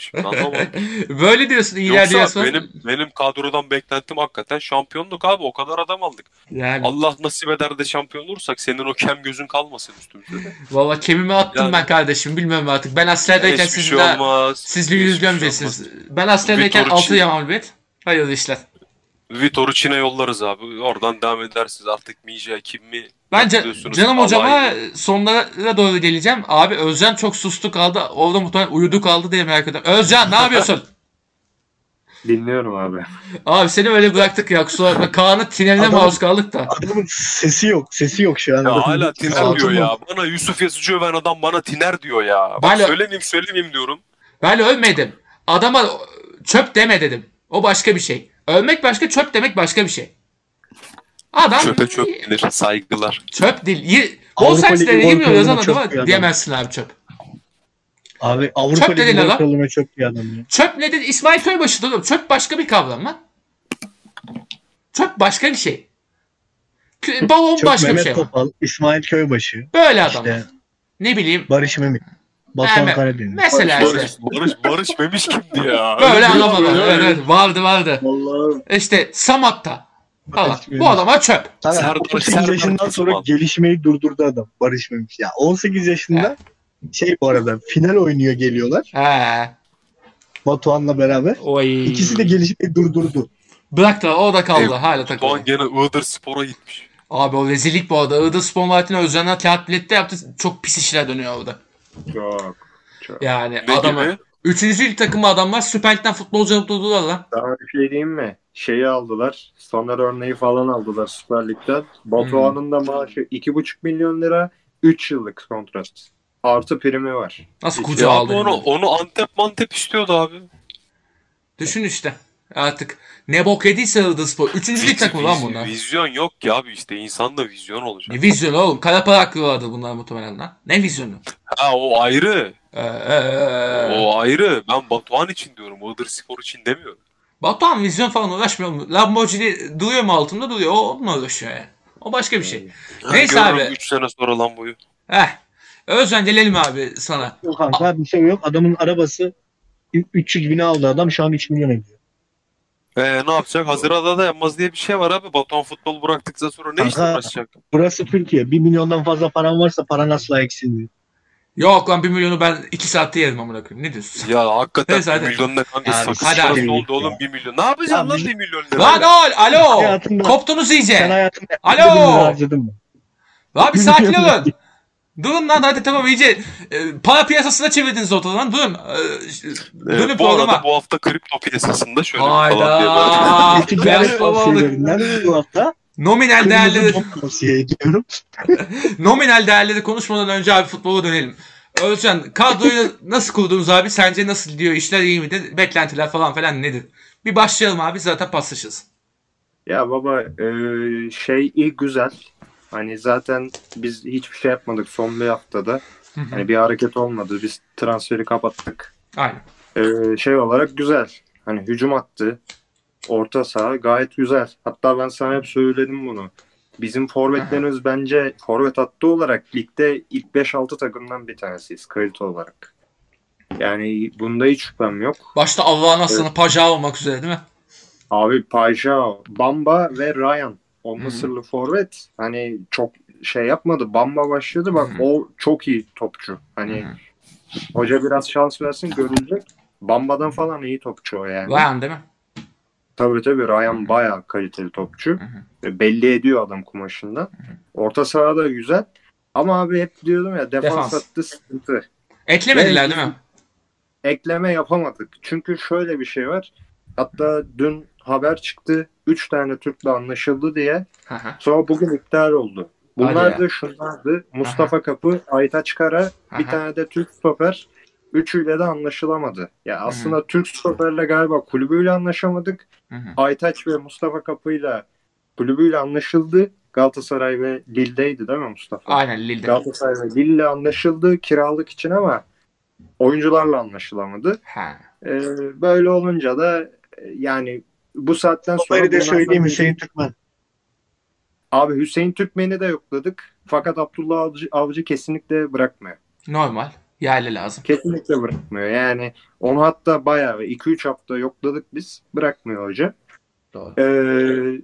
Speaker 3: şimdi anlamadım.
Speaker 1: Böyle diyorsun iyiler
Speaker 3: Yoksa
Speaker 1: diyorsun.
Speaker 3: benim benim kadrodan beklentim hakikaten şampiyonluk abi. O kadar adam aldık.
Speaker 1: Yani
Speaker 3: Allah nasip eder de şampiyon olursak senin o kem gözün kalmasın üstümüzde. de.
Speaker 1: valla kemime attım
Speaker 3: Yani-
Speaker 1: ben kardeşim bilmem artık. Ben askerdeyken
Speaker 3: Hiçbir
Speaker 1: siz
Speaker 3: şey
Speaker 1: daha
Speaker 3: olmaz.
Speaker 1: sizle
Speaker 3: Hiçbir
Speaker 1: yüz
Speaker 3: şey
Speaker 1: gömeceksiniz. ben askerdeyken
Speaker 3: Vitor için-
Speaker 1: altı yam albet. Hayırlı işler.
Speaker 3: Vitor'u Çin'e yollarız abi. Oradan devam edersiniz. Artık Mija kim mi?
Speaker 1: Bence
Speaker 3: Diyorsunuz,
Speaker 1: canım
Speaker 3: Allah
Speaker 1: hocama
Speaker 3: iyi.
Speaker 1: sonlara doğru geleceğim. Abi Özcan çok sustu kaldı. Orada muhtemelen uyudu kaldı diye merak ediyorum. Özcan ne yapıyorsun?
Speaker 5: Dinliyorum abi.
Speaker 1: Abi seni öyle bıraktık ya kusura bakma. Kaan'ın tineline
Speaker 2: Adam-
Speaker 1: maruz kaldık da.
Speaker 2: Adamın sesi yok. Sesi yok şu an.
Speaker 3: Ya
Speaker 2: Adamın
Speaker 3: hala
Speaker 2: sesi
Speaker 3: tiner diyor
Speaker 2: yok.
Speaker 3: ya. Bana Yusuf Yazıcı öven adam bana tiner diyor ya. Bak
Speaker 1: Balo-
Speaker 3: söylemeyeyim söylemeyeyim diyorum.
Speaker 1: Ben övmedim. Adama çöp deme dedim. O başka bir şey. Övmek başka, çöp demek başka bir şey. Adam
Speaker 3: Çöpe çöp denir. Saygılar.
Speaker 1: çöp değil. Ye-
Speaker 2: Avrupa
Speaker 1: Bol sens
Speaker 2: Ligi
Speaker 1: dediği
Speaker 2: gol
Speaker 1: gibi
Speaker 2: kralına
Speaker 1: yazan
Speaker 2: çöp
Speaker 1: adama
Speaker 2: bir adam.
Speaker 1: diyemezsin abi çöp.
Speaker 2: Abi Avrupa
Speaker 1: Çöp
Speaker 2: Ligi
Speaker 1: dediler
Speaker 2: gol
Speaker 1: lan.
Speaker 2: kralına çöp bir adam ya.
Speaker 1: Çöp ne dedi? İsmail Köybaşı'da oğlum. Çöp başka bir kavram lan. Çöp başka bir şey. Kü- Balon
Speaker 2: Çöp
Speaker 1: başka bir
Speaker 2: Mehmet
Speaker 1: şey. var.
Speaker 2: Topal, İsmail Köybaşı,
Speaker 1: Böyle adamlar.
Speaker 2: işte
Speaker 1: Ne bileyim.
Speaker 2: Barış Mehmet, Batuhan
Speaker 1: Mehmet-
Speaker 2: Karadeniz.
Speaker 1: Mesela işte.
Speaker 3: Barış, Barış, Barış Memiş kimdi ya?
Speaker 1: Böyle adamlar.
Speaker 3: Öyle-
Speaker 1: Evet, evet. Vardı vardı.
Speaker 2: Vallahi
Speaker 1: İşte Samat'ta. Falan.
Speaker 2: Barış
Speaker 1: Bu
Speaker 2: Mehmet.
Speaker 1: adama çöp.
Speaker 2: Tabii,
Speaker 3: Serdar-
Speaker 2: 18
Speaker 3: Serdar
Speaker 2: yaşından sonra
Speaker 3: Topal.
Speaker 2: gelişmeyi durdurdu adam Barış Memiş. Ya 18 yaşında şey bu arada final oynuyor geliyorlar
Speaker 1: He.
Speaker 2: Batuhan'la beraber.
Speaker 1: Oy.
Speaker 2: İkisi de e, gelişmeyi durdurdu.
Speaker 1: Bıraktı o da kaldı.
Speaker 3: Ev-
Speaker 1: Hala
Speaker 3: Doğan
Speaker 1: takıldı.
Speaker 3: gene Iğdır Spor'a gitmiş.
Speaker 1: Abi o rezillik bu arada. Iğdır Spor Martin'e Özcan'a kağıt bilette yaptı. Çok pis işler dönüyor orada.
Speaker 5: Çok.
Speaker 1: Yani
Speaker 3: Ne
Speaker 1: adamı.
Speaker 3: gibi?
Speaker 1: Üçüncü lig takımı adamlar Süper Lig'den futbolcu alıp durdular lan.
Speaker 5: Daha bir şey diyeyim mi? Şeyi aldılar. Soner örneği falan aldılar Süper Lig'den. Batuhan'ın da maaşı 2,5 milyon lira. 3 yıllık kontrat. Artı primi var.
Speaker 1: Nasıl
Speaker 5: Hiç
Speaker 1: kucağı
Speaker 3: Ya abi
Speaker 1: aldı?
Speaker 3: onu,
Speaker 1: yani?
Speaker 3: onu Antep Mantep istiyordu abi.
Speaker 1: Düşün işte. Artık ne bok yediyse Iğdır Spor. Üçüncü lig
Speaker 3: Viz-
Speaker 1: takımı lan
Speaker 3: viz-
Speaker 1: bunlar.
Speaker 3: Vizyon yok ki abi işte insanda vizyon olacak.
Speaker 1: Ne vizyonu oğlum? Kara para akıyorlardı bunlar muhtemelen lan. Ne vizyonu?
Speaker 3: Ha o ayrı.
Speaker 1: Ee, ee,
Speaker 3: O ayrı. Ben Batuhan için diyorum. Iğdır Spor için demiyorum.
Speaker 1: Batuhan vizyon falan uğraşmıyor mu? Lamborghini duruyor mu altında duruyor. O onunla uğraşıyor yani. O başka bir şey. Neyse abi.
Speaker 3: 3 sene sonra lan boyu.
Speaker 1: Heh. Özcan gelelim abi sana.
Speaker 2: Yok kanka bir şey yok. Adamın arabası 300 bini aldı adam şu an 3 milyon ediyor.
Speaker 3: Ee, ne yapacak? Haziran'da da yapmaz diye bir şey var abi. Batuhan futbol bıraktıktan sonra ne işle
Speaker 2: Aha.
Speaker 3: uğraşacak?
Speaker 2: Burası Türkiye. 1 milyondan fazla paran varsa paran asla eksilmiyor.
Speaker 1: Yok lan 1 milyonu ben 2 saatte yerim amına koyayım. Ne diyorsun?
Speaker 3: Ya hakikaten
Speaker 1: Neyse,
Speaker 3: 1
Speaker 1: hadi.
Speaker 3: milyon ne kanka
Speaker 2: Abi,
Speaker 3: sakız
Speaker 1: hadi
Speaker 3: parası
Speaker 2: abi.
Speaker 3: oldu oğlum 1 milyon. Ne yapacaksın
Speaker 2: Ya,
Speaker 3: lan
Speaker 2: biz-
Speaker 3: 1 milyon
Speaker 1: Lan
Speaker 3: lira?
Speaker 1: ol alo.
Speaker 2: Hayatımda-
Speaker 1: Koptunuz
Speaker 2: Sen
Speaker 1: iyice.
Speaker 2: hayatında
Speaker 1: Alo!
Speaker 2: 1 milyon harcadın mı?
Speaker 1: Lan bir sakin olun. Durun lan hadi tamam iyice e, para piyasasına çevirdiniz ortalığı lan durun. E, dönün
Speaker 3: Ee, bu arada
Speaker 1: programa.
Speaker 3: bu hafta kripto piyasasında şöyle bir falan diye böyle.
Speaker 1: Hayda.
Speaker 2: Ticaret
Speaker 1: Baba olduk.
Speaker 2: tavsiyelerinden bu hafta
Speaker 1: Nominal
Speaker 2: şey kırmızı
Speaker 1: değerleri,
Speaker 2: top tavsiye ediyorum.
Speaker 1: nominal değerleri konuşmadan önce abi futbola dönelim. Özcan kadroyu nasıl kurdunuz abi? Sence nasıl diyor? İşler iyi midir? Beklentiler falan falan nedir? Bir başlayalım abi zaten paslaşırız.
Speaker 5: Ya baba e, şey iyi güzel. Hani zaten biz hiçbir şey yapmadık son bir haftada.
Speaker 1: Hı hı.
Speaker 5: Hani bir hareket olmadı. Biz transferi kapattık.
Speaker 1: Aynen.
Speaker 5: Ee, şey olarak güzel. Hani hücum attı. Orta saha gayet güzel. Hatta ben sana hep söyledim bunu. Bizim forvetlerimiz bence forvet hattı olarak ligde ilk 5-6 takımdan bir tanesiyiz kalite olarak. Yani bunda hiç şüphem yok.
Speaker 1: Başta Allah'ın aslanı paja olmak üzere değil mi?
Speaker 5: Abi Pajao, Bamba ve Ryan. O
Speaker 1: Hı hı.
Speaker 5: Mısırlı forvet hani çok şey yapmadı. Bamba başladı bak
Speaker 1: Hı hı.
Speaker 5: o çok iyi topçu. Hani
Speaker 1: Hı hı.
Speaker 5: hoca biraz şans versin görülecek. Bamba'dan falan iyi topçu o yani.
Speaker 1: Ryan değil mi?
Speaker 5: Tabii tabii Ryan bayağı kaliteli topçu. E, Belli ediyor adam kumaşından. Orta saha da güzel. Ama abi hep diyordum ya defans,
Speaker 1: Defans.
Speaker 5: hattı sıkıntı.
Speaker 1: Eklemediler
Speaker 5: Ve-
Speaker 1: değil mi?
Speaker 5: Ekleme yapamadık. Çünkü şöyle bir şey var. Hatta dün haber çıktı. 3 tane Türk'le anlaşıldı diye.
Speaker 1: Hı hı.
Speaker 5: Sonra bugün iptal oldu.
Speaker 1: Hadi
Speaker 5: Bunlar
Speaker 1: ya.
Speaker 5: da şunlardı. Mustafa Kapı, Aytaç Kara, bir
Speaker 1: Aha.
Speaker 5: tane de Türk stoper. Üçüyle de anlaşılamadı. Ya aslında Türk stoperle galiba kulübüyle anlaşamadık.
Speaker 1: Hı hı.
Speaker 5: Aytaç ve Mustafa Kapı'yla kulübüyle anlaşıldı. Galatasaray ve Lille'deydi değil mi Mustafa?
Speaker 1: Aynen Lille'de.
Speaker 5: Galatasaray ve Lille anlaşıldı kiralık için ama oyuncularla anlaşılamadı.
Speaker 1: Ha.
Speaker 5: Ee, böyle olunca da e, yani bu saatten sonra...
Speaker 2: Topları da
Speaker 5: bunlardan
Speaker 2: söyleyeyim
Speaker 5: biri-
Speaker 2: Hüseyin Türkmen.
Speaker 5: Abi Hüseyin Türkmen'i de yokladık. Fakat Abdullah Avcı, Avcı kesinlikle bırakmıyor.
Speaker 1: Normal. Yerli lazım.
Speaker 5: Kesinlikle bırakmıyor. Yani onu hatta bayağı 2-3 hafta yokladık biz. Bırakmıyor hoca.
Speaker 1: Doğru.
Speaker 5: Ee,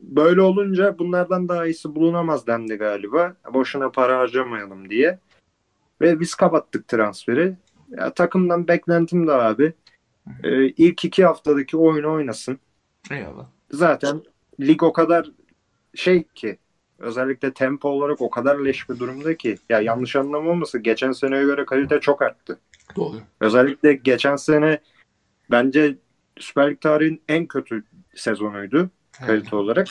Speaker 5: böyle olunca bunlardan daha iyisi bulunamaz dendi galiba. Boşuna para harcamayalım diye. Ve biz kapattık transferi. Ya, takımdan beklentim de abi. Ee, ilk iki haftadaki oyunu oynasın.
Speaker 1: Eyvallah.
Speaker 5: Zaten lig o kadar şey ki özellikle tempo olarak o kadar leş bir durumda ki ya yanlış anlama olmasın geçen seneye göre kalite çok arttı.
Speaker 1: Doğru.
Speaker 5: Özellikle geçen sene bence Süper Lig tarihinin en kötü sezonuydu kalite olarak.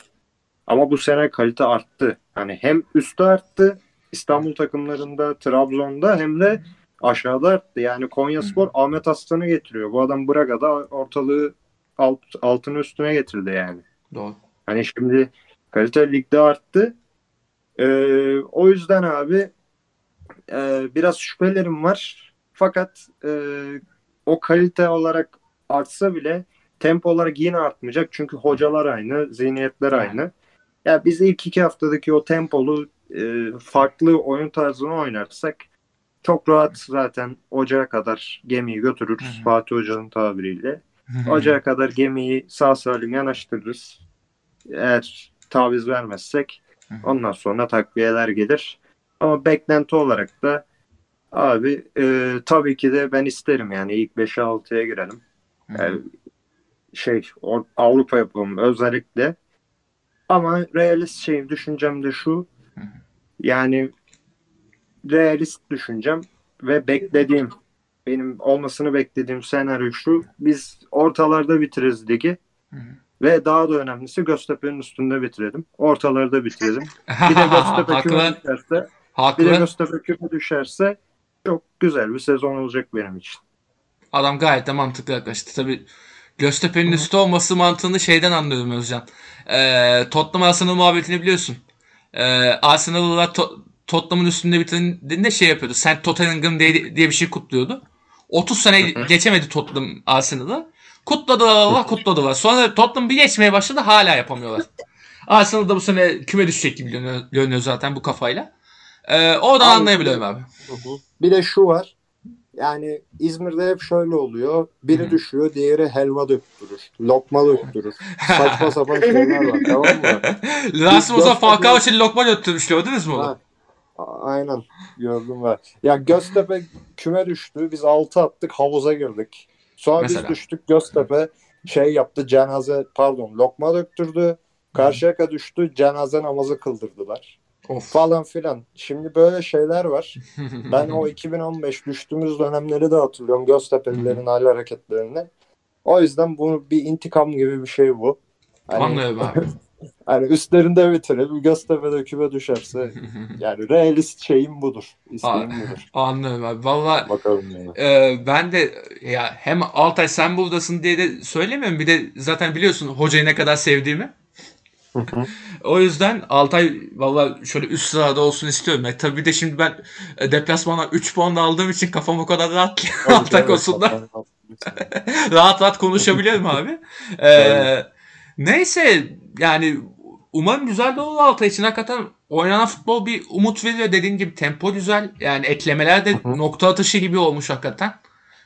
Speaker 5: Ama bu sene kalite arttı. Hani hem üstte arttı İstanbul takımlarında, Trabzon'da hem de aşağıda arttı. Yani Konyaspor Ahmet Aslan'ı getiriyor. Bu adam Braga'da ortalığı alt, altını üstüne getirdi yani.
Speaker 1: Doğru.
Speaker 5: Hani şimdi kalite ligde arttı. Ee, o yüzden abi e, biraz şüphelerim var. Fakat e, o kalite olarak artsa bile tempo olarak yine artmayacak. Çünkü hocalar aynı, zihniyetler
Speaker 1: Aynen.
Speaker 5: aynı. Ya biz ilk iki haftadaki o tempolu e, farklı oyun tarzını oynarsak çok rahat zaten ocağa kadar gemiyi götürürüz
Speaker 1: Hı hı.
Speaker 5: Fatih Hoca'nın tabiriyle. Ocağa kadar gemiyi sağ salim yanaştırırız. Eğer taviz vermezsek
Speaker 1: Hı hı.
Speaker 5: ondan sonra takviyeler gelir. Ama beklenti olarak da abi e, tabii ki de ben isterim yani ilk 5'e 6'ya girelim. Yani şey o- Avrupa yapımı özellikle. Ama realist şeyim düşüncem de şu.
Speaker 1: Hı hı.
Speaker 5: Yani realist düşüncem ve beklediğim benim olmasını beklediğim senaryo şu. Biz ortalarda bitiririz ligi.
Speaker 1: Hı hı.
Speaker 5: Ve daha da önemlisi Göztepe'nin üstünde bitirelim. Ortalarda bitirelim. Bir de Göztepe küme
Speaker 1: haklı.
Speaker 5: düşerse, bir de
Speaker 1: Haklı.
Speaker 5: Göztepe küme düşerse çok güzel bir sezon olacak benim için.
Speaker 1: Adam gayet de mantıklı yaklaştı. Tabii Göztepe'nin üstü olması mantığını şeyden anlıyorum Özcan. Ee, Tottenham Arsenal muhabbetini biliyorsun. Ee, Arsenal'la To- Tottenham'ın üstünde bitirdiğinde şey yapıyordu. Sen Tottenham diye, diye bir şey kutluyordu. 30 sene geçemedi Tottenham Arsenal'ı. Kutladılar Allah kutladılar. Sonra Tottenham bir geçmeye başladı hala yapamıyorlar. Arsenal da bu sene küme düşecek gibi görünüyor, görünüyor zaten bu kafayla. Ee, oradan
Speaker 4: Abi,
Speaker 1: anlayabiliyorum abi.
Speaker 4: Bir de şu var. Yani İzmir'de hep şöyle oluyor. Biri
Speaker 1: Hı.
Speaker 4: düşüyor, diğeri helva döktürür. Lokma döktürür. Saçma sapan şeyler var. Tamam mı?
Speaker 1: Rasmus'a
Speaker 4: Göztepe-
Speaker 1: Falcao için lokma götürmüş gördünüz mü onu?
Speaker 4: Ha, a- Aynen. Gördüm ben. Ya Göztepe küme düştü. Biz 6 attık, havuza girdik. Sonra
Speaker 1: Mesela.
Speaker 4: biz düştük. Göztepe şey yaptı. Cenaze pardon, lokma döktürdü. Karşıyaka düştü. Cenaze namazı kıldırdılar.
Speaker 1: Of.
Speaker 4: Falan filan. Şimdi böyle şeyler var. Ben o 2015 düştüğümüz dönemleri de hatırlıyorum. Göztepe'lilerin hali hareketlerini. O yüzden bunu bir intikam gibi bir şey bu. Hani,
Speaker 1: Anlıyorum abi.
Speaker 4: hani üstlerinde bitirelim. Göztepe'de küme düşerse yani realist şeyim budur. İsteğim
Speaker 1: Aa.
Speaker 4: budur.
Speaker 1: Anlıyorum abi. Valla
Speaker 4: Bakalım yani.
Speaker 1: e, ben de ya hem Altay sen buradasın diye de söylemiyorum. Bir de zaten biliyorsun hocayı ne kadar sevdiğimi. o yüzden Altay valla şöyle üst sırada olsun istiyorum. E, tabii bir de şimdi ben e, deplasmana 3 puan aldığım için kafam o kadar rahat ki Altay konusunda. rahat rahat konuşabiliyorum abi. Ee,
Speaker 4: Evet.
Speaker 1: neyse yani umarım güzel de olur Altay için. Hakikaten oynanan futbol bir umut veriyor. Dediğin gibi tempo güzel. Yani eklemeler de
Speaker 4: hı.
Speaker 1: nokta atışı gibi olmuş hakikaten.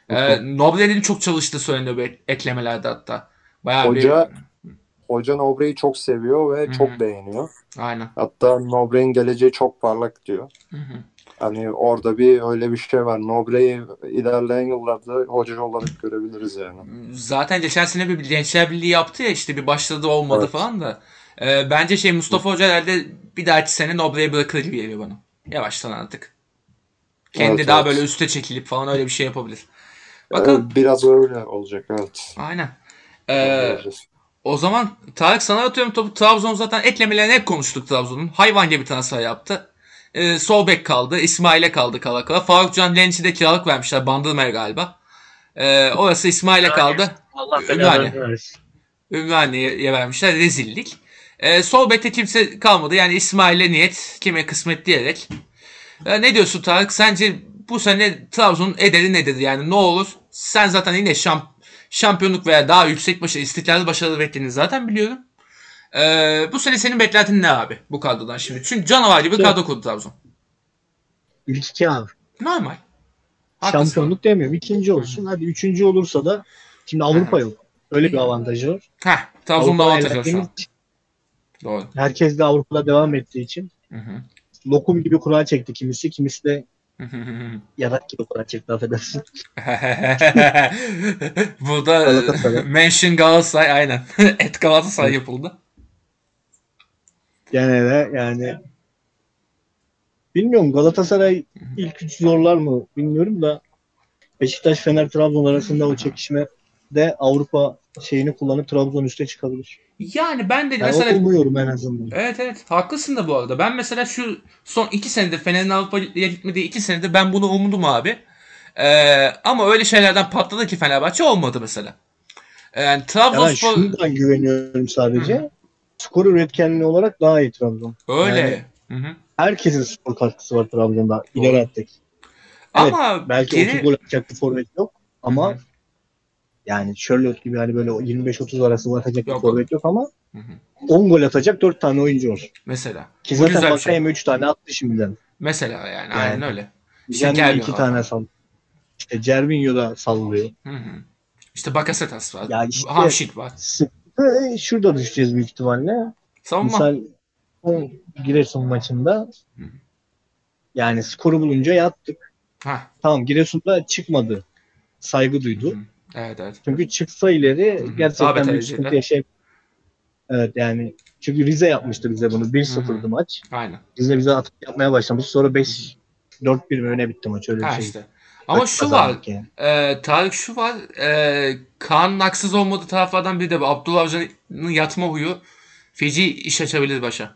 Speaker 1: Ee, Noble'nin çok çalıştığı söyleniyor bu ek- eklemelerde hatta. Bayağı
Speaker 4: Hoca Hoca Nobre'yi çok seviyor ve
Speaker 1: Hı hı.
Speaker 4: çok beğeniyor.
Speaker 1: bir... Aynen.
Speaker 4: Hatta Nobre'nin geleceği çok parlak diyor.
Speaker 1: Hı hı.
Speaker 4: Hani orada bir öyle bir şey var. Nobre'yi ilerleyen yıllarda hoca olarak görebiliriz yani.
Speaker 1: Zaten geçen sene bir Gençler Birliği yaptı ya işte bir başladı olmadı
Speaker 4: Evet.
Speaker 1: falan da. Ee, bence şey Mustafa Hoca herhalde bir dahaki sene Noble'ye bırakılır gibi geliyor bana. Yavaştan artık. Kendi
Speaker 4: Evet,
Speaker 1: daha
Speaker 4: evet.
Speaker 1: böyle üste çekilip falan öyle bir şey yapabilir. Bakalım.
Speaker 4: Ee, Biraz öyle olacak evet.
Speaker 1: Aynen. Ee, o zaman Tarık sana atıyorum topu. Trabzon zaten eklemelerini hep konuştuk Trabzon'un. Hayvan gibi transfer yaptı. Ee, sol bek kaldı. İsmail'e kaldı kala kala. Faruk Can Lenç'i de kiralık vermişler. Bandırma'ya galiba. Ee, orası İsmail'e
Speaker 6: Yani.
Speaker 1: kaldı.
Speaker 6: Allah
Speaker 1: Yani.
Speaker 6: belanı versin.
Speaker 1: Ümraniye'ye vermişler. Rezillik. E, sol bekte kimse kalmadı. Yani İsmail'e niyet, kime kısmet diyerek. E, ne diyorsun Tarık? Sence bu sene Trabzon'un ederi nedir? Yani ne olur? Sen zaten yine şamp şampiyonluk veya daha yüksek başarı, istikrarlı başarılı beklediğini zaten biliyorum. E, bu sene senin beklentin ne abi bu kadrodan şimdi? Çünkü canavar gibi kadro kurdu Trabzon.
Speaker 2: İlk iki abi.
Speaker 1: Normal. Haklısın.
Speaker 2: Şampiyonluk demiyorum. İkinci olsun. Hadi üçüncü olursa da şimdi Avrupa yok. Öyle bir avantajı var.
Speaker 1: Heh, Trabzon'da
Speaker 2: Avrupa'ya
Speaker 1: avantaj var şu an.
Speaker 2: elendiğimiz için,
Speaker 1: Doğru.
Speaker 2: Herkes de Avrupa'da devam ettiği için
Speaker 1: Hı hı.
Speaker 2: lokum gibi kura çekti kimisi. Kimisi de
Speaker 1: Hı hı hı hı.
Speaker 2: yarak gibi kura çekti affedersin.
Speaker 1: Burada e,
Speaker 2: Galatasaray.
Speaker 1: mention Galatasaray aynen. Et Galatasaray yapıldı.
Speaker 2: Gene de yani bilmiyorum Galatasaray ilk üç zorlar mı bilmiyorum da Beşiktaş Fener Trabzon arasında o çekişme de Avrupa şeyini kullanıp Trabzon üste çıkabilir.
Speaker 1: Yani ben de
Speaker 2: Yani
Speaker 1: mesela
Speaker 2: umuyorum en azından.
Speaker 1: evet evet haklısın da bu arada. Ben mesela şu son iki senede Fener'in Avrupa'ya gitmediği iki senede ben bunu umdum abi. Ee, ama öyle şeylerden patladı ki Fenerbahçe olmadı mesela. Yani
Speaker 2: Ya ben
Speaker 1: Trabzonspor
Speaker 2: şundan güveniyorum sadece. Skor üretkenliği olarak daha iyi Trabzon.
Speaker 1: öyle. Hı hı.
Speaker 2: Herkesin skor katkısı var Trabzon'da. İleri attık.
Speaker 1: Ama
Speaker 2: Belki
Speaker 1: geri-
Speaker 2: 30 gol atacak bir forvet yok. Ama
Speaker 1: Hı hı.
Speaker 2: yani Sherlock gibi hani böyle 25-30 arası atacak bir
Speaker 1: Yok.
Speaker 2: forvet yok ama
Speaker 1: Hı hı.
Speaker 2: 10 gol atacak 4 tane oyuncu var.
Speaker 1: mesela
Speaker 2: Ki
Speaker 1: Bu
Speaker 2: zaten
Speaker 1: güzel bir şey.
Speaker 2: Bakayem 3 tane attı şimdiden.
Speaker 1: mesela yani, aynen öyle. İşte
Speaker 2: Yani
Speaker 1: gelmiyor.
Speaker 2: 2 tane sal. İşte Cervinho da sallıyor.
Speaker 1: Hı hı. İşte Bakasetas var.
Speaker 2: Ya işte-
Speaker 1: Hamşik var.
Speaker 2: Sıkıntı şurada düşeceğiz büyük ihtimalle.
Speaker 1: Savunma.
Speaker 2: Misal o Giresun maçında
Speaker 1: Hı.
Speaker 2: yani skoru bulunca yattık.
Speaker 1: Ha.
Speaker 2: Tamam Giresun'da çıkmadı. Saygı duydu.
Speaker 1: Hı hı. Evet evet.
Speaker 2: Çünkü çıksa ileri
Speaker 1: Hı hı. Daha
Speaker 2: gerçekten
Speaker 1: beter
Speaker 2: büyük sıkıntı
Speaker 1: ederler.
Speaker 2: yaşayıp Evet yani çünkü Rize yapmıştı bize bunu. 1-0'dı maç.
Speaker 1: Aynen.
Speaker 2: Rize bize atıp yapmaya başlamış. Sonra 5 4-1 mi öne bitti maç öyle bir
Speaker 1: Ha
Speaker 2: şey.
Speaker 1: işte. Ama
Speaker 2: Maç
Speaker 1: şu var.
Speaker 2: kazandık yani.
Speaker 1: E, Tarık şu var. E, Kaan'ın haksız olmadığı taraflardan biri de bu. Abdullah Avcı'nın yatma huyu feci iş açabilir başa.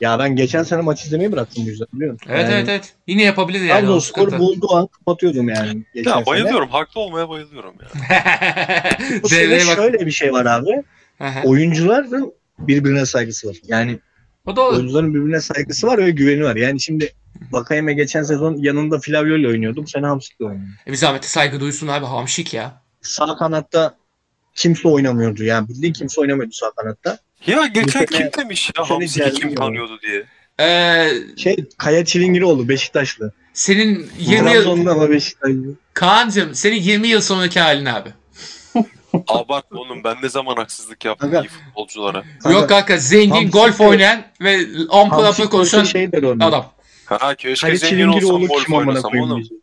Speaker 2: Ya ben geçen sene maç izlemeyi bıraktım bu yüzden biliyor musun?
Speaker 1: Evet
Speaker 2: yani,
Speaker 1: evet evet. Yine yapabilir yani.
Speaker 2: Trabzon
Speaker 1: o
Speaker 2: skoru
Speaker 1: sıkıntı.
Speaker 2: bulduğu an kapatıyordum yani. Geçen
Speaker 3: Ya
Speaker 2: sene.
Speaker 3: bayılıyorum. Haklı olmaya bayılıyorum ya.
Speaker 2: Bu sene
Speaker 1: Devreye bak.
Speaker 2: şöyle bir şey var abi.
Speaker 1: Hı hı.
Speaker 2: Oyuncuların birbirine saygısı var. Yani
Speaker 1: O doğru.
Speaker 2: oyuncuların birbirine saygısı var ve güveni var. Yani şimdi Bakayeme geçen sezon yanında Flavio ile oynuyordu. Bu sene Hamsik'le oynuyor.
Speaker 1: E, bir zahmete saygı duysun abi. Hamşik ya.
Speaker 2: Sağ kanatta kimse oynamıyordu. Yani bildiğin kimse oynamıyordu sağ kanatta.
Speaker 3: Ya geçen
Speaker 2: sene-
Speaker 3: kim demiş ya
Speaker 2: bu sene
Speaker 3: Hamsi'yi kim
Speaker 2: gelmiyor.
Speaker 3: tanıyordu diye.
Speaker 1: E,
Speaker 2: Şey Kaya Çilingiroğlu Beşiktaşlı.
Speaker 1: senin 20 yıl...
Speaker 2: Trabzon'da ama Beşiktaşlı.
Speaker 1: Kaan'cığım senin 20 yıl sonraki halin abi.
Speaker 3: Abartma oğlum ben ne zaman haksızlık yaptım
Speaker 2: Aga.
Speaker 3: iyi futbolculara.
Speaker 2: Kanka,
Speaker 1: Yok kanka zengin
Speaker 2: Hamsik
Speaker 1: golf
Speaker 2: de-
Speaker 1: oynayan ve on
Speaker 2: Hamsik
Speaker 1: pulafı konuşan
Speaker 2: olsa şey der onu.
Speaker 1: adam.
Speaker 3: Ha keşke
Speaker 2: Kaya
Speaker 3: zengin olsam
Speaker 2: Çilingiroğlu
Speaker 3: golf
Speaker 2: kim amına
Speaker 3: oynasam
Speaker 2: koyayım
Speaker 3: oğlum.
Speaker 2: diyecek.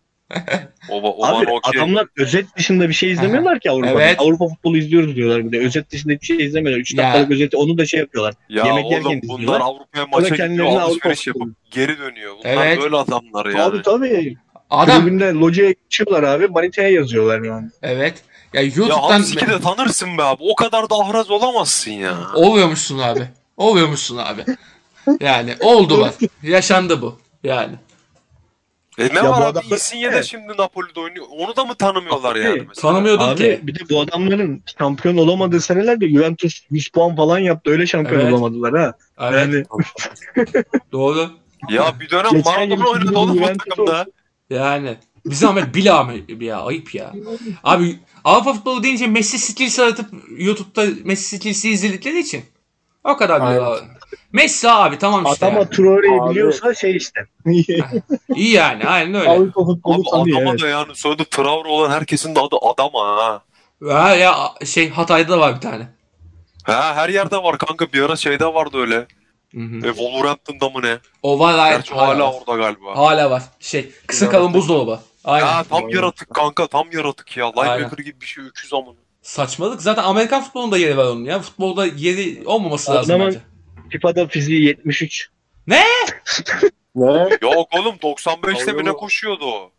Speaker 3: Oba, oban
Speaker 2: Abi
Speaker 3: okey.
Speaker 2: adamlar özet dışında bir şey izlemiyorlar ki Avrupa'da.
Speaker 1: Evet.
Speaker 2: Avrupa futbolu izliyoruz diyorlar bir de. Özet dışında bir şey izlemiyorlar. 3
Speaker 1: Ya.
Speaker 2: dakikalık özeti onu da şey yapıyorlar.
Speaker 3: Ya
Speaker 2: yemek
Speaker 3: oğlum
Speaker 2: yerken
Speaker 3: bunlar
Speaker 2: izliyorlar.
Speaker 3: Avrupa'ya maça gidiyor
Speaker 2: kendilerine Avrupa
Speaker 3: alışveriş
Speaker 2: futbolu.
Speaker 3: yapıp geri dönüyor. Bunlar
Speaker 1: Evet.
Speaker 3: böyle adamlar yani.
Speaker 2: Abi tabii. Adam.
Speaker 1: Adam.
Speaker 2: Tribünde locaya geçiyorlar abi. Manitaya yazıyorlar yani.
Speaker 1: Evet. Ya
Speaker 3: ya
Speaker 1: YouTube'dan
Speaker 3: Hamsik'i de tanırsın be abi. O kadar da ahraz olamazsın ya.
Speaker 1: Oluyormuşsun abi. Oluyormuşsun abi. Yani oldu bak. Yaşandı bu. Yani.
Speaker 3: E ne
Speaker 2: Ya bu
Speaker 3: var abi
Speaker 2: adamlar-
Speaker 3: Insigne de
Speaker 2: Evet.
Speaker 3: şimdi Napoli'de oynuyor. Onu da mı tanımıyorlar
Speaker 2: Abi,
Speaker 3: yani mesela?
Speaker 1: Tanımıyordum
Speaker 2: Abi
Speaker 1: ki.
Speaker 2: bir de bu adamların şampiyon olamadığı senelerde Juventus 100 puan falan yaptı. Öyle şampiyon
Speaker 1: Evet.
Speaker 2: olamadılar ha.
Speaker 1: Evet,
Speaker 2: Yani
Speaker 1: doğru.
Speaker 3: Ya bir dönem
Speaker 2: Geçen
Speaker 3: Maradona
Speaker 2: yıl
Speaker 3: oynadı
Speaker 2: Juventus
Speaker 3: oğlum o
Speaker 2: olsun.
Speaker 3: takımda.
Speaker 1: Yani. Bir zahmet bil abi ya. Ayıp ya. Abi Avrupa futbolu deyince Messi skills aratıp YouTube'da Messi skills'i izledikleri için. O kadar
Speaker 4: Aynen.
Speaker 1: diyorlar. Messi abi tamam işte.
Speaker 2: Adama
Speaker 1: yani.
Speaker 2: Traore'yi
Speaker 4: Abi.
Speaker 2: biliyorsa şey işte.
Speaker 1: İyi yani aynen öyle.
Speaker 2: Avrupa futbolu
Speaker 3: Abi
Speaker 2: tanıyor.
Speaker 3: adama
Speaker 2: evet.
Speaker 3: da yani soyadı Traore olan herkesin de adı Adama ha.
Speaker 1: Ha ya şey Hatay'da da var bir tane.
Speaker 3: Ha her yerde var kanka bir ara şeyde vardı öyle.
Speaker 1: Hı hı.
Speaker 3: E, Wolverhampton'da mı ne?
Speaker 1: O var hala,
Speaker 3: Gerçi o hala
Speaker 1: hala var.
Speaker 3: orada galiba.
Speaker 1: Hala var. Şey kısa kalın buzdolabı. Aynen.
Speaker 3: Ha tam yaratık kanka tam yaratık ya. Linebacker
Speaker 1: Aynen.
Speaker 3: gibi bir şey öküz amına.
Speaker 1: Saçmalık. Zaten Amerikan futbolunda yeri var onun ya. Futbolda yeri olmaması lazım
Speaker 2: Adamın-
Speaker 1: bence.
Speaker 2: FIFA'da fiziği 73.
Speaker 4: Ne?
Speaker 3: Yok oğlum 95'te mi ne
Speaker 4: Avrupa-
Speaker 3: koşuyordu o?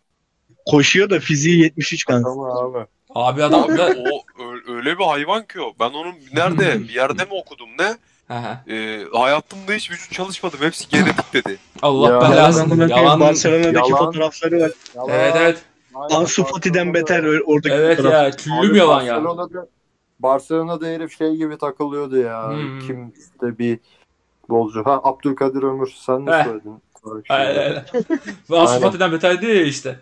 Speaker 2: Koşuyor da fiziği 73 kanka.
Speaker 4: Tamam abi.
Speaker 1: Abi adam
Speaker 3: Abi
Speaker 1: da...
Speaker 3: o ö- öyle bir hayvan ki o. Ben onun nerede bir yerde mi okudum ne?
Speaker 1: Aha.
Speaker 3: E, hayatımda hiç vücut çalışmadım. Hepsi genetik dedi.
Speaker 1: Allah
Speaker 4: Ya,
Speaker 1: belasını.
Speaker 2: Adamın
Speaker 1: Yalan.
Speaker 2: Barcelona'daki
Speaker 4: Yalan.
Speaker 2: fotoğrafları var.
Speaker 4: Yalan.
Speaker 1: Evet evet.
Speaker 4: Aynen,
Speaker 2: Ansu Fati'den
Speaker 4: Barcelona'da-
Speaker 2: beter ö- oradaki
Speaker 1: Evet
Speaker 2: fotoğraf.
Speaker 1: ya. Küllü
Speaker 4: Abi
Speaker 1: bir yalan ya.
Speaker 4: Barcelona'da, Barcelona'da herif şey gibi takılıyordu ya.
Speaker 1: Hmm.
Speaker 4: Kim işte bir bolcu. Ha Abdülkadir Ömür sen
Speaker 1: Heh.
Speaker 4: mi söyledin? şey. Tarık şimdi?
Speaker 1: Aynen aynen. Ansu
Speaker 4: Aynen.
Speaker 1: Fati'den beter diyor ya işte.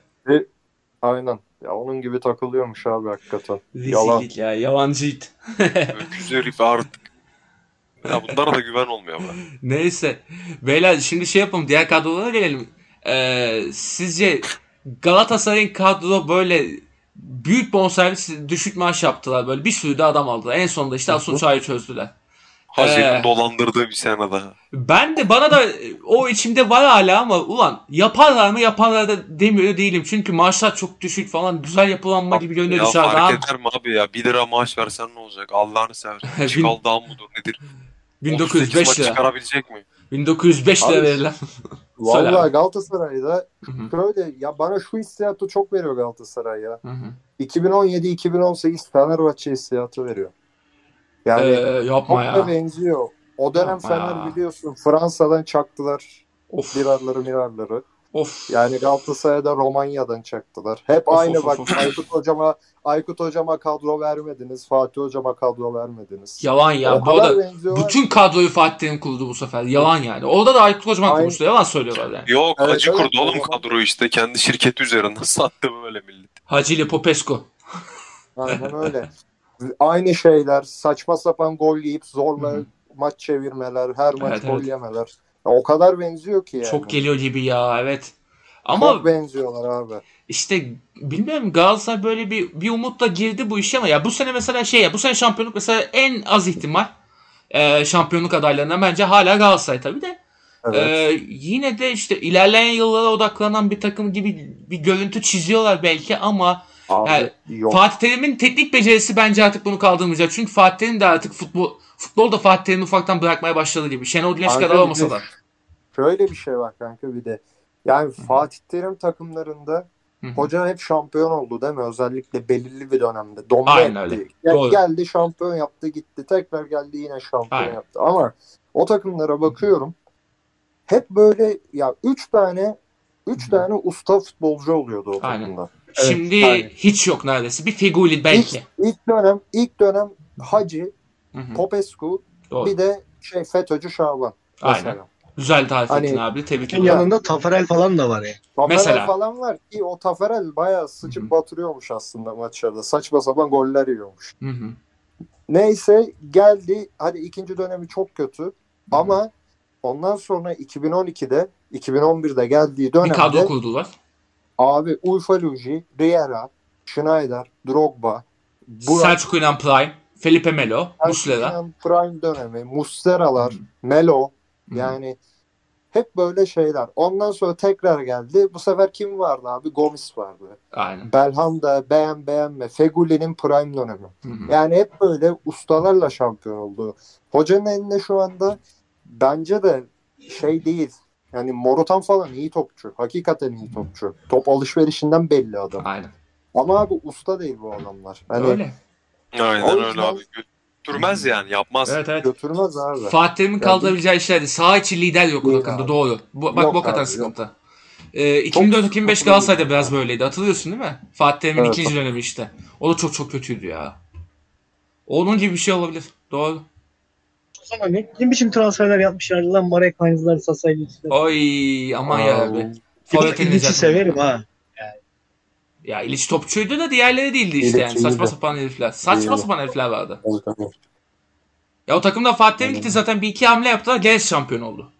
Speaker 4: Aynen. Ya onun gibi takılıyormuş abi hakikaten. Yalan.
Speaker 1: Rezillik ya. Yalancı it.
Speaker 3: Öküz herif artık. Ya bunlara da güven olmuyor bana.
Speaker 1: Neyse. Beyler şimdi şey yapalım. Diğer kadrolara gelelim. Ee, sizce Galatasaray'ın kadro böyle büyük bonservis düşük maaş yaptılar böyle. Bir sürü de adam aldılar. En sonunda işte Asun Çay'ı çözdüler.
Speaker 3: Hazine'nin
Speaker 1: Ee.
Speaker 3: dolandırdığı bir sene daha.
Speaker 1: Ben de bana da o içimde var hala ama ulan yaparlar mı yaparlar da demiyor değilim. Çünkü maaşlar çok düşük falan güzel yapılanma gibi görünüyor
Speaker 3: Ya
Speaker 1: dışarıda.
Speaker 3: fark
Speaker 1: ama
Speaker 3: eder mi abi ya? 1 lira maaş versen ne olacak? Allah'ını seversen.
Speaker 1: Bin-
Speaker 3: Çıkal dağ mıdır nedir? 38 maç
Speaker 1: 1905 lira.
Speaker 3: çıkarabilecek mi?
Speaker 1: 1905 lira
Speaker 4: Abi-
Speaker 1: verilen. Söyle
Speaker 4: Vallahi
Speaker 1: abi.
Speaker 4: Galatasaray'da
Speaker 1: Hı hı.
Speaker 4: şöyle ya bana şu hissiyatı çok veriyor Galatasaray ya.
Speaker 1: Hı hı.
Speaker 4: 2017-2018 Fenerbahçe hissiyatı veriyor. Yani
Speaker 1: Ee, yapma
Speaker 4: çok da
Speaker 1: ya.
Speaker 4: benziyor. O dönem
Speaker 1: Yapma
Speaker 4: Fener
Speaker 1: ya.
Speaker 4: biliyorsun Fransa'dan çaktılar
Speaker 1: Of.
Speaker 4: birarları mirarları.
Speaker 1: Of.
Speaker 4: Yani Galatasaray'da Romanya'dan çaktılar. Hep
Speaker 1: Of,
Speaker 4: aynı
Speaker 1: of,
Speaker 4: bak
Speaker 1: of, of.
Speaker 4: Aykut hocama Aykut hocama kadro vermediniz. Fatih hocama kadro vermediniz.
Speaker 1: Yalan ya.
Speaker 4: O
Speaker 1: bu
Speaker 4: kadar
Speaker 1: arada
Speaker 4: benziyorlar.
Speaker 1: bütün kadroyu Fatih'in kurdu bu sefer. Yalan yani. Orada da Aykut Kocaman
Speaker 4: Aynen.
Speaker 1: konuştu. Yalan söylüyorlar yani.
Speaker 3: Yok
Speaker 4: Evet,
Speaker 3: acı
Speaker 4: evet,
Speaker 3: kurdu
Speaker 4: o
Speaker 3: oğlum
Speaker 4: zaman.
Speaker 3: kadro işte. Kendi şirketi üzerinden sattı böyle millet.
Speaker 1: Hacı ile Popescu.
Speaker 4: Aynen öyle. Aynı şeyler. Saçma sapan gol yiyip zorla maç çevirmeler. Her maç
Speaker 1: Evet,
Speaker 4: gol
Speaker 1: evet.
Speaker 4: yemeler. Ya o kadar benziyor ki yani.
Speaker 1: Çok geliyor gibi ya evet. Ama Ee,
Speaker 4: Çok benziyorlar abi.
Speaker 1: işte bilmiyorum Galatasaray böyle bir bir umutla girdi bu işe ama ya bu sene mesela şey ya bu sene şampiyonluk mesela en az ihtimal e, şampiyonluk adaylarından bence hala Galatasaray tabii de
Speaker 4: Evet.
Speaker 1: Ee, yine de işte ilerleyen yıllara odaklanan bir takım gibi bir görüntü çiziyorlar belki ama
Speaker 4: abi
Speaker 1: yani
Speaker 4: yok.
Speaker 1: Fatih Terim'in teknik becerisi bence artık bunu kaldırmayacak. Çünkü Fatih Terim de artık futbol futbol da Fatih Terim'i ufaktan bırakmaya başladı gibi. Şenol Güneş
Speaker 4: Kanka
Speaker 1: kadar
Speaker 4: bir de
Speaker 1: olmasa da.
Speaker 4: Şöyle bir şey var kanka bir de. Yani Fatih Terim takımlarında
Speaker 1: Hı hı.
Speaker 4: hoca hep şampiyon oldu değil mi? Özellikle belirli bir dönemde. Domine
Speaker 1: Aynen
Speaker 4: etti.
Speaker 1: öyle.
Speaker 4: Gel-
Speaker 1: Doğru.
Speaker 4: Geldi şampiyon yaptı gitti. Tekrar geldi yine şampiyon
Speaker 1: Aynen.
Speaker 4: yaptı. Ama o takımlara bakıyorum. Hep böyle ya 3 tane
Speaker 1: Hı
Speaker 4: 3
Speaker 1: hı.
Speaker 4: tane usta futbolcu oluyordu o
Speaker 1: Aynen.
Speaker 4: takımda.
Speaker 2: Evet,
Speaker 1: Şimdi
Speaker 2: aynen.
Speaker 1: hiç yok neredeyse. Bir Figuli belki.
Speaker 4: İlk dönem ilk dönem Hacı,
Speaker 1: Hı hı.
Speaker 4: Popescu,
Speaker 1: Doğru.
Speaker 4: bir de şey FETÖ'cü Şaban.
Speaker 1: Aynen.
Speaker 4: Mesela.
Speaker 1: Güzel tarif
Speaker 4: Hani-
Speaker 1: ettin abi. Tebrik
Speaker 2: Bunun
Speaker 1: ederim.
Speaker 2: yanında Tafarel falan da var ya.
Speaker 4: Taferel
Speaker 1: Mesela.
Speaker 4: falan var ki o Taferel bayağı sıçıp
Speaker 1: Hı hı.
Speaker 4: batırıyormuş aslında maçlarda. Saçma sapan goller yiyormuş.
Speaker 1: Hı hı.
Speaker 4: Neyse geldi. Hadi ikinci dönemi çok kötü. Ama ondan sonra 2012'de 2011'de geldiği
Speaker 1: Bir kadro
Speaker 4: dönemde
Speaker 1: kurdular.
Speaker 4: abi Ufaloji, Riera, Schneider, Drogba, Burak,
Speaker 1: Selçuk Yunan Prime, Felipe Melo, Muslera.
Speaker 4: Ersin, Prime dönemi, Mustera'lar, Melo yani hep böyle şeyler. Ondan sonra tekrar geldi. Bu sefer kim vardı abi? Gomis vardı.
Speaker 1: Aynen.
Speaker 4: Belhanda beğen beğenme. Feguli'nin prime dönemi.
Speaker 1: Hı hı.
Speaker 4: Yani hep böyle ustalarla şampiyon oldu. Hocanın elinde şu anda bence de şey değil. Yani Morutan falan iyi topçu. Hakikaten iyi topçu. Top alışverişinden belli adam.
Speaker 1: Aynen.
Speaker 4: Ama abi usta değil bu adamlar. Hani
Speaker 1: Öyle.
Speaker 3: Aynen
Speaker 4: O
Speaker 3: öyle
Speaker 4: yüzden-
Speaker 3: abi. Götürmez yani yapmaz.
Speaker 1: Evet evet.
Speaker 4: götürmez abi.
Speaker 1: Fatih Terim'in
Speaker 4: Yani-
Speaker 1: kaldırabileceği işlerdi. Sağ içi lider yok o
Speaker 4: Yok
Speaker 1: takımda.
Speaker 4: abi.
Speaker 1: Doğru. Bu, bak
Speaker 4: Yok
Speaker 1: bu kadar
Speaker 4: abi,
Speaker 1: sıkıntı. Ee, 2004-2005
Speaker 4: sıkıntılı
Speaker 1: Galatasaray'da
Speaker 4: bir
Speaker 1: biraz
Speaker 4: takım.
Speaker 1: böyleydi. Hatırlıyorsun değil mi? Fatih Terim'in
Speaker 4: Evet.
Speaker 1: ikinci dönemi işte. O da çok çok kötüydü ya. Onun gibi bir şey olabilir. Doğru.
Speaker 2: O zaman ne, ne biçim transferler yapmışlardı lan Marek Heinz'lar, Sasay'cısı.
Speaker 1: Oy aman ya Rabbi. Forvet
Speaker 2: İliç'i
Speaker 1: elinize-
Speaker 2: severim ha.
Speaker 1: Ya İliç topçuydu da diğerleri değildi işte yani.
Speaker 4: İliç
Speaker 1: Saçma
Speaker 4: iyiydi.
Speaker 1: sapan herifler. Saçma
Speaker 4: İyiydi.
Speaker 1: sapan herifler vardı.
Speaker 4: Evet, evet.
Speaker 1: Ya o takımda Fatih Terim
Speaker 4: Aynen.
Speaker 1: gitti zaten bir iki hamle yaptılar. Genç şampiyon oldu.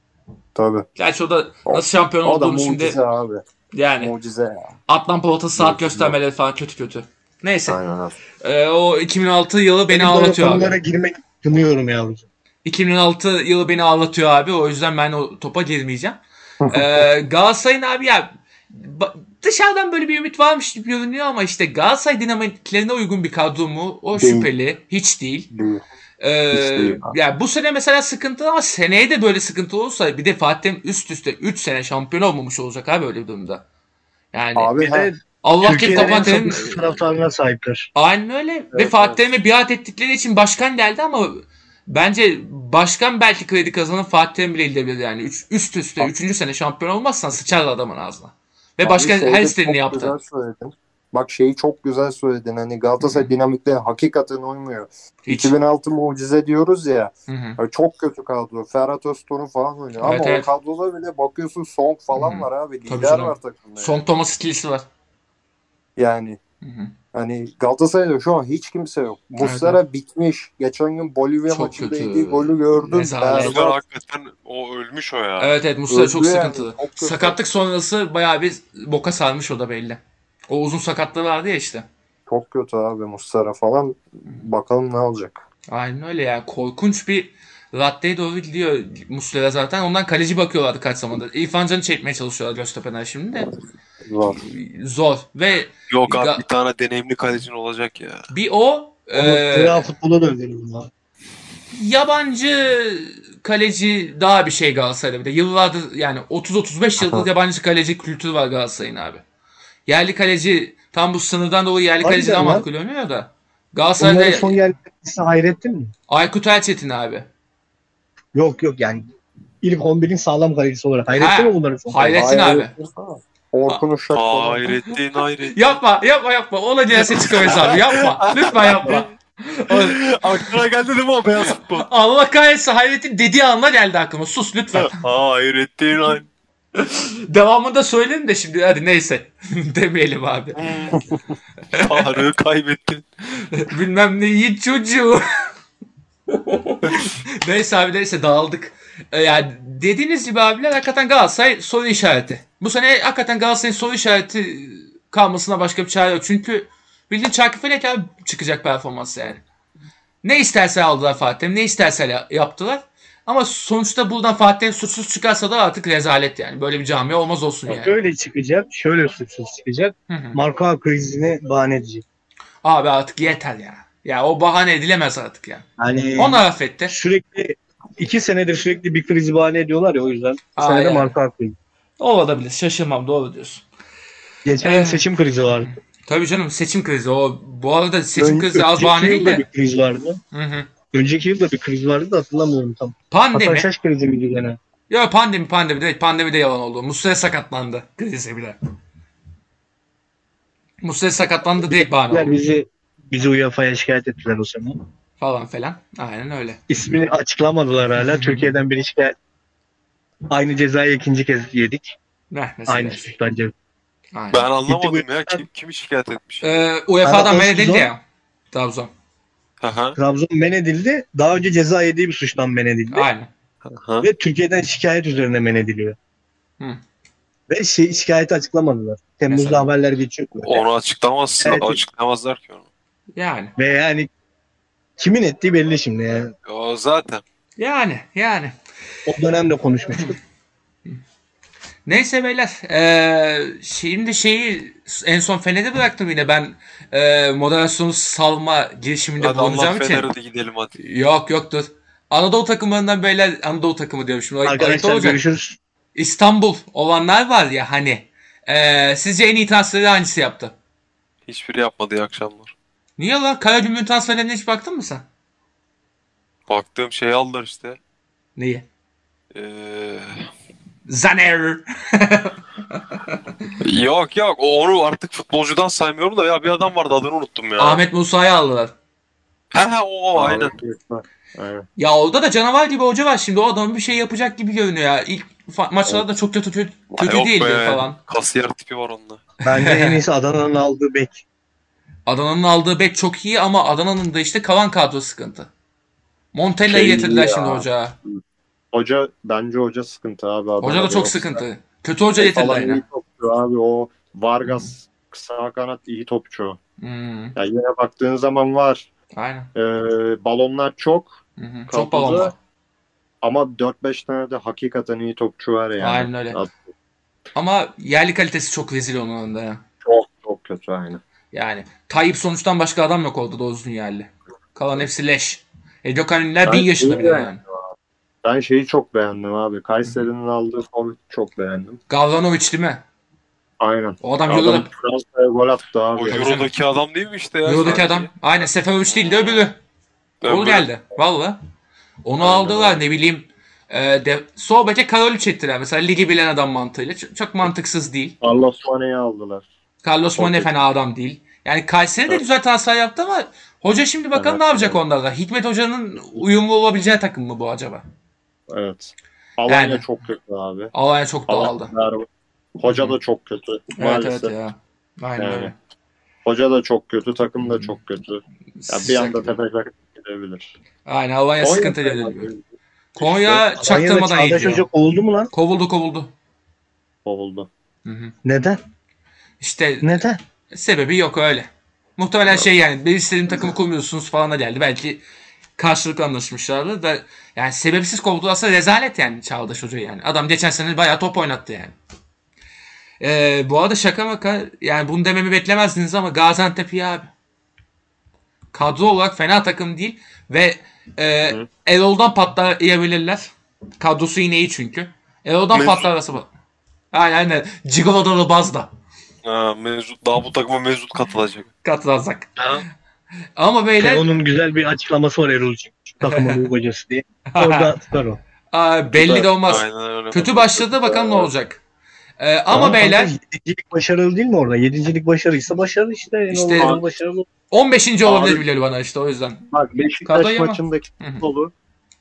Speaker 4: Tabii.
Speaker 1: Gerçi o da
Speaker 4: O-
Speaker 1: nasıl şampiyon
Speaker 4: O da
Speaker 1: olduğunu
Speaker 4: mucize
Speaker 1: şimdi
Speaker 4: abi.
Speaker 1: yani
Speaker 4: Mucize ya.
Speaker 1: Atlan Polat'a saat
Speaker 4: Yok,
Speaker 1: göstermeleri falan kötü kötü. Neyse.
Speaker 4: Aynen abi.
Speaker 1: Ee, o 2006 yılı beni
Speaker 2: Benim böyle
Speaker 1: ağlatıyor
Speaker 2: konulara
Speaker 1: abi.
Speaker 2: girmek kınıyorum yavrucuğum.
Speaker 1: 2006 yılı beni ağlatıyor abi. O yüzden ben o topa girmeyeceğim. Ee, Galatasaray'ın abi ya ba- dışarıdan böyle bir ümit varmış gibi görünüyor ama işte Galatasaray dinamiklerine uygun bir kadro mu? O
Speaker 4: Değil.
Speaker 1: şüpheli. Hiç değil.
Speaker 4: Değil.
Speaker 1: Ee,
Speaker 4: Hiç değil abi.
Speaker 1: yani bu sene mesela sıkıntılı ama seneye de böyle sıkıntı olursa bir de Fatih Terim üst üste 3 sene şampiyon olmamış olacak abi öyle bir durumda. Yani
Speaker 4: Abi
Speaker 2: Bir
Speaker 4: ha,
Speaker 2: de
Speaker 1: Allah kim
Speaker 2: Türkiye'nin en
Speaker 1: Fatih Terim
Speaker 2: sabırsız taraftarına sahipler.
Speaker 1: Aynen öyle. Ve
Speaker 4: Evet,
Speaker 1: Fatih
Speaker 4: evet.
Speaker 1: Terim'e biat ettikleri için başkan geldi ama bence başkan belki kredi kazanıp Fatih Terim bile gidebilir yani. Üç, üst üste 3. sene şampiyon olmazsan sıçarlar adamın ağzına. Ve
Speaker 4: Abi
Speaker 1: başkan
Speaker 4: şeyi
Speaker 1: her
Speaker 4: de
Speaker 1: istediğini
Speaker 4: çok
Speaker 1: yaptı.
Speaker 4: Güzel söyledin. Bak şeyi çok güzel söyledin. Hani Galatasaray dinamikle hakikaten uymuyor.
Speaker 1: Hiç.
Speaker 4: 2006 mucize diyoruz ya.
Speaker 1: Hı hı.
Speaker 4: Ya Çok kötü kadro. Ferhat Öztor'un falan oynuyor.
Speaker 1: Evet,
Speaker 4: Ama
Speaker 1: evet.
Speaker 4: o kadroda bile bakıyorsun Song falan
Speaker 1: Hı.
Speaker 4: var abi. Lider
Speaker 1: Tabii canım.
Speaker 4: var takımda.
Speaker 1: Son Thomas stilisi var.
Speaker 4: Yani
Speaker 1: Hı hı.
Speaker 4: hani Galatasaray'da şu an hiç kimse yok. Muslera bitmiş. Geçen gün Bolivya
Speaker 1: Çok
Speaker 4: maçında
Speaker 1: kötü.
Speaker 4: yediği golü gördüm.
Speaker 1: Rezalet.
Speaker 4: Berbat.
Speaker 3: Muslera hakikaten o ölmüş o ya.
Speaker 1: Evet evet Muslera
Speaker 4: Öldü
Speaker 1: çok
Speaker 4: yani,
Speaker 1: sıkıntılı.
Speaker 4: çok kötü.
Speaker 1: Sakatlık sonrası bayağı bir boka sarmış o da belli. O uzun sakatlığı vardı ya işte.
Speaker 4: Çok kötü abi Muslera falan. Bakalım ne olacak.
Speaker 1: Aynen öyle ya. Korkunç bir raddeye doğru gidiyor Muslera zaten. Ondan kaleci bakıyorlardı kaç zamandır. İrfan Can'ı çekmeye çalışıyorlar Göztepe'den şimdi de.
Speaker 4: Var.
Speaker 1: Zor. Ve
Speaker 3: Yok abi
Speaker 1: Ga-
Speaker 3: bir tane deneyimli kalecin olacak ya.
Speaker 1: bir o
Speaker 2: Onu
Speaker 1: e,
Speaker 2: Zira futbola döndürürüm lan.
Speaker 1: yabancı kaleci daha bir şey Galatasaray'da bir de. Yıllardır yani 30-35 yıldır
Speaker 4: Aha.
Speaker 1: yabancı kaleci kültürü var Galatasaray'ın abi. Yerli kaleci tam bu sınırdan dolayı yerli
Speaker 2: Harbiden
Speaker 1: kaleci daha
Speaker 2: lan.
Speaker 1: makul oynuyor da.
Speaker 2: Onlara
Speaker 1: Galatasaray'da
Speaker 2: son geldiklerinde hayrettin mi?
Speaker 1: Aykut Elçetin abi.
Speaker 2: Yok yok yani İlk 11'in sağlam kalecisi olarak.
Speaker 1: Ha,
Speaker 2: Hayrettin mi bunların? sonu?
Speaker 1: hayret- Hayrettin abi.
Speaker 4: Orkun Uşak falan.
Speaker 3: Hayrettin Hayrettin.
Speaker 1: Yapma yapma yapma. Ona gelse çıkamayız abi. Yapma. Lütfen yapma. O-
Speaker 3: Aklına geldi değil mi o beyaz futbol?
Speaker 1: Allah kahretsin Hayrettin dediği anla geldi aklıma. Sus lütfen.
Speaker 3: Hayrettin Hayrettin.
Speaker 1: Devamını da söylerim de şimdi hadi neyse. Demeyelim abi.
Speaker 3: Tarık'ı kaybettin.
Speaker 1: Bilmem ne yiğit çocuğu. neyse abi neyse dağıldık. Ee, Yani dediğiniz gibi abiler hakikaten Galatasaray soru işareti. Bu sene hakikaten Galatasaray'ın soru işareti kalmasına başka bir çare yok. Çünkü bildiğin Çakır Felek abi çıkacak performans yani. Ne isterse aldılar Fatih'im ne isterse ya- yaptılar. Ama sonuçta buradan Fatih'im suçsuz çıkarsa da artık rezalet yani. Böyle bir camia olmaz olsun yani.
Speaker 2: Şöyle çıkacak, şöyle suçsuz çıkacak.
Speaker 1: Hı hı.
Speaker 2: Marka krizini bahane edecek.
Speaker 1: Abi artık yeter ya. Ya o bahane edilemez artık ya.
Speaker 2: Yani
Speaker 1: Ona affetti.
Speaker 2: sürekli iki senedir sürekli bir krizi bahane ediyorlar ya o yüzden. Bu
Speaker 1: Aa,
Speaker 2: sene de
Speaker 1: yani.
Speaker 2: marka krizi.
Speaker 1: O olabilir. Şaşırmam. Doğru diyorsun.
Speaker 2: Geçen
Speaker 1: Evet.
Speaker 2: seçim krizi vardı.
Speaker 1: Tabii canım seçim krizi. O bu arada seçim
Speaker 2: Ön-
Speaker 1: krizi az
Speaker 2: önceki
Speaker 1: bahane değil
Speaker 2: yılda
Speaker 1: de.
Speaker 2: bir kriz vardı.
Speaker 1: Hı hı.
Speaker 2: Önceki yılda bir kriz vardı da hatırlamıyorum tam.
Speaker 1: Pandemi.
Speaker 2: Hasan Şaş krizi miydi gene?
Speaker 1: Ya pandemi pandemi direkt pandemi de yalan oldu. Muslera sakatlandı krizi bile. Muslera sakatlandı direkt bahane
Speaker 2: Yani
Speaker 1: oldu.
Speaker 2: bizi bizi UEFA'ya şikayet ettiler o sene.
Speaker 1: Falan filan. Aynen öyle.
Speaker 2: İsmini açıklamadılar hala. Türkiye'den biri şikayet. Aynı cezayı ikinci kez yedik.
Speaker 1: Ne mesela.
Speaker 2: Aynı şey. suçtan ceza.
Speaker 1: Aynen.
Speaker 3: Ben anlamadım ya. Kim, kimi şikayet etmiş?
Speaker 1: Ee, UEFA'dan
Speaker 2: Trabzon-
Speaker 1: men edildi ya. Trabzon.
Speaker 3: Aha,
Speaker 2: Trabzon men edildi. Daha önce ceza yediği bir suçtan men edildi.
Speaker 1: Aynen.
Speaker 3: aha.
Speaker 2: Ve Türkiye'den şikayet üzerine men ediliyor.
Speaker 1: Hı.
Speaker 2: Ve şey, şikayeti açıklamadılar. Temmuz'da
Speaker 1: Mesela?
Speaker 2: haberler geçiyor.
Speaker 3: Onu açıklamazsın.
Speaker 2: Evet.
Speaker 3: Açıklamazlar ki onu.
Speaker 1: Yani.
Speaker 2: Ve yani kimin ettiği belli şimdi. Yani.
Speaker 3: O zaten.
Speaker 1: Yani. Yani.
Speaker 2: O dönemde konuşmuş.
Speaker 1: Neyse beyler. eee, şimdi şeyi en son Fener'e bıraktım yine ben eee moderasyonu salma girişiminde
Speaker 3: Hadi Allah
Speaker 1: bulunacağım için.
Speaker 3: Fener'e de gidelim hadi.
Speaker 1: Yok yok dur. Anadolu takımlarından beyler Anadolu takımı diyorum şimdi. Ayıp- ayıp
Speaker 2: Arkadaşlar
Speaker 1: olacak.
Speaker 2: görüşürüz.
Speaker 1: İstanbul olanlar var ya hani. Eee sizce en iyi transferi hangisi yaptı?
Speaker 3: Hiçbiri yapmadı iyi akşamlar.
Speaker 1: Niye lan? Karagümrük transferlerine hiç baktın mı sen?
Speaker 3: Baktığım şeyi aldılar işte.
Speaker 1: Neyi?
Speaker 3: Ee,
Speaker 1: Zaner.
Speaker 3: yok yok O- onu artık futbolcudan saymıyorum da ya bir adam vardı adını unuttum ya.
Speaker 1: Ahmet Musa'yı aldılar.
Speaker 3: Ha ha o o, aynen.
Speaker 5: Aynen.
Speaker 1: Ya orada da canavar gibi hoca var şimdi. O adam bir şey yapacak gibi görünüyor ya. İlk fa- maçlarda çok kötü kötü, kötü
Speaker 3: Yok
Speaker 1: değil
Speaker 3: be.
Speaker 1: diyor falan.
Speaker 3: Kasiyer tipi var onunla.
Speaker 2: Bence en iyisi Adana'nın aldığı bek.
Speaker 1: Adana'nın aldığı bet çok iyi ama Adana'nın da işte kalan kadro sıkıntı. Montella'yı
Speaker 5: Şey
Speaker 1: getirdiler
Speaker 5: ya.
Speaker 1: şimdi hocağa.
Speaker 5: Hoca bence hoca sıkıntı abi.
Speaker 1: Hoca da çok sıkıntı. Kötü hoca getirdiler
Speaker 5: Şey Falan
Speaker 1: yine.
Speaker 5: iyi topçu abi o Vargas kısa kanat iyi topçu.
Speaker 1: Hmm,
Speaker 5: Yani yine baktığın zaman var.
Speaker 1: aynen.
Speaker 5: Ee, balonlar çok
Speaker 1: Hı hı. Çok
Speaker 5: Kadroda-
Speaker 1: balon var.
Speaker 5: ama 4-5 tane de hakikaten iyi topçu var yani.
Speaker 1: Aynen öyle.
Speaker 5: Abi,
Speaker 1: Ama yerli kalitesi çok rezil onun önünde ya.
Speaker 5: Çok çok kötü aynen.
Speaker 1: Yani Tayyip sonuçtan başka adam yok orada doğru düzgün yerli. Kalan hepsi leş. E Gökhan Ünlüler bin
Speaker 5: Ben
Speaker 1: yaşında
Speaker 5: şeyi
Speaker 1: bir de yani.
Speaker 5: Ben şeyi çok beğendim abi. Kayseri'nin aldığı forveti çok beğendim.
Speaker 1: Gavranovic değil mi?
Speaker 5: Aynen.
Speaker 1: O adam,
Speaker 5: Adam
Speaker 1: Euro'da.
Speaker 5: Fransa'ya gol
Speaker 3: O
Speaker 5: attı abi.
Speaker 1: Tabii
Speaker 3: Euro'daki adam değil mi işte ya?
Speaker 1: Euro'daki adam. Aynen Seferovic değil de öbürü. Gol geldi. Valla. Onu
Speaker 5: Aynen
Speaker 1: aldılar ne bileyim. E, de, Sohbet'e Karolic ettiler. Mesela ligi bilen adam mantığıyla. Çok, çok mantıksız değil.
Speaker 5: Allah Mane'yi aldılar.
Speaker 1: Carlos Mane
Speaker 5: Tabii.
Speaker 1: fena adam değil. Yani Kayseri de
Speaker 5: Evet.
Speaker 1: güzel transfer yaptı ama hoca şimdi bakalım
Speaker 5: Evet,
Speaker 1: ne yapacak
Speaker 5: evet.
Speaker 1: onlarla. Hikmet Hoca'nın uyumlu olabileceği takım mı bu acaba?
Speaker 5: Evet. Alanya
Speaker 1: Yani.
Speaker 5: çok kötü abi.
Speaker 1: Alanya çok dağıldı.
Speaker 5: Alanya Hoca da çok kötü.
Speaker 1: Evet
Speaker 5: Maalesef.
Speaker 1: evet ya. Aynen
Speaker 5: Yani.
Speaker 1: öyle.
Speaker 5: Hoca da çok kötü, takım da çok kötü. Ya bir
Speaker 1: Sıcak.
Speaker 5: anda tepe gidebilir.
Speaker 1: Aynen Alanya
Speaker 5: Konya
Speaker 1: sıkıntı
Speaker 5: fena
Speaker 1: geliyor.
Speaker 5: değil,
Speaker 1: Konya
Speaker 2: Alanya'da
Speaker 1: çaktırmadan
Speaker 2: Çağdaş
Speaker 1: gidiyor.
Speaker 2: Hoca kovuldu mu lan?
Speaker 1: Kovuldu kovuldu.
Speaker 5: Kovuldu.
Speaker 1: Hı hı.
Speaker 2: Neden?
Speaker 1: İşte
Speaker 2: Neden?
Speaker 1: sebebi yok öyle. Muhtemelen şey yani ben istediğim takımı kurmuyorsunuz falan da geldi. Belki karşılıklı anlaşmışlardı da yani sebepsiz kovdularsa rezalet yani Çağdaş Hoca yani. Adam geçen sene bayağı top oynattı yani. Ee, bu arada şaka maka yani bunu dememi beklemezdiniz ama Gaziantep iyi abi. Kadro olarak fena takım değil ve e,
Speaker 5: Hı.
Speaker 1: Erol'dan patlayabilirler. Kadrosu yine iyi çünkü. Erol'dan
Speaker 3: Mevzu-
Speaker 1: patlarlarsa bak. Aynen aynen. Gigolo'da da bazda
Speaker 3: Ha, Mevzut, daha bu takıma Mevzut katılacak.
Speaker 1: katlansak.
Speaker 3: Ha?
Speaker 1: Ama beyler
Speaker 2: Onun güzel bir açıklaması var Erol için. Takımın ruh hocası diye. Orada tutar o.
Speaker 1: Aa, belli de olmaz.
Speaker 3: Aynen öyle.
Speaker 1: Kötü başladı bakalım ne olacak. Ee, ama
Speaker 2: kanka,
Speaker 1: beyler
Speaker 2: Yedincilik başarılı değil mi orada? Yedincilik başarıysa başarı işte. En
Speaker 1: İşte-
Speaker 2: azından başarılı.
Speaker 1: 15. olabilir Bilal bana işte o yüzden.
Speaker 5: Bak Beşiktaş
Speaker 1: Kadroya mı?
Speaker 5: maçındaki
Speaker 1: Hı hı.
Speaker 5: futbolu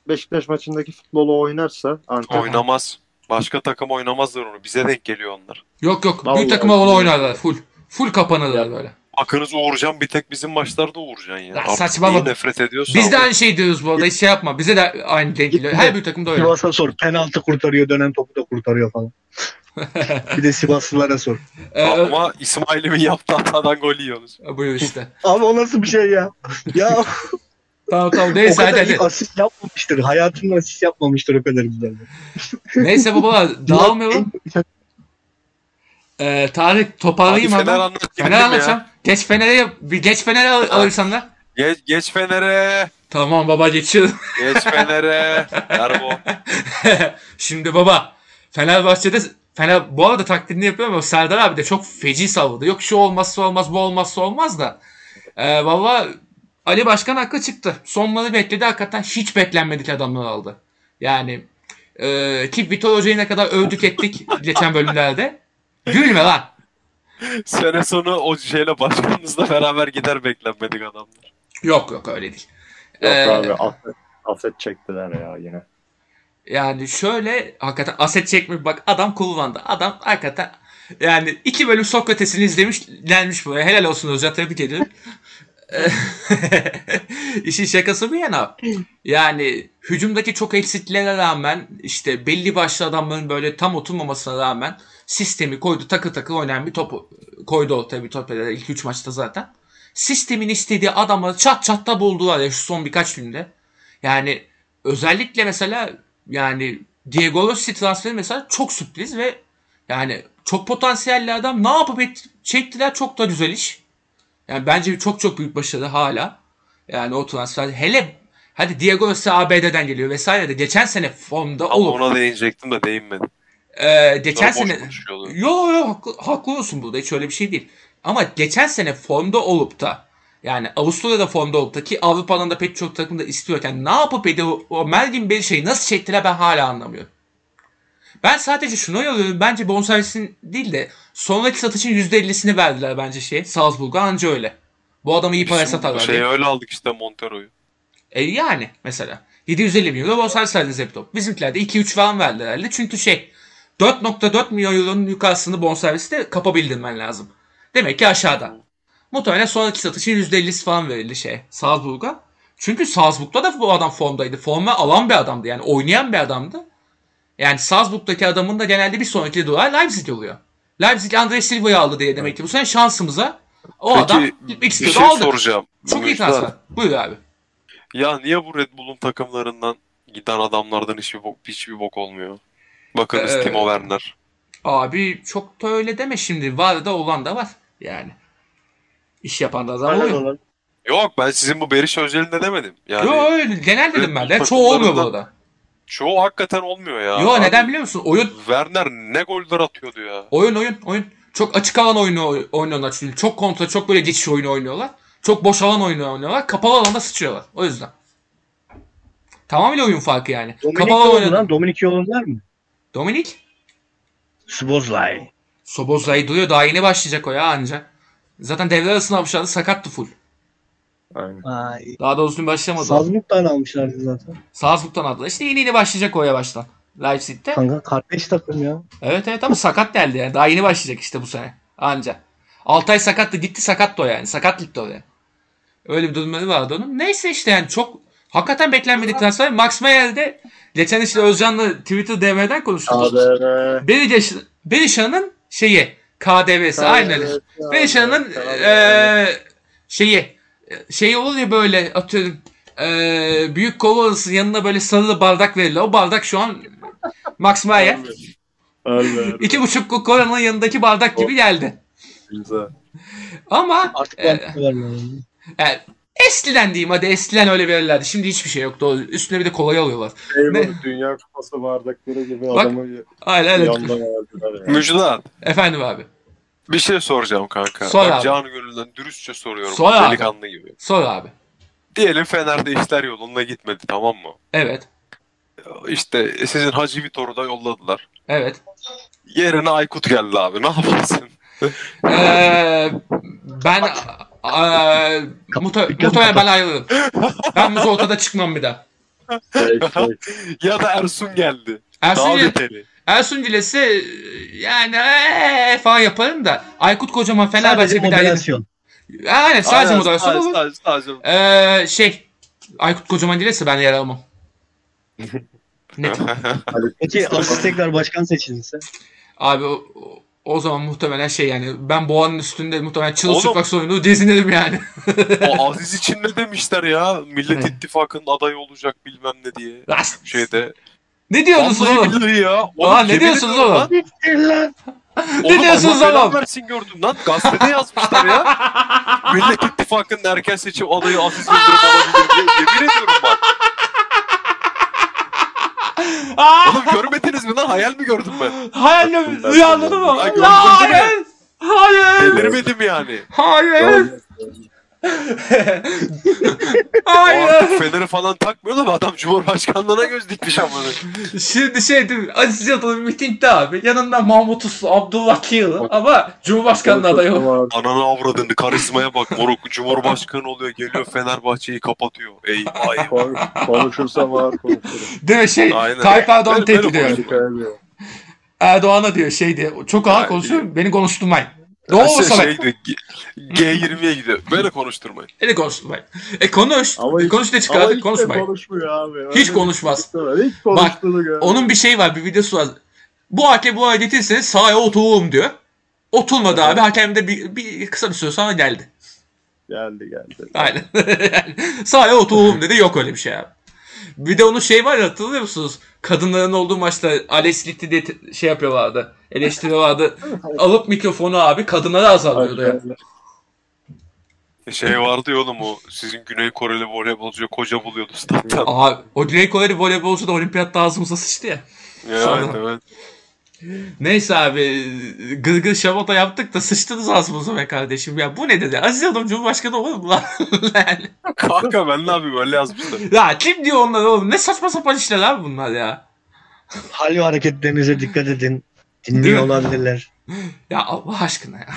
Speaker 5: Beşiktaş maçındaki futbolu oynarsa Antep
Speaker 3: Oynamaz. Başka takım oynamazlar onu. Bize denk geliyor onlar.
Speaker 1: Yok yok.
Speaker 5: Vallahi.
Speaker 1: Büyük takım havalı oynarlar. Full. Full kapanırlar böyle.
Speaker 3: Akınız Uğurcan bir tek bizim maçlarda Uğurcan ya.
Speaker 1: Lan
Speaker 3: Artık
Speaker 1: saçmalama.
Speaker 3: neyi nefret ediyorsun.
Speaker 1: Biz de aynı şey diyoruz bu arada. Hiç şey yapma. Bize de aynı denk geliyor. Her büyük takımda öyle.
Speaker 2: Sivas'a sor. Penaltı kurtarıyor. Dönen topu da kurtarıyor falan. bir de Sivaslılara sor.
Speaker 1: Ee, e,
Speaker 3: Ama İsmail'imin yaptığı hatadan gol yiyoruz.
Speaker 1: buyur işte.
Speaker 2: Abi o nasıl bir şey ya? Ya
Speaker 1: Tamam tamam.
Speaker 2: o
Speaker 1: Neyse
Speaker 2: kadar
Speaker 1: hadi
Speaker 2: iyi
Speaker 1: hadi.
Speaker 2: asist yapmamıştır. Hayatında asist yapmamıştır o kadar güzel.
Speaker 1: Neyse babalar dağılmayalım. Ee, Tarık
Speaker 3: Hadi
Speaker 1: toparlayayım
Speaker 3: Fener
Speaker 1: hemen.
Speaker 3: anlat. gidelim
Speaker 1: Fener
Speaker 3: ya.
Speaker 1: anlatacağım. Geç Fener'e bir geç Fener'e al- alırsan da.
Speaker 3: Geç, geç Fener'e.
Speaker 1: Tamam baba geçiyorum.
Speaker 3: Geç Fener'e. Erbo.
Speaker 1: Şimdi baba Fenerbahçe'de Fener bu arada taklidini yapıyorum ama Serdar abi de çok feci savurdu. Yok şu olmazsa olmaz bu olmazsa olmaz da. Ee, baba Ali Başkan haklı çıktı. Sonları bekledi hakikaten hiç beklenmedik adamlar aldı. Yani e, ki Vitor Hoca'yı ne kadar övdük ettik geçen bölümlerde. Gülme lan.
Speaker 3: Sene sonu o şeyle başkanınızla beraber gider beklenmedik adamlar.
Speaker 1: Yok yok öyle değil.
Speaker 5: Yok
Speaker 1: Ee,
Speaker 5: abi affet, affet çektiler ya yine.
Speaker 1: Yani şöyle hakikaten aset çekmiş bak adam kullandı. Adam hakikaten yani iki bölüm Sokrates'ini izlemiş gelmiş buraya. Helal olsun Özcan tebrik ediyorum. İşin şakası bir yana. Yani hücumdaki çok eksiklere rağmen işte belli başlı adamların böyle tam oturmamasına rağmen sistemi koydu takır takır oynayan bir topu koydu ortaya bir top ilk 3 maçta zaten. Sistemin istediği adamları çat çat da buldular ya şu son birkaç günde. Yani özellikle mesela yani Diego Rossi transferi mesela çok sürpriz ve yani çok potansiyelli adam ne yapıp et, çektiler çok da güzel iş. Yani bence çok çok büyük başarı hala. Yani o transfer hele hadi Diego Rossi ABD'den geliyor vesaire de geçen sene formda
Speaker 3: Ama
Speaker 1: olup
Speaker 3: ona değinecektim de değinmedim.
Speaker 1: ee, geçen
Speaker 3: Sonra boş
Speaker 1: sene
Speaker 3: konuşuyorlar.
Speaker 1: Yo yo haklı, haklı olsun burada hiç öyle bir şey değil. Ama geçen sene formda olup da yani Avusturya'da formda olup da ki Avrupa'dan da pek çok takım da istiyorken ne yapıp ediyor o Melvin Berisha'yı nasıl çektiler ben hala anlamıyorum. Ben sadece şunu yoruyorum bence bonservisin değil de sonraki satışın %50'sini verdiler bence şeye Salzburg'a anca öyle. Bu adamı iyi paraya
Speaker 3: Bizim
Speaker 1: satarlar.
Speaker 3: Şey
Speaker 1: diye.
Speaker 3: öyle aldık işte Montero'yu.
Speaker 1: E yani mesela 750 milyon euro bonservis verdiniz laptop. Bizimkiler de 2-3 falan verdi herhalde. Çünkü şey 4.4 milyon euronun yukarısını bonserviste kapabildirmen lazım. Demek ki aşağıda. Muhtemelen sonraki satışın %50'si falan verildi şey Salzburg'a. Çünkü Salzburg'da da bu adam formdaydı. Forma alan bir adamdı yani oynayan bir adamdı. Yani Salzburg'daki adamın da genelde bir sonraki durağı Leipzig oluyor. Leipzig Andres Silva'yı aldı diye demek ki bu sene şansımıza o
Speaker 3: Peki,
Speaker 1: adam gitmek
Speaker 3: Bir
Speaker 1: istiyordu
Speaker 3: şey
Speaker 1: aldı.
Speaker 3: soracağım.
Speaker 1: Çok iyi
Speaker 3: Muhtar,
Speaker 1: transfer. Buyur abi.
Speaker 3: Ya niye bu Red Bull'un takımlarından giden adamlardan hiçbir bok, hiçbir bok olmuyor? Bakınız
Speaker 1: Ee,
Speaker 3: Timo Werner.
Speaker 1: Abi çok da öyle deme şimdi. Var da olan da var. Yani. İş yapan da adam
Speaker 2: Aynen
Speaker 1: oluyor.
Speaker 2: olan.
Speaker 3: Yok ben sizin bu Beriş özelinde demedim. Yani
Speaker 1: Yo öyle genel dedim ben de.
Speaker 3: Takımlarında-
Speaker 1: Çoğu olmuyor bu arada.
Speaker 3: çoğu hakikaten olmuyor ya.
Speaker 1: Yo
Speaker 3: Abi,
Speaker 1: neden biliyor musun? Oyun
Speaker 3: Werner ne goller atıyordu ya.
Speaker 1: oyun oyun oyun. Çok açık alan oyunu oy- oynuyorlar çünkü. Çok kontra, çok böyle geçiş oyunu oynuyorlar. Çok boş alan oyunu oynuyorlar. Kapalı alanda sıçıyorlar. O yüzden. Tamamıyla oyun farkı yani.
Speaker 2: Dominik
Speaker 1: Kapalı alan
Speaker 2: yolun
Speaker 1: oynadı.
Speaker 2: lan. Dominik yolun var mı?
Speaker 1: Dominik
Speaker 2: Sbozlay.
Speaker 1: Sobozlay'ı duyuyor. Daha yeni başlayacak o ya anca. Zaten devre arasında almışlardı. Sakattı full.
Speaker 5: Aynen.
Speaker 2: Ay.
Speaker 1: Daha doğrusu başlamadı.
Speaker 2: Salzburg'dan almışlardı zaten.
Speaker 1: Salzburg'dan aldılar. İşte yeni yeni başlayacak o yavaştan. Leipzig'te.
Speaker 2: Kanka kardeş takım ya.
Speaker 1: Evet evet ama sakat geldi yani. Daha yeni başlayacak işte bu sene. Anca. Altay sakattı gitti sakattı o yani. Sakat gitti o yani. Öyle bir durumları vardı onun. Neyse işte yani çok hakikaten beklenmedik transfer. Max Meyer de geçen işte Özcan'la Twitter DM'den konuştuk.
Speaker 5: Abi.
Speaker 1: Beriş, Berisha'nın şeyi KDV'si aynen öyle. Berisha'nın eee, e, şeyi şey olur ya böyle atıyorum eee, büyük kova arasının yanına böyle sarılı bardak verilir. O bardak şu an Max Meyer.
Speaker 5: Abi.
Speaker 1: İki buçuk kolanın yanındaki bardak gibi geldi.
Speaker 5: Güzel.
Speaker 1: Ama
Speaker 2: Artık
Speaker 1: Ee,
Speaker 2: ben vermiyorum.
Speaker 1: yani, eskiden diyeyim hadi eskiden öyle verirlerdi. Şimdi hiçbir şey yok. Doğru. Üstüne bir de kolay alıyorlar. Ne?
Speaker 5: Eyvallah Dünya Kupası bardakları gibi
Speaker 1: Bak,
Speaker 5: adamı
Speaker 1: Aynen öyle.
Speaker 5: yandan verdiler ya.
Speaker 3: Müjdat
Speaker 1: Efendim abi.
Speaker 3: bir şey soracağım kanka.
Speaker 1: Sor
Speaker 3: Bak
Speaker 1: abi.
Speaker 3: canı gönülden dürüstçe soruyorum.
Speaker 1: Sor abi.
Speaker 3: Delikanlı gibi.
Speaker 1: Sor abi.
Speaker 3: Diyelim Fener'de işler yolunda gitmedi tamam mı?
Speaker 1: Evet.
Speaker 3: işte sizin Hacı Vitor'u da yolladılar.
Speaker 1: Evet.
Speaker 3: Yerine Aykut geldi abi. Ne yaparsın?
Speaker 1: Ee, ben eee muhte- muhtemelen ben ayrılırım. Ben bu ortada çıkmam bir daha.
Speaker 5: Evet, evet.
Speaker 3: Ya da Ersun geldi. Daha
Speaker 1: Ersun,
Speaker 3: beteri.
Speaker 1: Ersun Cilesi eee, yani eee falan yaparım da Aykut Kocaman
Speaker 2: Sadece
Speaker 1: Fenerbahçe bir daha yedim.
Speaker 2: moderasyon.
Speaker 1: Aynen sadece
Speaker 3: Aynen,
Speaker 1: moderasyon
Speaker 3: sadece-
Speaker 1: olur.
Speaker 3: sadece- sadece-
Speaker 1: Eee şey Aykut Kocaman Cilesi ben yer almam. Net.
Speaker 2: Peki Aziz tekrar başkan seçilirse?
Speaker 1: Abi o, o- o zaman muhtemelen şey yani ben boğanın üstünde muhtemelen
Speaker 3: Oğlum.
Speaker 1: çıplak soyunu dizinirim yani.
Speaker 3: O Aziz için ne demişler ya? Millet
Speaker 1: Ne?
Speaker 3: İttifakı'nın adayı olacak bilmem ne diye. Şeyde.
Speaker 1: ne diyorsunuz
Speaker 3: Vallahi
Speaker 1: oğlum?
Speaker 3: billahi ya. Oğlum
Speaker 1: Aa, ne
Speaker 3: yemin
Speaker 1: diyorsunuz
Speaker 3: ediyorum
Speaker 1: oğlum?
Speaker 3: lan.
Speaker 1: Ne diyorsunuz
Speaker 3: Allah
Speaker 1: oğlum?
Speaker 3: belanı versin gördüm lan. Gazetede yazmışlar ya. Millet İttifakı'nın erken seçim adayı Aziz Yıldırım olabilir diye. Yemin ediyorum bak.
Speaker 1: Aa!
Speaker 3: Oğlum görmediniz mi lan? Hayal mi gördüm ben?
Speaker 1: Hayal mi? Rüyaladı mı?
Speaker 3: Ay, gördün
Speaker 1: Hayır! Hayır!
Speaker 3: Delirmedim yani.
Speaker 1: Hayır!
Speaker 3: O
Speaker 1: Hayır!
Speaker 3: artık feneri falan takmıyor da adam Cumhurbaşkanlığına göz dikmiş amına.
Speaker 1: Şimdi şey değil mi? Aziz Yıldırım mitingde abi. Yanında Mahmut Uslu, Abdullah Kiyılı ama Cumhurbaşkanlığı adayı yok.
Speaker 5: Var.
Speaker 3: Ananı avradını karizmaya bak moruk. Cumhurbaşkanı oluyor geliyor Fenerbahçe'yi kapatıyor. Ey ay.
Speaker 5: Kon- Konuşursa var konuşurum.
Speaker 1: Değil mi şey?
Speaker 3: Aynen.
Speaker 1: Tayyip Erdoğan'ı
Speaker 3: Böyle-
Speaker 1: tehdit
Speaker 3: böyle
Speaker 1: ediyor.
Speaker 5: Şikayet
Speaker 1: Erdoğan'a diyor şey diyor. Çok ağır
Speaker 3: Aynen.
Speaker 1: konuşuyor. Beni konuşturmayın. Ne olursa
Speaker 3: şey,
Speaker 1: ben.
Speaker 3: diyor, G- G20'ye gidiyor. Böyle konuşturmayın.
Speaker 1: Beni konuşturmayın. E konuş.
Speaker 5: Ama hiç-
Speaker 1: konuş ne çıkar?
Speaker 5: Ama hiç de
Speaker 1: konuşmayın.
Speaker 5: konuşmuyor abi.
Speaker 1: Hiç
Speaker 5: Öyle
Speaker 1: konuşmaz.
Speaker 5: bir şey var. Hiç konuştuğunu görmedim.
Speaker 1: Onun bir şey var. Bir videosu var. Bu hakem bu ayet etseniz sahaya otururum diyor. Oturmadı abi. Hakem de bir, bir kısa bir süre sonra geldi.
Speaker 5: Geldi geldi.
Speaker 1: Aynen. Yani sahaya otururum dedi. Yok öyle bir şey abi. Bir de onun şey var ya hatırlıyor musunuz? Kadınların olduğu maçta Alex gitti diye te- şey yapıyorlardı. Eleştiri vardı. Alıp mikrofonu abi kadınlara azalıyordu ya.
Speaker 3: Şey vardı ya oğlum o sizin Güney Koreli voleybolcuya koca buluyordu stat'tan.
Speaker 1: Abi o Güney Koreli voleybolcu da olimpiyatta ağzımıza sıçtı ya.
Speaker 3: Ya,
Speaker 1: Sonra-
Speaker 3: evet evet.
Speaker 1: Neyse abi gırgır şamata yaptık da sıçtınız ağzımıza be kardeşim ya. Bu ne dedi? Aziz Yıldırım Cumhurbaşkanı olur mu lan? Yani,
Speaker 3: Kanka ben ne yapayım öyle yazmışlar.
Speaker 1: ya kim diyor onlar oğlum? Ne saçma sapan işler abi bunlar ya.
Speaker 2: Hal ve hareketlerinize dikkat edin. Dinliyor
Speaker 1: Değil mi?
Speaker 2: olabilirler.
Speaker 1: Ya Allah aşkına ya.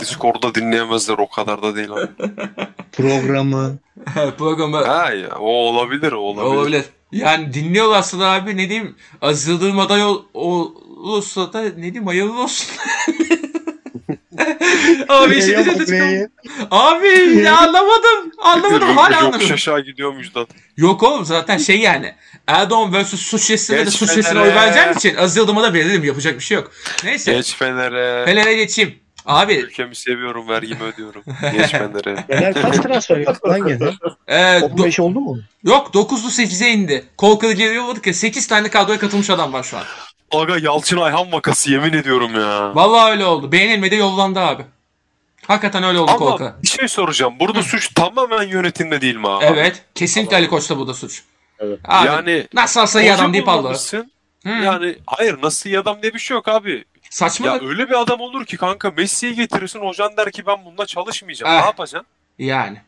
Speaker 3: Discord'da dinleyemezler o kadar da değil abi.
Speaker 2: Programı.
Speaker 1: Programı
Speaker 3: Ha ya o olabilir o olabilir.
Speaker 1: olabilir. Yani dinliyorlarsa da abi ne diyeyim Aziz Yıldırım aday ol- olursa da ne diyeyim hayırlı olsun. abi işin
Speaker 2: Yok,
Speaker 1: içinde çıkalım.
Speaker 2: neyi?
Speaker 1: Abi anlamadım. Anlamadım hala
Speaker 3: Yok
Speaker 1: anlamadım.
Speaker 3: şaşa gidiyor müjdat.
Speaker 1: Yok oğlum zaten şey yani. Erdoğan vs. Suçesi'ne de
Speaker 3: Geç
Speaker 1: Suçesi'ne
Speaker 3: Fener'e.
Speaker 1: oy vereceğim için Aziz Yıldırım'a da veririm. Yapacak bir şey yok. Neyse.
Speaker 3: Geç Fener'e.
Speaker 1: Fener'e geçeyim. Abi
Speaker 3: Ülkemi seviyorum vergimi ödüyorum. Geç Fener'e.
Speaker 2: Fener kaç transfer yaptı lan gene?
Speaker 1: e, do-
Speaker 2: 15 oldu mu?
Speaker 1: yok 9'lu 8'e indi. Kol kırıcı yapıyorduk ya 8 tane kadroya katılmış adam var şu an.
Speaker 3: Aga Yalçın Ayhan vakası yemin ediyorum ya.
Speaker 1: Vallahi öyle oldu. Beğenilmedi yollandı abi. Hakikaten öyle oldu kol kırıcı.
Speaker 3: Ama bir şey soracağım. Burada suç tamamen yönetimde değil mi abi?
Speaker 1: Evet. Kesinlikle
Speaker 3: Tamam.
Speaker 1: Ali Koç'ta bu da suç.
Speaker 5: Evet.
Speaker 1: Abi,
Speaker 3: Yani
Speaker 1: nasıl alsa iyi
Speaker 3: hoca
Speaker 1: adam deyip aldı.
Speaker 3: bulmamışsın.
Speaker 1: Hı.
Speaker 3: Yani hayır nasıl iyi adam diye bir şey yok abi.
Speaker 1: Saçma.
Speaker 3: Ya
Speaker 1: da-
Speaker 3: öyle bir adam olur ki kanka Messi'yi getirirsin hocan der ki ben bununla çalışmayacağım.
Speaker 1: Ah.
Speaker 3: Ne yapacaksın?
Speaker 1: Yani.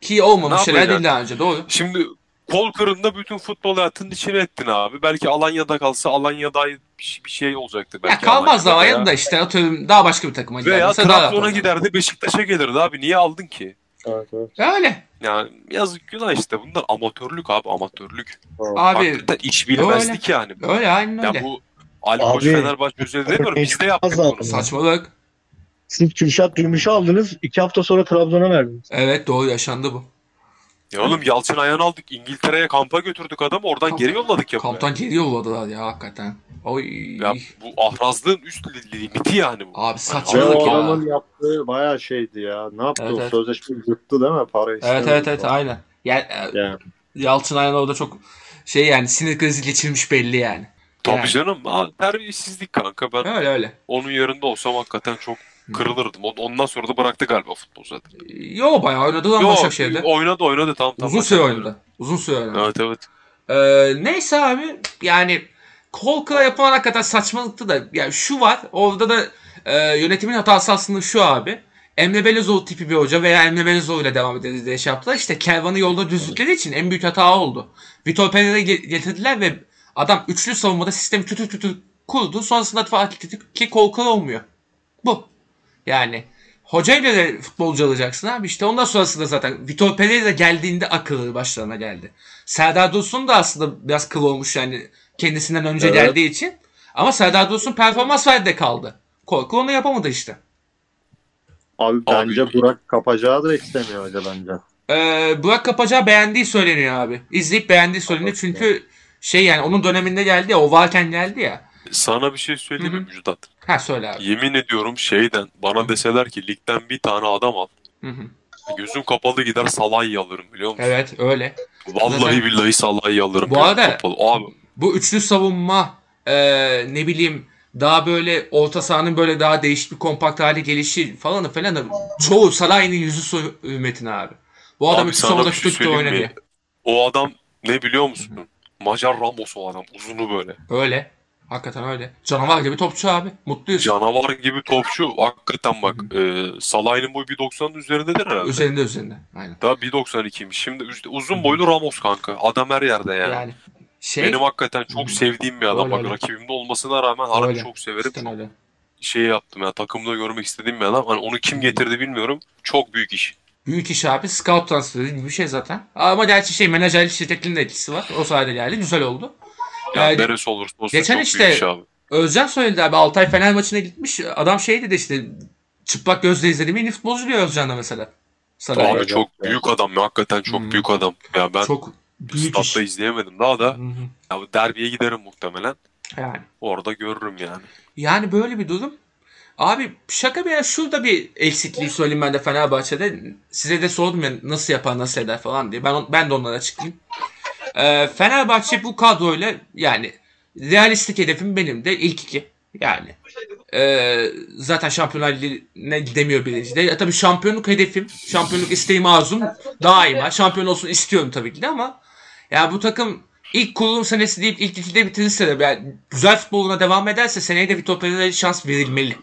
Speaker 1: Ki olmamış
Speaker 3: Ne
Speaker 1: şeyler değil
Speaker 3: yapacaksın?
Speaker 1: daha önce. Doğru.
Speaker 3: Şimdi kol kırında bütün futbol hayatının içine ettin abi. Belki Alanya'da kalsa Alanya'da bir şey, bir şey olacaktı.
Speaker 1: Ya
Speaker 3: Belki
Speaker 1: kalmaz da
Speaker 3: Alanya'da
Speaker 1: ayın da işte atıyorum daha başka bir takıma gider.
Speaker 3: Veya
Speaker 1: Mesela daha rahat
Speaker 3: Trabzon'a
Speaker 1: olur.
Speaker 3: giderdi Beşiktaş'a gelirdi abi. Niye aldın ki?
Speaker 5: Evet, evet.
Speaker 1: Öyle.
Speaker 3: Yani yazık günah işte. Bunlar amatörlük abi amatörlük.
Speaker 1: Abi
Speaker 3: Hakikaten iş bilmezlik yani.
Speaker 1: öyle aynen
Speaker 3: Ya
Speaker 1: öyle.
Speaker 3: bu Ali
Speaker 2: Abi.
Speaker 3: Koç Fenerbahçe özelinde demiyorum. Biz de yaptık
Speaker 2: Fazla
Speaker 3: bunu.
Speaker 1: Saçmalık.
Speaker 2: Siz Kürşat Gümüş'ü aldınız. 2 hafta sonra Trabzon'a verdiniz.
Speaker 1: Evet doğru yaşandı bu.
Speaker 3: Ya oğlum Yalçın Ayhan aldık. İngiltere'ye kampa götürdük adamı. Oradan
Speaker 1: Kamp-
Speaker 3: geri yolladık ya.
Speaker 1: Kamptan geri yolladılar ya hakikaten. Oy.
Speaker 3: Ya bu ahrazlığın üst li- limiti yani bu.
Speaker 1: Abi
Speaker 5: Ve
Speaker 1: saçmalık
Speaker 5: o
Speaker 1: ya.
Speaker 5: adamın yaptığı bayağı şeydi ya. Ne yaptı
Speaker 1: Evet,
Speaker 5: o
Speaker 1: evet.
Speaker 5: sözleşme yırttı değil mi? Para
Speaker 1: Evet
Speaker 5: istemedi
Speaker 1: evet evet
Speaker 5: falan.
Speaker 1: aynen. Yani, e,
Speaker 5: Yani.
Speaker 1: Yalçın Ayhan orada çok şey yani sinir krizi geçirmiş belli yani.
Speaker 3: Tabii
Speaker 1: Yani.
Speaker 3: canım. Aa, terbiyesizlik kanka. Ben
Speaker 1: Öyle öyle.
Speaker 3: onun yerinde olsam hakikaten çok kırılırdım. O- Ondan sonra da bıraktı galiba futbol zaten.
Speaker 1: Yo bayağı oynadı lan
Speaker 3: Yo,
Speaker 1: Başakşehir'de.
Speaker 3: oynadı oynadı tamam tamam.
Speaker 1: Uzun süre oynadı. Uzun süre oynadı.
Speaker 3: Evet evet.
Speaker 1: Ee, neyse abi yani Kolkla yapılan hakikaten saçmalıktı da yani şu var orada da e, yönetimin hatası aslında şu abi. Emre Belezoğlu tipi bir hoca veya Emre Belezoğlu ile devam ederiz diye şey yaptılar. İşte kervanı yolda düzlükleri için en büyük hata oldu. Vitor Pereira'yı ge- getirdiler ve adam üçlü savunmada sistemi tütür tütür kurdu. Sonrasında fark etti ki kol kır olmuyor. Bu. Yani hocayla da futbolcu alacaksın abi. İşte ondan sonrasında zaten Vitor Pereira geldiğinde akıllı başlarına geldi. Serdar Dursun da aslında biraz kıl olmuş yani kendisinden önce
Speaker 5: Evet.
Speaker 1: geldiği için. Ama Serdar Dursun performans verdi de kaldı. Korku onu yapamadı işte.
Speaker 5: Abi bence Burak kapacağı da istemiyor hoca bence.
Speaker 1: Ee, Burak Kapacağı beğendiği söyleniyor abi. İzleyip beğendiği söyleniyor
Speaker 5: Evet,
Speaker 1: çünkü şey yani onun döneminde geldi ya o varken geldi ya.
Speaker 3: Sana bir şey söyleyeyim mi Müjdat?
Speaker 1: Ha söyle abi.
Speaker 3: Yemin ediyorum şeyden bana deseler ki ligden bir tane adam al.
Speaker 1: Hı hı.
Speaker 3: Gözüm kapalı gider Salah'yı alırım biliyor musun?
Speaker 1: Evet öyle.
Speaker 3: Vallahi
Speaker 1: Zaten-
Speaker 3: billahi Salah'yı alırım.
Speaker 1: Bu
Speaker 3: gözüm
Speaker 1: arada-
Speaker 3: kapalı. Abi
Speaker 1: Bu üçlü savunma e, ne bileyim daha böyle orta sahanın böyle daha değişik bir kompakt hale gelişi falan falan çoğu Saray'ın yüzü su Metin abi. Bu adam
Speaker 3: Abi
Speaker 1: üçlü
Speaker 3: sana
Speaker 1: savunmada
Speaker 3: bir şey
Speaker 1: sürekli
Speaker 3: söyleyeyim mi?
Speaker 1: oynadı.
Speaker 3: o adam ne biliyor musun? Macar Ramos o adam. Uzunu böyle.
Speaker 1: Öyle. Hakikaten öyle. Canavar gibi topçu abi. Mutluyuz.
Speaker 3: Canavar gibi topçu. Hakikaten bak. E, Salah'ın boyu 1.90'ın üzerindedir herhalde.
Speaker 1: Üzerinde üzerinde. Aynen.
Speaker 3: Daha 1.92'ymiş. Şimdi işte uzun boylu Ramos kanka. Adam her yerde yani.
Speaker 1: Yani şey
Speaker 3: Benim hakikaten çok sevdiğim bir adam.
Speaker 1: Öyle,
Speaker 3: Bak
Speaker 1: öyle.
Speaker 3: rakibimde olmasına rağmen harbi
Speaker 1: Öyle.
Speaker 3: çok severim.
Speaker 1: cidden öyle.
Speaker 3: Şey yaptım ya takımda görmek istediğim bir adam. Hani onu kim getirdi bilmiyorum. Çok büyük iş.
Speaker 1: Büyük iş abi. Scout transferi gibi bir şey zaten. Ama gerçi şey menajerlik şirketinin de etkisi var. O sayede geldi. Güzel oldu.
Speaker 3: Yani
Speaker 1: Yani
Speaker 3: neresi olursa olsun
Speaker 1: geçen
Speaker 3: çok
Speaker 1: işte-
Speaker 3: büyük iş abi.
Speaker 1: Özcan söyledi abi. Altay Fener maçına gitmiş. Adam şey dedi işte çıplak gözle izlediğim en iyi futbolcu diyor Özcan'da mesela. Sana
Speaker 3: Abi
Speaker 5: Evet,
Speaker 3: çok
Speaker 5: evet.
Speaker 3: büyük adam ya. Hakikaten çok
Speaker 1: Hı.
Speaker 3: büyük adam. Ya ben
Speaker 1: çok büyük iş.
Speaker 3: statta izleyemedim daha da.
Speaker 1: Hı hı.
Speaker 3: Ya bu derbiye giderim muhtemelen.
Speaker 1: Yani.
Speaker 3: Orada görürüm yani.
Speaker 1: Yani böyle bir durum. Abi şaka bir yana şurada bir eksikliği söyleyeyim ben de Fenerbahçe'de. Size de sordum ya nasıl yapar nasıl eder falan diye. Ben ben de onlara açıklayayım. Ee, Fenerbahçe bu kadroyla yani realistik hedefim benim de ilk iki. Yani ee, zaten şampiyonlar ligine gidemiyor birinci de. Ya Tabii şampiyonluk hedefim, şampiyonluk isteğim arzum daima. Şampiyon olsun istiyorum tabii ki de ama ya bu takım İlk kurulum senesi deyip ilk ikide bitirirse de yani güzel futboluna devam ederse seneye de Vitor Pereira'ya şans verilmeli.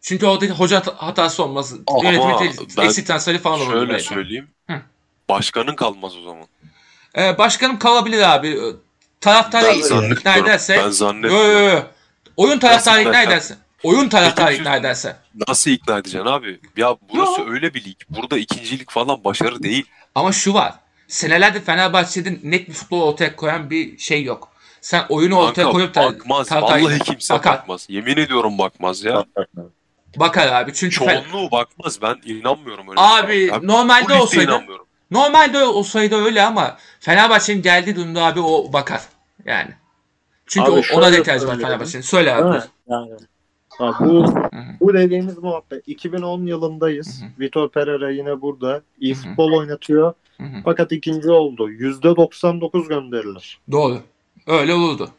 Speaker 1: Çünkü orada hoca hat- hatası olmaz.
Speaker 3: Ama
Speaker 1: Yönetimi
Speaker 3: ben
Speaker 1: te- eksik transferi falan olur.
Speaker 3: Şöyle
Speaker 1: belki.
Speaker 3: söyleyeyim.
Speaker 1: Hı.
Speaker 3: Başkanın kalmaz o zaman.
Speaker 1: Ee, başkanım kalabilir abi. Ee, Taraftarı
Speaker 3: Ben
Speaker 1: ikna
Speaker 3: zannetmiyorum.
Speaker 1: ederse.
Speaker 3: Ben
Speaker 1: Yo,
Speaker 3: zannetmiyorum.
Speaker 1: yo, yo. Oyun taraftarı
Speaker 3: Nasıl
Speaker 1: ikna
Speaker 3: ikna-
Speaker 1: ederse. Oyun taraftarı
Speaker 3: Peki,
Speaker 1: ikna ederse.
Speaker 3: Nasıl ikna edeceksin abi? Ya burası öyle bir lig. Burada ikincilik falan başarı değil.
Speaker 1: Ama şu var. Senelerde Fenerbahçe'de net bir futbol ortaya koyan bir şey yok. Sen oyunu ortaya
Speaker 3: Kanka
Speaker 1: koyup da
Speaker 3: bakmaz.
Speaker 1: taraftar-
Speaker 3: Vallahi kimse
Speaker 1: Bakar.
Speaker 3: bakmaz. Yemin ediyorum bakmaz ya.
Speaker 1: bakar abi. Çünkü Fe-
Speaker 3: Çoğunluğu bakmaz. Ben inanmıyorum öyle.
Speaker 1: abi normalde
Speaker 3: normalde
Speaker 1: olsaydı
Speaker 3: inanmıyorum.
Speaker 1: Normalde olsaydı öyle ama Fenerbahçe'nin geldiği durumda abi o bakar. Yani. Çünkü
Speaker 5: Abi
Speaker 1: o- ona da
Speaker 5: şöyle
Speaker 1: ihtiyacı var
Speaker 5: söyleyeyim.
Speaker 1: Fenerbahçe'nin. Söyle
Speaker 5: Değil
Speaker 1: abi.
Speaker 5: mi? Yani. Ha, bu bu dediğimiz muhabbet. 2010 yılındayız. Vitor Pereira yine burada. İyi
Speaker 1: Hı hı.
Speaker 5: futbol oynatıyor.
Speaker 1: Hı hı.
Speaker 5: Fakat ikinci oldu. %99 gönderilir.
Speaker 1: Doğru. Öyle olurdu.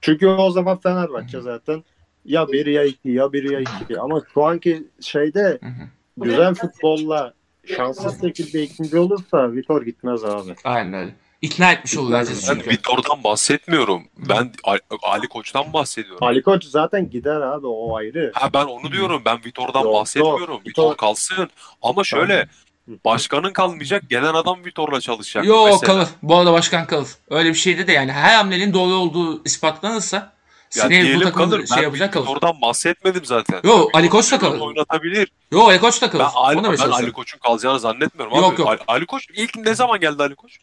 Speaker 5: Çünkü o zaman Fenerbahçe zaten ya 1 ya 2 ya 1 ya 2 ama şu anki şeyde
Speaker 1: Hı hı.
Speaker 5: güzel futbolla şanssız şekilde ikinci olursa Vitor gitmez abi.
Speaker 1: Aynen öyle. İkna etmiş olur herkes
Speaker 3: Ben
Speaker 1: çünkü.
Speaker 3: Vitor'dan bahsetmiyorum. Ben Ali, Ali Koç'tan bahsediyorum.
Speaker 5: Ali Koç zaten gider abi o ayrı.
Speaker 3: Ha ben onu diyorum. Ben Vitor'dan
Speaker 5: Yok,
Speaker 3: bahsetmiyorum.
Speaker 5: yok.
Speaker 3: Vitor
Speaker 5: Vitor-
Speaker 3: kalsın. Ama şöyle başkanın kalmayacak. Gelen adam Vitor'la çalışacak.
Speaker 1: Yo
Speaker 3: mesela.
Speaker 1: kalır. Bu arada başkan kalır. Öyle bir şeydi de yani her hamlenin doğru olduğu ispatlanırsa
Speaker 3: Ya
Speaker 1: Sineye bu
Speaker 3: diyelim
Speaker 1: takımda
Speaker 3: kalır.
Speaker 1: şey
Speaker 3: Ben
Speaker 1: yapacak kalır.
Speaker 3: Vitor'dan bahsetmedim zaten.
Speaker 1: Yo,
Speaker 3: Tabii
Speaker 1: Ali Koç da
Speaker 3: Vitor
Speaker 1: kalır.
Speaker 3: Oynatabilir.
Speaker 1: Yo Ali Koç da kalır.
Speaker 3: Ben, Ali,
Speaker 1: Onu da
Speaker 3: ben
Speaker 1: mesela.
Speaker 3: Ali Koç'un kalacağını zannetmiyorum. Abi.
Speaker 1: Yok, yok.
Speaker 3: Ali, Ali Koç ilk ne zaman geldi Ali Koç?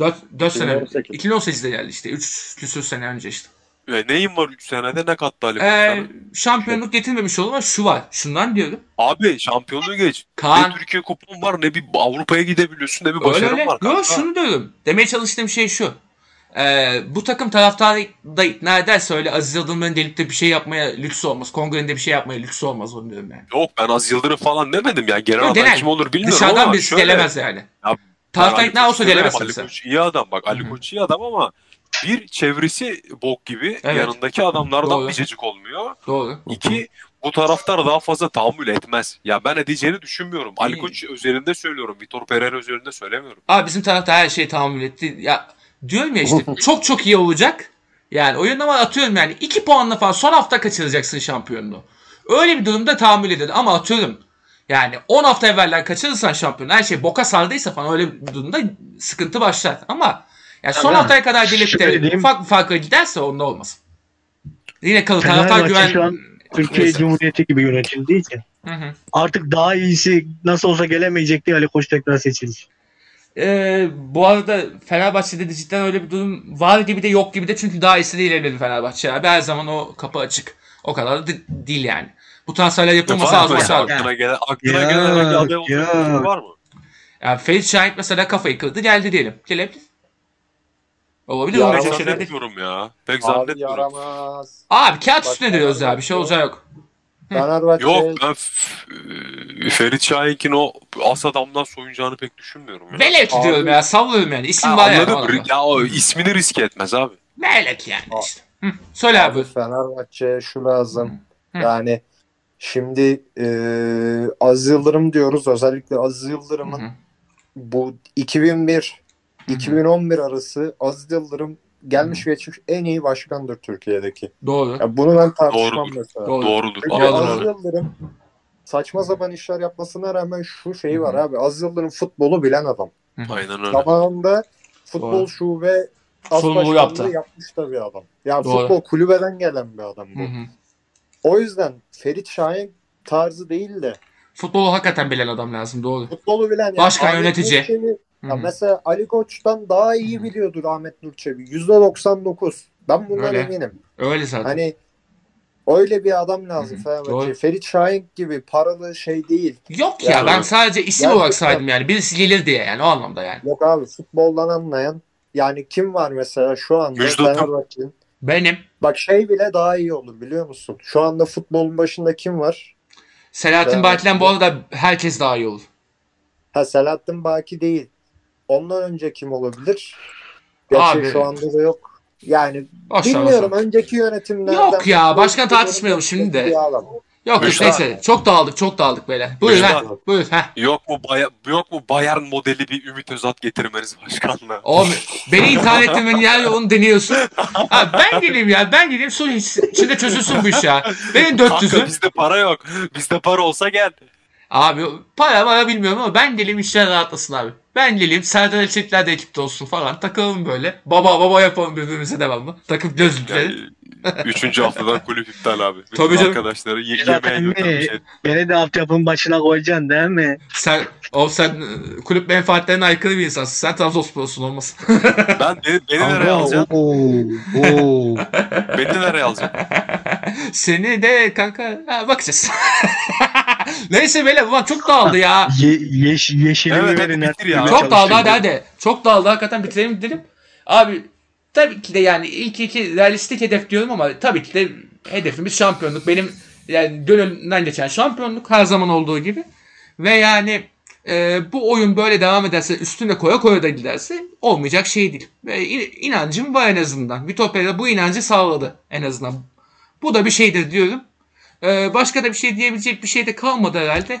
Speaker 1: 4, 4 sene.
Speaker 5: 2018.
Speaker 1: 2018'de geldi işte. 3 küsur sene önce işte.
Speaker 3: Ve neyin E, var 3 senede ne kattı Ali Koç?
Speaker 1: Ee,
Speaker 3: sana?
Speaker 1: şampiyonluk getirmemiş olur ama şu var. Şundan diyorum.
Speaker 3: Abi şampiyonluğu geç.
Speaker 1: Kaan
Speaker 3: Ne Türkiye kupon var ne bir Avrupa'ya gidebiliyorsun ne bir
Speaker 1: Öyle
Speaker 3: başarın
Speaker 1: öyle.
Speaker 3: var.
Speaker 1: Yo, şunu diyorum. Demeye çalıştığım şey şu. Ee, bu takım taraftarı da ikna ederse öyle Aziz Yıldırım'ın gelip de bir şey yapmaya lüksü olmaz. Kongre'nin de bir şey yapmaya lüksü olmaz onu diyorum yani.
Speaker 3: Yok ben az Yıldırım falan demedim ya. Genel
Speaker 1: Yo,
Speaker 3: olarak
Speaker 1: genel.
Speaker 3: kim olur bilmiyorum
Speaker 1: Dışarıdan
Speaker 3: ama
Speaker 1: birisi
Speaker 3: şöyle,
Speaker 1: gelemez yani.
Speaker 3: ben
Speaker 1: Taraftar
Speaker 3: Ali
Speaker 1: ikna
Speaker 3: Koç'u
Speaker 1: olsa
Speaker 3: severim.
Speaker 1: gelemez
Speaker 3: Ali
Speaker 1: mesela.
Speaker 3: Koç iyi adam bak. Ali
Speaker 1: Hı hı.
Speaker 3: Koç iyi adam ama bir çevresi bok gibi
Speaker 1: Evet.
Speaker 3: yanındaki adamlardan
Speaker 1: Doğru.
Speaker 3: bir cacık olmuyor.
Speaker 1: Doğru.
Speaker 3: İki bu taraftar daha fazla tahammül etmez. Ya ben edeceğini düşünmüyorum. Ali
Speaker 1: İyi.
Speaker 3: Koç özelinde söylüyorum. Vitor Pereira özelinde söylemiyorum.
Speaker 1: Abi bizim taraftar her şeyi tahammül etti. Ya diyorum ya işte çok çok iyi olacak. Yani oyun ama atıyorum yani 2 puanla falan son hafta kaçıracaksın şampiyonluğu. Öyle bir durumda tahammül edin ama atıyorum Yani 10 hafta evvelden kaçırırsan şampiyon her şey boka sardıysa falan öyle bir durumda sıkıntı başlar. Ama yani son
Speaker 2: Tabii.
Speaker 1: haftaya kadar gelip
Speaker 2: Şöyle
Speaker 1: de
Speaker 2: diyeyim.
Speaker 1: ufak bir farka giderse onda olmaz. Yine kalır taraftar
Speaker 2: Fenerbahçe şu
Speaker 1: güven.
Speaker 2: an Türkiye
Speaker 1: Neyse.
Speaker 2: Cumhuriyeti gibi yönetildiği için
Speaker 1: Hı hı.
Speaker 2: artık daha iyisi nasıl olsa gelemeyecek diye Ali Koç tekrar seçilir.
Speaker 1: Ee, bu arada Fenerbahçe'de de cidden öyle bir durum var gibi de yok gibi de çünkü daha iyisi değil elbette Fenerbahçe abi. Her zaman o kapı açık. O kadar da de- değil yani. Bu transferler yapılmasa
Speaker 3: Var mı
Speaker 1: az
Speaker 3: ya?
Speaker 1: başlar.
Speaker 3: Aklına gelen, aklına
Speaker 2: Ya,
Speaker 3: gelen hangi aday
Speaker 2: ya.
Speaker 3: olduğunu var mı?
Speaker 1: Yani Ferit Şahit mesela kafayı kırdı geldi diyelim. Gelebilir. Olabilir.
Speaker 4: Ya,
Speaker 1: Ya,
Speaker 3: Pek
Speaker 4: Yaramaz.
Speaker 1: şeyler değil.
Speaker 3: zannetmiyorum ya. Pek
Speaker 4: Abi
Speaker 3: zannetmiyorum.
Speaker 4: yaramaz.
Speaker 1: Abi kağıt
Speaker 4: Bak,
Speaker 1: üstüne diyoruz ya bir şey olacağı yok.
Speaker 4: Fenerbahçe
Speaker 3: Yok ben f- e, Ferit Şahink'in o as adamdan soyunacağını pek düşünmüyorum ya.
Speaker 1: Melek
Speaker 4: Abi.
Speaker 1: diyorum ya sallıyorum yani. İsim
Speaker 3: Ha,
Speaker 1: var yani.
Speaker 3: anladım.
Speaker 1: orada.
Speaker 3: Ya o ismini riske etmez abi.
Speaker 1: Melek yani
Speaker 4: Abi.
Speaker 1: işte. Hı. Söyle abi.
Speaker 4: Abi Fenerbahçe şu lazım.
Speaker 1: Hı.
Speaker 4: Yani şimdi e, Aziz Yıldırım diyoruz. Özellikle Aziz Yıldırım'ın
Speaker 1: Hı hı.
Speaker 4: bu 2001
Speaker 1: hı.
Speaker 4: 2011 arası Aziz Yıldırım gelmiş geçmiş en iyi başkandır Türkiye'deki.
Speaker 1: Doğru.
Speaker 4: Ya bunu ben tartışmam
Speaker 3: Doğrudur.
Speaker 4: mesela.
Speaker 1: Doğru.
Speaker 3: Doğrudur.
Speaker 4: Çünkü
Speaker 1: Doğru,
Speaker 4: Aziz
Speaker 1: doğru.
Speaker 4: Yıldırım saçma sapan işler yapmasına rağmen şu şeyi var abi. Aziz Yıldırım futbolu bilen adam.
Speaker 3: Aynen öyle.
Speaker 4: Zamanında futbol
Speaker 1: Doğru.
Speaker 4: şube az
Speaker 1: Sorumluluğu
Speaker 4: başkanlığı
Speaker 1: yaptı.
Speaker 4: yapmış da bir adam. Yani
Speaker 1: Doğru.
Speaker 4: futbol kulübeden gelen bir adam bu.
Speaker 1: Hı hı.
Speaker 4: O yüzden Ferit Şahin tarzı değil de
Speaker 1: Futbolu hakikaten bilen adam lazım doğru.
Speaker 4: futbolu bilen yani
Speaker 1: Başkan,
Speaker 4: Ahmet
Speaker 1: yönetici. Hmm.
Speaker 4: Nurçevi-
Speaker 1: Hı
Speaker 4: Ya
Speaker 1: hı.
Speaker 4: mesela Ali Koç'tan daha iyi biliyordur Ahmet Nurçevi. %99. Ben bundan
Speaker 1: Öyle.
Speaker 4: eminim.
Speaker 1: Öyle zaten.
Speaker 4: Hani öyle bir adam lazım
Speaker 1: Hı hı. Hmm. Doğru.
Speaker 4: Fenerbahçe'ye. Ferit Şahin gibi paralı şey değil.
Speaker 1: Yok ya
Speaker 3: Yani-
Speaker 1: ben sadece isim
Speaker 4: Yani-
Speaker 1: olarak saydım yani. Birisi gelir diye yani o anlamda yani.
Speaker 4: Yok abi futboldan anlayan yani kim var mesela şu anda
Speaker 3: Müjdat Ön-
Speaker 4: Fenerbahçe'nin?
Speaker 1: Benim
Speaker 4: Bak şey bile daha iyi olur biliyor musun? Şu anda futbolun başında kim var?
Speaker 1: Selahattin
Speaker 4: Ben-
Speaker 1: Baki'den bu arada herkes daha iyi olur.
Speaker 4: Ha Selahattin Baki değil. Ondan önce kim olabilir? Gerçi
Speaker 1: Abi.
Speaker 4: şu anda da yok. Yani
Speaker 1: Aşağı
Speaker 4: bilmiyorum
Speaker 1: aşağı.
Speaker 4: önceki yönetimlerden.
Speaker 1: Yok ya, başkan
Speaker 4: Futbolun
Speaker 1: tartışmayalım şimdi de.
Speaker 4: bir adam.
Speaker 1: Yok yok,
Speaker 3: Müjdat.
Speaker 1: neyse çok dağıldık çok dağıldık böyle. Buyur
Speaker 3: Müjdat.
Speaker 1: lan buyur. Heh.
Speaker 3: Yok mu baya, yok mu Bayern modeli bir Ümit Özat getirmeniz başkanlığa?
Speaker 1: Oğlum beni ithal ettirmenin yer yok, onu deniyorsun. Ha, ben geleyim ya ben geleyim sulh içinde çözülsün bu iş ya. Benim
Speaker 3: Kanka
Speaker 1: 400'ü.
Speaker 3: bizde para yok. Bizde para olsa gel.
Speaker 1: Abi para para bilmiyorum ama ben geleyim işler rahatlasın abi. Ben geleyim Serdar Elçikler de ekipte olsun falan takılalım böyle. Baba baba yapalım birbirimize devamlı. Takıp gözlükleri.
Speaker 3: Yani, üçüncü haftadan kulüp iptal abi. Bütün
Speaker 1: Tabii canım.
Speaker 3: arkadaşları ye- yemeğe şey.
Speaker 2: Zaten
Speaker 3: götürmüş.
Speaker 2: ne? Beni de altyapının başına koyacaksın değil mi?
Speaker 1: Sen, o sen e, kulüp menfaatlerine aykırı bir insansın. Sen Trabzonspor'sun olmasın.
Speaker 3: Ben beni, beni nereye alacaksın? Beni nereye alacaksın?
Speaker 1: Seni de kanka ha, bakacağız. Neyse beyler ulan çok dağıldı ya.
Speaker 2: Ye, yeş, yeşilini
Speaker 3: Evet,
Speaker 2: verin
Speaker 3: hadi bitir ya.
Speaker 2: her türlü
Speaker 3: Çalıştım.
Speaker 1: çok dağıldı hadi
Speaker 2: çalışın.
Speaker 1: hadi. Çok dağıldı hakikaten bitirelim dedim. Abi tabii ki de yani ilk iki realistik hedef diyorum ama tabii ki de hedefimiz şampiyonluk. Benim yani gönlümden geçen şampiyonluk her zaman olduğu gibi. Ve yani e, bu oyun böyle devam ederse üstüne koya koya da giderse olmayacak şey değil. Ve in- inancım var en azından. Vitopya da bu inancı sağladı en azından. Bu da bir şeydir diyorum. E, başka da bir şey diyebilecek bir şey de kalmadı herhalde.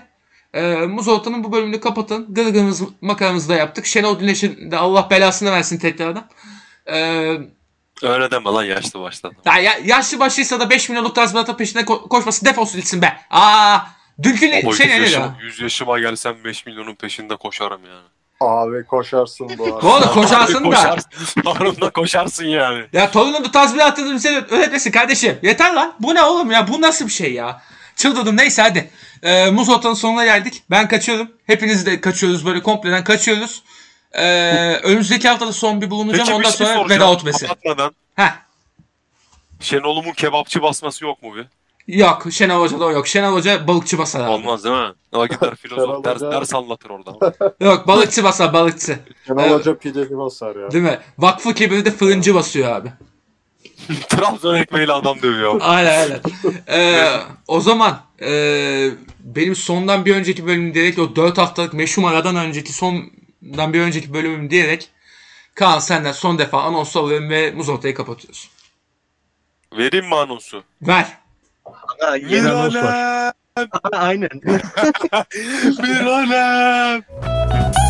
Speaker 1: E, Muzolta'nın bu bölümünü kapatın. Gırgırımız makaramızı da yaptık. Şenol Güneş'in de Allah belasını versin tekrardan. E,
Speaker 3: Öyle deme lan yaşlı baştan.
Speaker 1: ya, ya- yaşlı başlıysa da 5 milyonluk tazminata peşine ko- koşması defolsun gitsin be. Aa, dünkü ne,
Speaker 3: Baba,
Speaker 1: şey
Speaker 3: 100,
Speaker 1: ne dedi?
Speaker 3: yaşıma, 100 yaşıma gelsem 5 milyonun peşinde koşarım yani.
Speaker 4: Abi koşarsın bu
Speaker 1: Bu
Speaker 4: arada.
Speaker 1: arada koşarsın da.
Speaker 3: Koşarsın. Tarımda koşarsın yani.
Speaker 1: Ya torunun tazminatını bize öğretmesin kardeşim. Yeter lan. Bu ne oğlum ya? Bu nasıl bir şey ya? Çıldırdım neyse hadi. Ee, Muz Orta'nın sonuna geldik. Ben kaçıyorum. Hepiniz de kaçıyoruz böyle kompleden kaçıyoruz. Ee, önümüzdeki haftada son bir bulunacağım.
Speaker 3: Peki bir
Speaker 1: Ondan
Speaker 3: şey
Speaker 1: sonra
Speaker 3: soracağım.
Speaker 1: veda otmesi.
Speaker 3: Kapatmadan
Speaker 1: Heh.
Speaker 3: Şenol'umun kebapçı basması yok mu bir?
Speaker 1: Yok Şenol Hoca'da o yok. Şenol Hoca balıkçı basar abi.
Speaker 3: Olmaz değil mi? Ama gider
Speaker 4: Şenol
Speaker 3: filozof ders,
Speaker 4: Hoca-
Speaker 3: ders anlatır orada.
Speaker 1: Yok balıkçı basar balıkçı.
Speaker 4: Kemal Hoca pideli basar ya.
Speaker 1: Değil mi? Vakfı kebiri de fırıncı basıyor abi.
Speaker 3: Trabzon ekmeğiyle adam dövüyor.
Speaker 1: Aynen aynen. Ee, o zaman ee, benim sondan bir önceki bölüm diyerek o 4 haftalık meşhum aradan önceki sondan bir önceki bölümüm diyerek Kaan senden son defa anons alıyorum ve muz ortayı kapatıyoruz.
Speaker 3: Vereyim mi anonsu?
Speaker 1: Ver.
Speaker 2: Ha, yeni
Speaker 3: ne?
Speaker 2: anons var. Aynen.
Speaker 3: Bir alem!